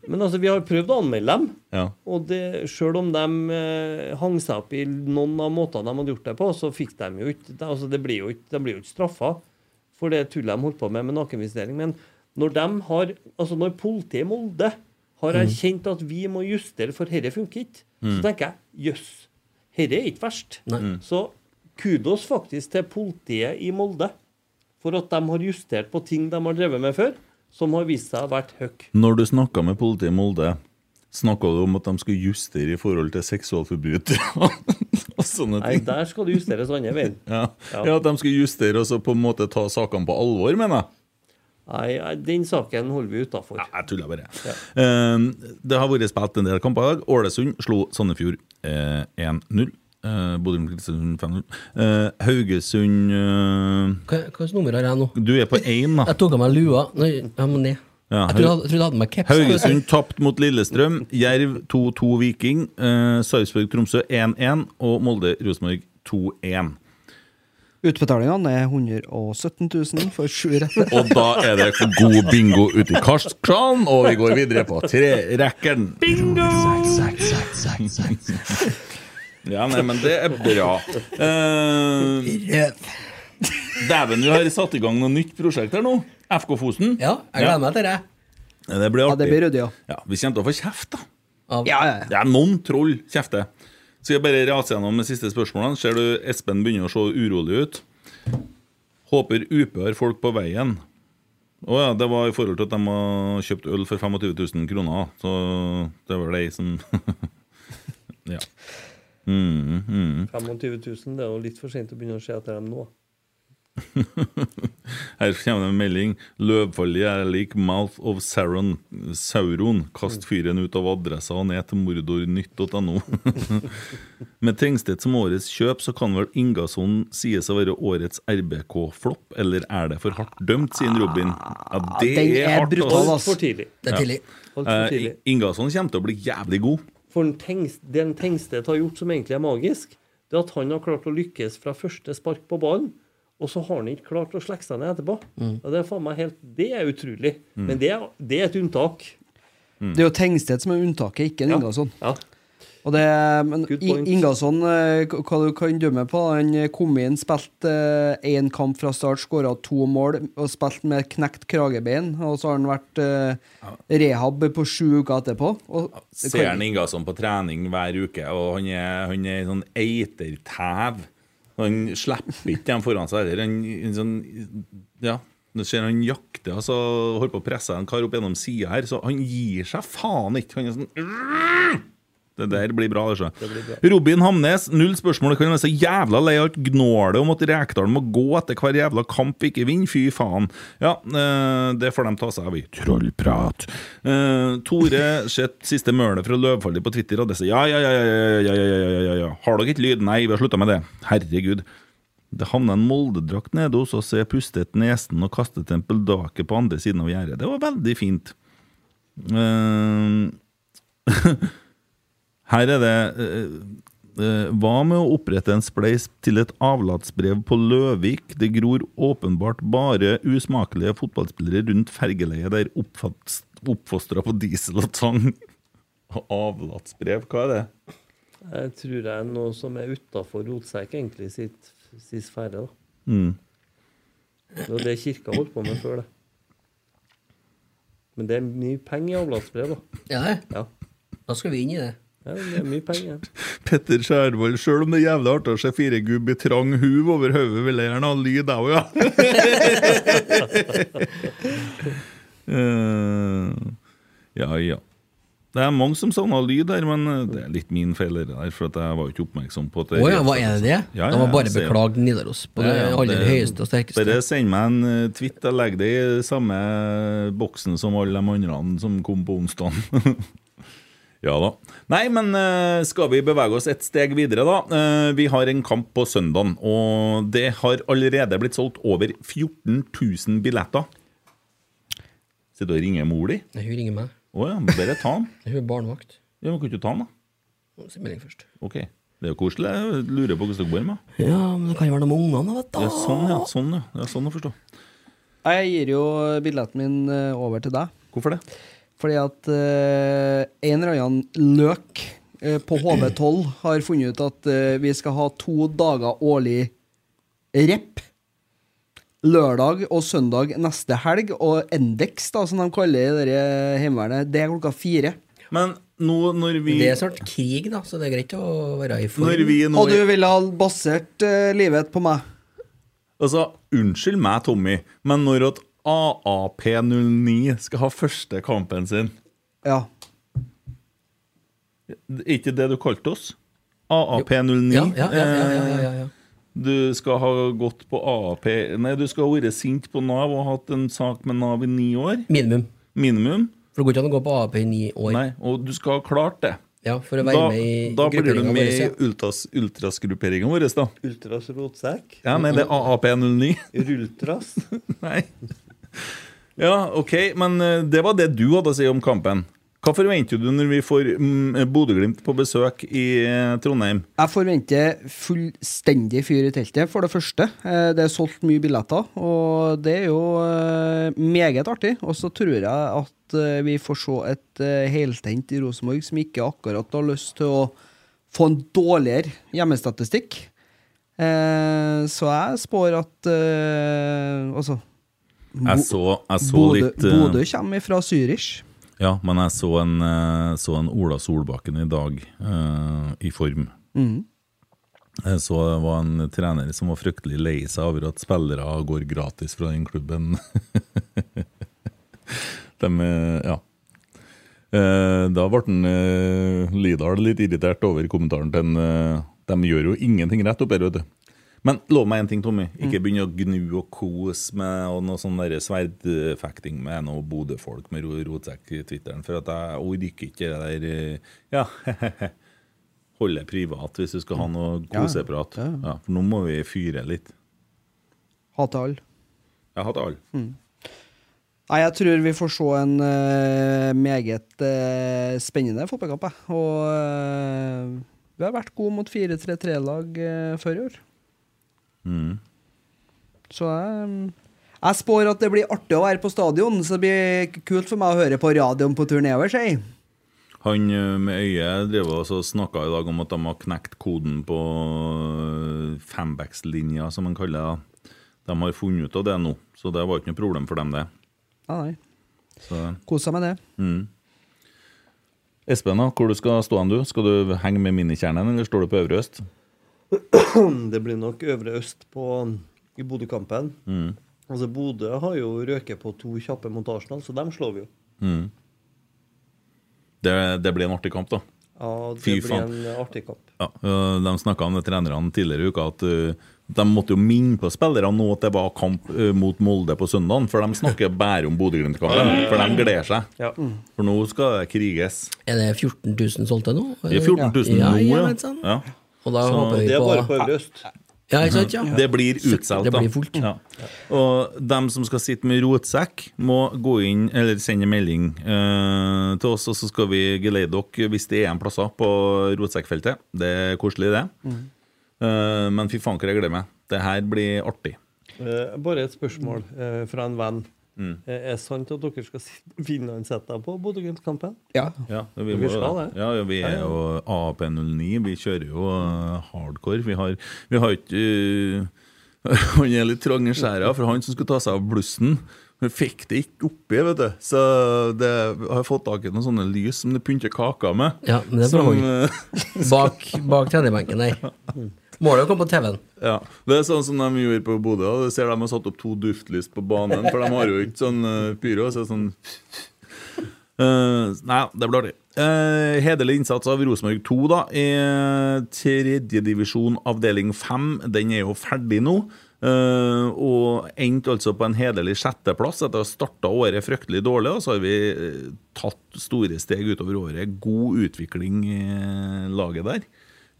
Men altså, vi har prøvd å anmelde dem, (laughs) Ja. og det, selv om de eh, hang seg opp i noen av måtene de hadde gjort det på, så fikk de jo ikke de- altså, det blir jo ikke, De blir jo ikke straffa for det tullet de holdt på med med nakenvisitering. Men når de har, altså når politiet i Molde har erkjent at vi må justere, for dette funker ikke, så tenker jeg jøss, dette er ikke verst. Så kudos faktisk til politiet i Molde for at de har justert på ting de har drevet med før, som har vist seg å ha vært høyt. Når du snakka med politiet i Molde, snakka du om at de skulle justere i forhold til seksualforbrytere (laughs) og sånne Nei, ting? der skal det justeres andre veien. Ja. Ja. ja, at de skulle justere og så på en måte ta sakene på alvor, mener jeg. Nei, nei, den saken holder vi utafor. Ja, jeg tuller bare. Eh, det har vært spilt en del kamper i dag. Ålesund slo Sandefjord eh, 1-0. Uh, Bodø-Kristiansund 5-0. Eh, Haugesund eh, Hva- Hvilket nummer har jeg nå? Du er på én, da. Jeg tok av meg lua. Nei, jeg må ned. Ja, jeg trodde jeg hadde- jeg trodde jeg hadde med caps. Haugesund tapt mot Lillestrøm. Jerv 2-2 Viking. Eh, Sarpsborg-Tromsø 1-1. Og Molde-Rosenborg 2-1. Utbetalingene er 117 000 for sju (laughs) rette. Og da er det god bingo ute i Karstkranen, og vi går videre på trerekkeren. Ja, nei, men det er bra. Eh, Dæven, vi har satt i gang noe nytt prosjekt her nå. FK Fosen. Ja, jeg gleder meg til det. Det blir Ja, det blir artig. ryddig, ja. Ja, vi kommer til å få kjeft, da. Ja, ja, ja. Det er noen troll kjefter. Skal jeg bare rase gjennom de siste spørsmålene? Ser du Espen begynner å se urolig ut? Håper UP har folk på veien. Å ja, det var i forhold til at de har kjøpt øl for 25 000 kroner. Så det var de som (laughs) Ja. 25 000, det er jo litt for sent å begynne å se etter dem nå. Her kommer det en melding. 'Løvfallet er lik Mouth of Sauron. Sauron. Kast fyren ut av adressa og ned til mordornytt.no. (laughs) Med Trengstedt som årets kjøp, så kan vel Ingasson sies å være årets RBK-flopp, eller er det for hardt dømt, sier Robin. Ja, det Den er, er hardt, brutal, altså. ass. Altfor tidlig. Det er tidlig. Alt for Eh, tidlig. Ingasson kommer til å bli jævlig god. For den Tengst, den Tengstedt har gjort som egentlig er magisk, det er at han har klart å lykkes fra første spark på ballen, og så har han ikke klart å slekke seg ned etterpå. Mm. Og det er faen meg helt Det er utrolig. Men det er, det er et unntak. Det er jo Tengsted som er unntaket, ikke en sånn. Ingasson. Ja. Og det, men Good I- point. Ingasson, eh, k- hva du kan dømme på Han eh, kom inn, spilte én kamp fra start, skåra to mål og spilte med et knekt kragebein. Og så har han vært eh, rehab på sju uker etterpå. Og det Ser kan, han Ingasson på trening hver uke, og han er, han er sånn eitertæv. Han slipper ikke dem foran seg heller. Han en sånn, ja, du ser han jakter altså, holder på å presse en kar opp gjennom sida her, så han gir seg faen ikke. Han er sånn det der blir bra, Mm. det. Blir Robin Hamnes, null spørsmål. Kan være så jævla lei av alt gnålet om at Rekdal må gå etter hver jævla kamp vi ikke vinner. Fy faen. Ja, eh, det får de ta seg av i trollprat. Eh, Tore sett siste mølet fra Løvfallet på Twitter, og det sier ja, ja, ja, ja, ja, ja, ja, ja, ja, ja. Har dere ikke lyd? Nei, vi har slutta med det. Herregud. Det havna en Molde-drakt nede hos oss, og jeg pustet nesen og kastet en peldaker på andre siden av gjerdet. Det var veldig fint. Eh, her er det eh, eh, Hva med å opprette en spleis til et avlatsbrev på Løvik? Det gror åpenbart bare usmakelige fotballspillere rundt fergeleiet der oppfatts- oppfostra på diesel og tang. (laughs) Avlatsbrev, hva er det? Jeg tror det er noe som er utafor rotsekk, egentlig, sitt, sin sfære. da. Mm. Det var det kirka holdt på med før, det. Men det er mye penger i avlatsbrev, da. Ja, det. Ja. Da skal vi inn i det. ja, det er mye penger. Petter Skjærvoll, sjøl om det er jævlig artig å se fire gubb i trang huv over hodet, vil jeg gjerne ha lyd, jeg òg, ja. (laughs) Eh, ja, ja. Det er mange som savner lyd her, men eh, det er litt min feil, det der, for at jeg var jo ikke oppmerksom på at Å ja, hva er det det? Ja, ja, De har bare jeg ser- beklagd Nidaros på det Ja, ja, aller det- høyeste og sterkeste. Bare send meg en eh, tweet. Jeg legger det i samme boksen som alle de andre som kom på onsdag. (laughs) ja da. Nei, men eh, skal vi bevege oss et steg videre, da? Eh, Vi har en kamp på søndagen, og det har allerede blitt solgt over 14 000 billetter. Sitter du og ringer mor di? Nei, Hun ringer meg. Å ja, men bare ta den. (laughs) Hun er barnevakt. Ja, men kan ikke du ta den, da? Må Si melding først. Ok. Det er jo koselig. Jeg lurer på hvordan dere bor med Ja, men det kan jo være noe med ungene, vet du. Ja, sånn, ja. Sånn, ja. ja. Sånn å forstå. jeg gir jo billetten min eh, over til deg. Hvorfor det? Fordi at eh, en eller annen løk eh, på HV12 har funnet ut at eh, vi skal ha to dager årlig rep. Lørdag og søndag neste helg, og Endex, da, som de kaller det der Heimevernet, det er klokka fire. Men nå når vi Det er sånn- snart krig, da, så det er greit å være i Når form. vi nå Og du ville ha basert eh, livet på meg. Altså, unnskyld meg, Tommy, men når at AAP09 skal ha første kampen sin Ja. Er ikke det du kalte oss? AAP09? Ja, ja, ja, ja, ja, ja, ja, ja. Eh, Du skal ha gått på AAP Nei, du skal ha vært sint på Nav og hatt en sak med Nav i ni år. Minimum. Minimum. For det går ikke an å gå på AAP i ni år Nei, og du skal ha klart det. ja, for å være Da, med i da blir du grupperingen med vår, i ja. ultras, ultrasgrupperinga vår, da. Ultras rotsekk. Ja, nei, det er AAP09. (laughs) Rultras. Nei. Ja, OK, men eh, det var det du hadde å si om kampen. Hva forventer du når vi får mm, Bodø-Glimt på besøk i eh, Trondheim? Jeg forventer fullstendig fyr i teltet, for det første. Eh, Det er solgt mye billetter, og det er jo eh, meget artig. Og så tror jeg at eh, vi får se et eh, heltent i Rosenborg som ikke akkurat har lyst til å få en dårligere hjemmestatistikk. Eh, Så jeg spår at eh, Altså, Jeg så, jeg så Bodø litt eh, Bodø kommer fra Zürich. Ja, men jeg så en, eh, så en Ola Solbakken i dag eh, i form. Jeg så det var en trener som var fryktelig lei seg over at spillere går gratis fra den klubben. (laughs) De, eh, ja. Eh, Da ble den, eh, Lidahl litt irritert over kommentaren til en, eh, De gjør jo ingenting rett opp her, vet du. Men lov meg en ting, Tommy. Ikke begynn å gnu og kose med og noe sånn der sverdfekting med noe Bodø-folk med ro- rotsekk i Twitteren. For at jeg orker ikke det der eh, Ja, (laughs) holde privat hvis du skal ha noe koseprat. Mm. Ja, for nå må vi fyre litt. Hater alle. Jeg har hatt alle. Nei, jeg tror vi får se en eh, meget eh, spennende fotballkamp. jeg. Og eh, vi har vært gode mot 4-3-3-lag eh, før i år. Mm. Så jeg jeg spår at det blir artig å være på stadion, så det blir kult for meg å høre på radioen på tur nedover. sier jeg. Han ø, med øyet drev og snakka i dag om at de har knekt koden på ø, fembacks-linja, som man kaller det. De har funnet ut av det nå, så det var ikke noe problem for dem, det. Nei, nei. Så. Kos deg med det. Espen, da, hvor du skal stå hen du? Skal du henge med minikjernen, eller står du på Øvre Øst? Det blir nok Øvre Øst på, i Bodø-kampen. Mm. Altså, Bodø har jo røket på to kjappe mot Arsenal, så dem slår vi jo. Det, det blir en artig kamp, da. Ja, det Fy blir faen. en artig kamp. Ja, ø, De snakka om det trenerne tidligere i uka, at ø, de måtte jo minne på spillerne nå at det var kamp ø, mot Molde på søndagen, for de snakker bare om Bodø-Glimt-kampen. For de gleder seg. Ja. For nå skal det kriges. Er det 14 000 solgte nå? Det er 14 000 ja, nå, ja. ja. men sånn. sant. ja. Og da Så håper Det vi er bare på på Øvre Øst. Ja, ikke sant? Ja. Det blir utsolgt, Det da. blir fullt. Ja. Og dem som skal sitte med rotsekk, må gå inn eller sende melding eh, til oss, og så skal vi geleide dere hvis det er en plasser på rotsekkfeltet. Det er koselig, det. Mm. Eh, men fy faen, hva jeg gleder meg. Det her blir artig. Eh, bare et spørsmål eh, fra en venn. Eh, er det sant at dere skal si- finlandssette dere på Bodø-Glimt-kampen? Ja. Ja, vi, Vi må skal det. Ja, ja, vi er jo AAP09. Vi kjører jo eh, hardcore. Vi har, vi har ikke eh, (laughs) Han er litt trang i skjæra, for han som skulle ta seg av blussen, han fikk det ikke oppi, vet du. Så det jeg har fått tak i noen sånne lys som du pynter kaker med. Ja, men det er bra. som, eh, Bak, bak trenerbenken der. Målet er å komme på TV-en. ja. Det er sånn som de gjorde på Bodø. da. Du ser de har satt opp to duftlys på banen, for de har jo ikke sånn eh, pyro. Så det er sånn Eh, nei, det blir artig. Eh, hederlig innsats av Rosenborg 2 da, i tredjedivisjon avdeling 5. Den er jo ferdig nå. eh, og endte altså på en hederlig sjetteplass etter å ha starta året fryktelig dårlig. Og så har vi eh, tatt store steg utover året. God utvikling i laget der.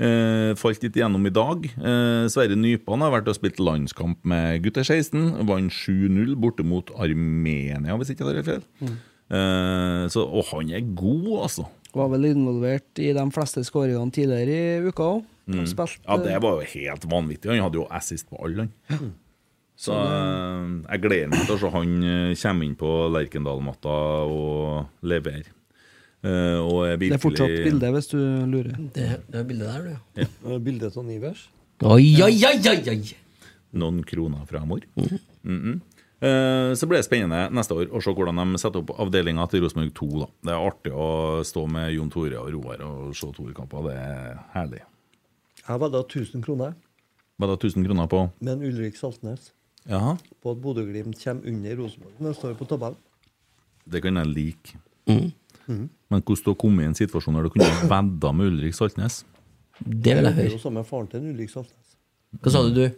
Eh, falt litt igjennom i dag. Eh, Sverre Nypan har vært og spilt landskamp med gutter 16. Vant 7-0 borte mot Armenia, hvis ikke jeg tar helt feil. Mm. Eh, så, og han er god, altså. Var vel involvert i de fleste skåringene tidligere i uka òg. Mm. Ja, Det eh, var jo helt vanvittig. Han hadde jo assist på alle, han. Så eh, jeg gleder meg til å se han eh, kommer inn på Lerkendal-matta og leverer. Eh, og er Det virkelig er fortsatt bilde, hvis du lurer. Det, det er bildet der, du. Eh, Bildet av Nivers? Oi, oi, oi, oi, oi. noen kroner fra mor. Mhm. Eh, Så blir det spennende neste år å se hvordan de setter opp avdelinga til Rosenborg 2. Da. Det er artig å stå med Jon Tore og Roar og se Tore-kamper. Det er herlig. Jeg vedda 1000 kroner Var det 1000 kroner på med en Ulrik Saltnes Jaha, på at Bodø-Glimt kommer under Rosenborg neste år på tabellen. det kan jeg like. Mhm. Men hvordan du kom i en situasjon der du kunne vedda med Ulrik Saltnes? Det vil jeg Det er høre. jo samme faren til en Ulrik Saltnes. Hva sa du, du?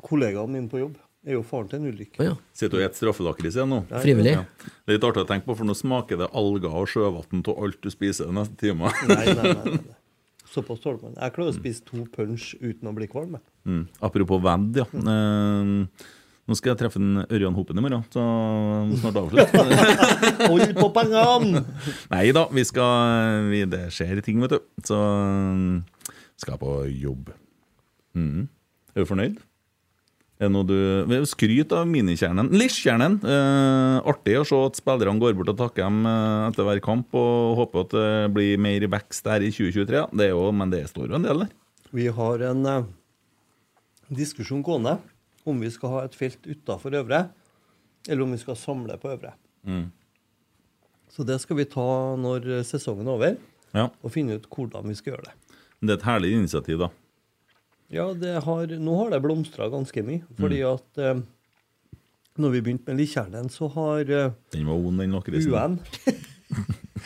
Kollegaen min på jobb er jo faren til en Ulrik. Å ja. Sitter og spiser straffelakris igjen nå. Frivillig? Ja. Det er litt artig å tenke på, for nå smaker det alger og sjøvann av alt du spiser de neste timene. Nei, nei, nei, nei, nei. Såpass tåler man. Jeg klarer å spise to punch uten å bli kvalm. (laughs) jeg. Mm. Apropos Vand, ja. Eh, nå skal jeg treffe en Ørjan Hopen i morgen, så jeg må snart avslutt. Hold på pengene! Nei da, vi skal vi, Det skjer ting, vet du. Så mm, skal jeg på jobb. Mm. Er du fornøyd? Er det noe du vi- Skryt av minikjernen. Lisjkjernen! Eh, artig å se at spillerne går bort og takker dem eh, etter hver kamp, og håper at det blir mer vekst der i 2023. ja. Det er jo, men det står jo en del der. Vi har en eh, diskusjon gående om vi skal ha et felt utafor Øvre, eller om vi skal samle på Øvre. Mm. Så det skal vi ta når eh, sesongen er over, Ja. og finne ut hvordan vi skal gjøre det. Det er et herlig initiativ, da. Ja, det har, Nå har det blomstra ganske mye, fordi Mm. at eh, når vi begynte med Litjernen, så har eh, Den var vond, den lakrisen. (laughs) UN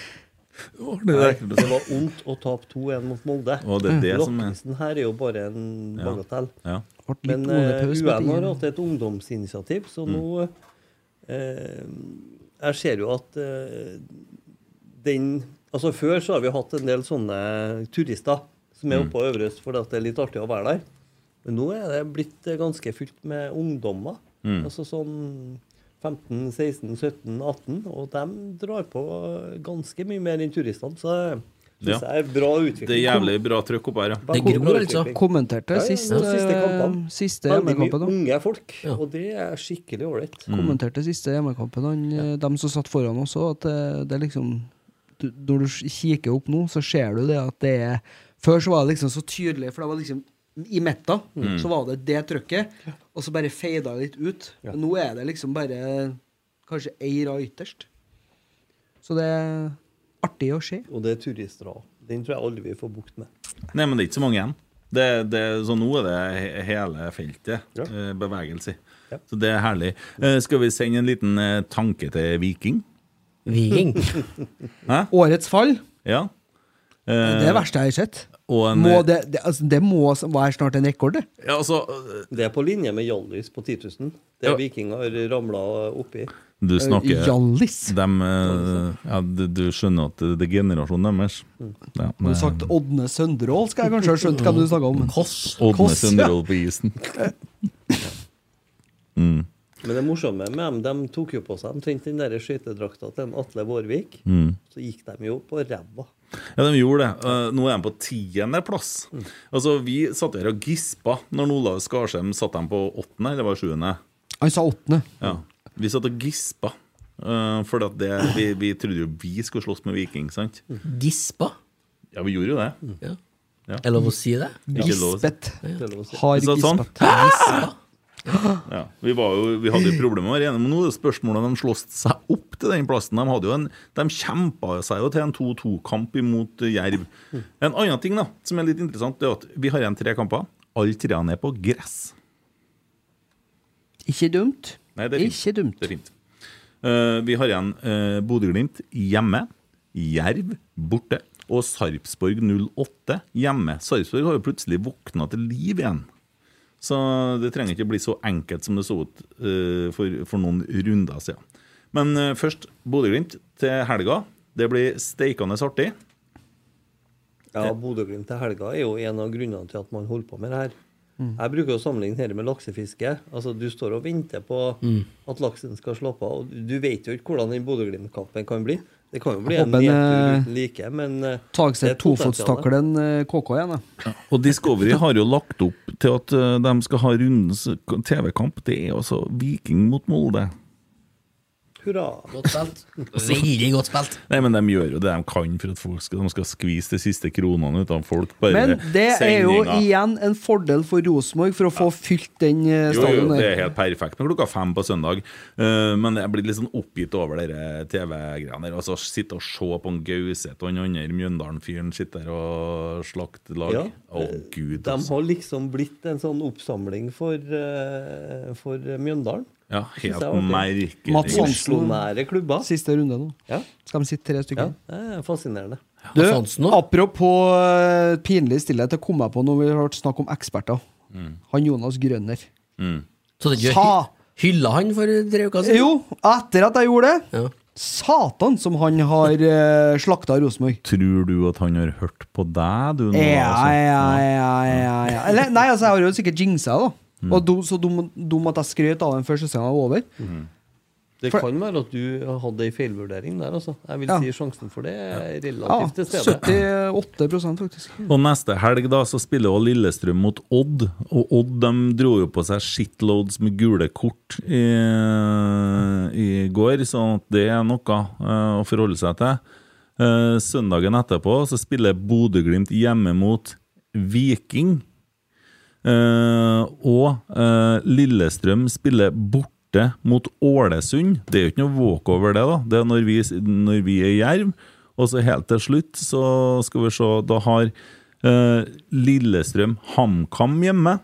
Nei, det var vondt å tape 2-1 mot Molde. Og det er Mm. det som er Lokkisen her er jo bare en bagatell. ja. Ble Men litt eh, oljepaus, UN men har det- hatt et ungdomsinitiativ, så Mm. nå eh, Jeg ser jo at eh, den Altså Før så har vi hatt en del sånne turister som er Mm. oppe på Øverøst fordi at det er litt artig å være der. Men nå er det blitt eh, ganske fylt med ungdommer. Mm. Altså sånn 15, 16, 17, 18. Og de drar på ganske mye mer enn turistene, så det Ja. syns jeg er bra utvikling. Det er jævlig bra trykk opp her, ja. Bra Det gror, utvikling. altså. Kommenterte Ja, ja, sist, ja, siste kampene. eh, siste Veldig mye Mm. hjemmekampen. da. unge folk, Ja. og det er skikkelig ålreit. Kommenterte siste hjemmekampen. Han, eh, Dem som satt foran oss òg, at eh, det er liksom du, Når du kikker opp nå, så ser du det at det er Før så var det liksom så tydelig, for det var liksom i midten så var det det trykket, og så bare feida det litt ut. Men nå er det liksom bare kanskje ei rad ytterst. Så det er artig å se. Og det er turister òg. Den tror jeg aldri vi får bukt med. Nei, men det er ikke så mange igjen. Det, det, så nå er det he- hele feltet Ja. eh, bevegelse. Ja. Så det er herlig. Eh, Skal vi sende en liten eh, tanke til Viking? Viking? Årets fall, Ja. Eh, det Eh. er det verste jeg har sett. Og en, Må det, det, altså, det må være snart en rekord, det. Ja, altså, eh, Det er på linje med Hjallis på 10 000. Det Ja. Viking har ramla oppi. Eh, du snakker Hjallis. dem, eh, ja, du, du skjønner at det er generasjonen deres. Mm. Du Ja, har men- sagt Ådne Sønderål, skal jeg kanskje ha skjønt hva du snakka om. Koss. Ådne Koss, ja. Sønderål på isen. Men det morsomme med dem, de tok jo på seg omtrent den der skøytedrakta til en Atle Vårvik. Så gikk de jo på ræva. Ja, de gjorde det. Eh, Nå er de på tiendeplass. Altså, vi satt her og gispa når Olav Skarsheim satt dem på åttende, eller var det sjuende? Han sa åttende. Ja. Vi satt og gispa. eh, for at det, vi, vi trodde jo vi skulle slåss med Viking, sant? Gispa? Ja, vi gjorde jo det. Ja. Ja. Er det lov å si det? Ikke lov å si. Gispet. til å si. Har Så sånn. gispet. Gispa? Ja. Vi, var jo, vi hadde jo problemer med å være enige, men nå er det spørsmålet om de slåss seg opp til den plassen. De, hadde jo en, de kjempa seg jo til en 2-2-kamp imot eh, Jerv. En annen ting da, som er litt interessant, det er at vi har igjen tre kamper. Alle treene er på gress. Ikke dumt. Nei, det er fint. Ikke dumt. Det er fint. Eh, vi har igjen uh, Bodø-Glimt hjemme, Jerv borte og Sarpsborg 08 hjemme. Sarpsborg har jo plutselig våkna til liv igjen. Så det trenger ikke bli så enkelt som det så ut eh, for, for noen runder siden. Men eh, først Bodø-Glimt til helga. Det blir steikende artig. Ja, Bodø-Glimt til helga er jo en av grunnene til at man holder på med det her. Mm. Jeg bruker å sammenligne dette med laksefiske. Altså, Du står og venter på Mm. at laksen skal slappe av. og Du vet jo ikke hvordan den Bodø-Glimt-kampen kan bli. Det kan jo bli Jeg en håper en, nedtur eh, uten like, men eh, det Tagseth er potensialet. tofotstaklen eh, KK igjen, da. Og Discovery har jo lagt opp til at eh, de skal ha rundens TV-kamp. Det er altså Viking mot Molde. Hurra. Godt spilt. Veldig godt spilt. Nei, men de gjør jo det de kan for at folk skal, de skal skvise de siste kronene ut av folk. Bare Men det er jo sendinga. igjen en fordel for Rosenborg for å få fylt den eh, Jo, jo, stadion det er der. helt perfekt med klokka fem på søndag. Eh, men jeg blir litt sånn oppgitt over de TV-greiene der. Altså, sitte og se på en Gauseth og den andre Mjøndalen-fyren sitte der og slakte lag. Ja. Å, gud. De altså. har liksom blitt en sånn oppsamling for, eh, for Mjøndalen. Ja, jeg helt var fint. merkelig. Mats Hansen. Oslo-nære klubber. Siste runde nå. Ja. Skal de sitte tre ja, stykker? det er fascinerende. Du, Hans Hansen også. apropos eh, pinlig stillhet, jeg kom meg på når vi har hørt snakk om eksperter. Han Jonas Grønner. Så det ikke Sa- hylla han for tre uker siden? Jo, etter at jeg gjorde det Ja. Satan som han har uh, slakta Rosenborg. Tror du at han har hørt på deg, du? nå, Ja, ja, altså? ja, ja, ja. Eller, nei, altså, jeg har jo sikkert jinxa, da. Og dum, så dum, dum at jeg skrøt av den før sesongen var over. Det For- kan være at du hadde ei feilvurdering der, altså. Jeg vil Ja. si sjansen for det er Ja, relativt til stede. 78 faktisk. Og neste helg da, så spiller jo Lillestrøm mot Odd, og Odd de dro jo på seg shitloads med gule kort i, i går, sånn at det er noe eh, å forholde seg til. Eh, søndagen etterpå så spiller Bodø-Glimt hjemme mot Viking, Eh, og eh, Lillestrøm spiller borte mot Ålesund. Det er jo ikke noe walkover, det. da Det er når vi, når vi er jerv. Og så helt til slutt, så skal vi se Da har eh, Lillestrøm HamKam hjemme.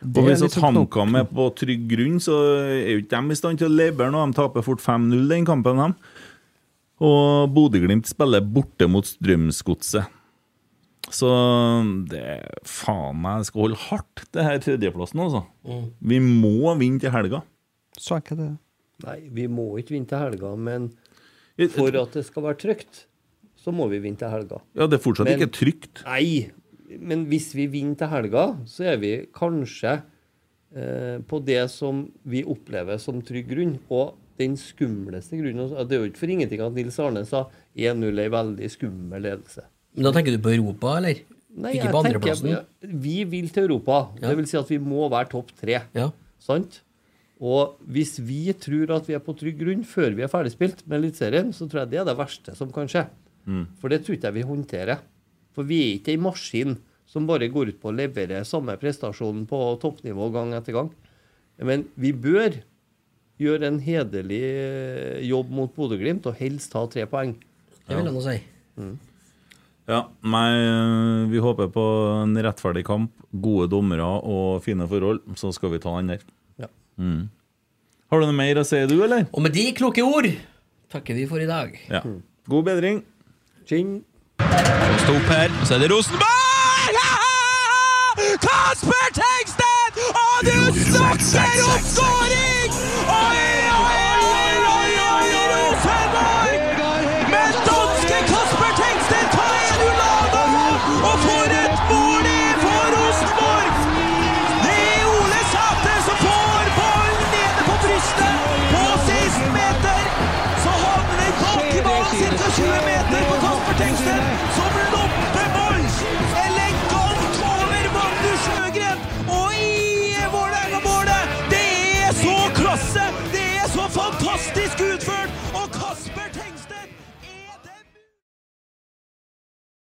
Og er hvis litt at sånn knok- HamKam er på trygg grunn, så er jo ikke de i stand til å levere noe. De taper fort 5-0 den kampen, de. Og Bodø-Glimt spiller borte mot Strømsgodset. Så det faen meg skal holde hardt, det her tredjeplassen, altså. Mm. Vi må vinne til helga. Så er ikke det Nei, vi må ikke vinne til helga, men Jeg- for at det skal være trygt, så må vi vinne til helga. Ja, det er fortsatt Men- ikke trygt. Nei, men hvis vi vinner til helga, så er vi kanskje eh, på det som vi opplever som trygg grunn. Og den skumleste grunnen altså, Det er jo ikke for ingenting at Nils Arne sa 1-0 er en veldig skummel ledelse. Men da tenker du på Europa, eller? Nei, ikke jeg på tenker andreplassen? Ja. vi- Vi vil til Europa. Det vil si at vi må være topp tre. Ja. Sant? Og hvis vi tror at vi er på trygg grunn før vi er ferdigspilt med Eliteserien, så tror jeg det er det verste som kan skje. For det tror ikke jeg vi håndterer. For vi er ikke ei maskin som bare går ut på å levere samme prestasjon på toppnivå gang etter gang. Men vi bør gjøre en hederlig jobb mot Bodø-Glimt, og helst ta tre poeng. Det vil jeg nå si. Ja, nei, vi håper på en rettferdig kamp, gode dommere og fine forhold, så skal vi ta den der. Ja. Mm. Har du noe mer å si, du, eller? Og med de kloke ord takker vi for i dag. Ja. God bedring. Kjenn Stå opp her, så er det Rosenborg! Kasper Tengstedt! Og du snakker om skåring!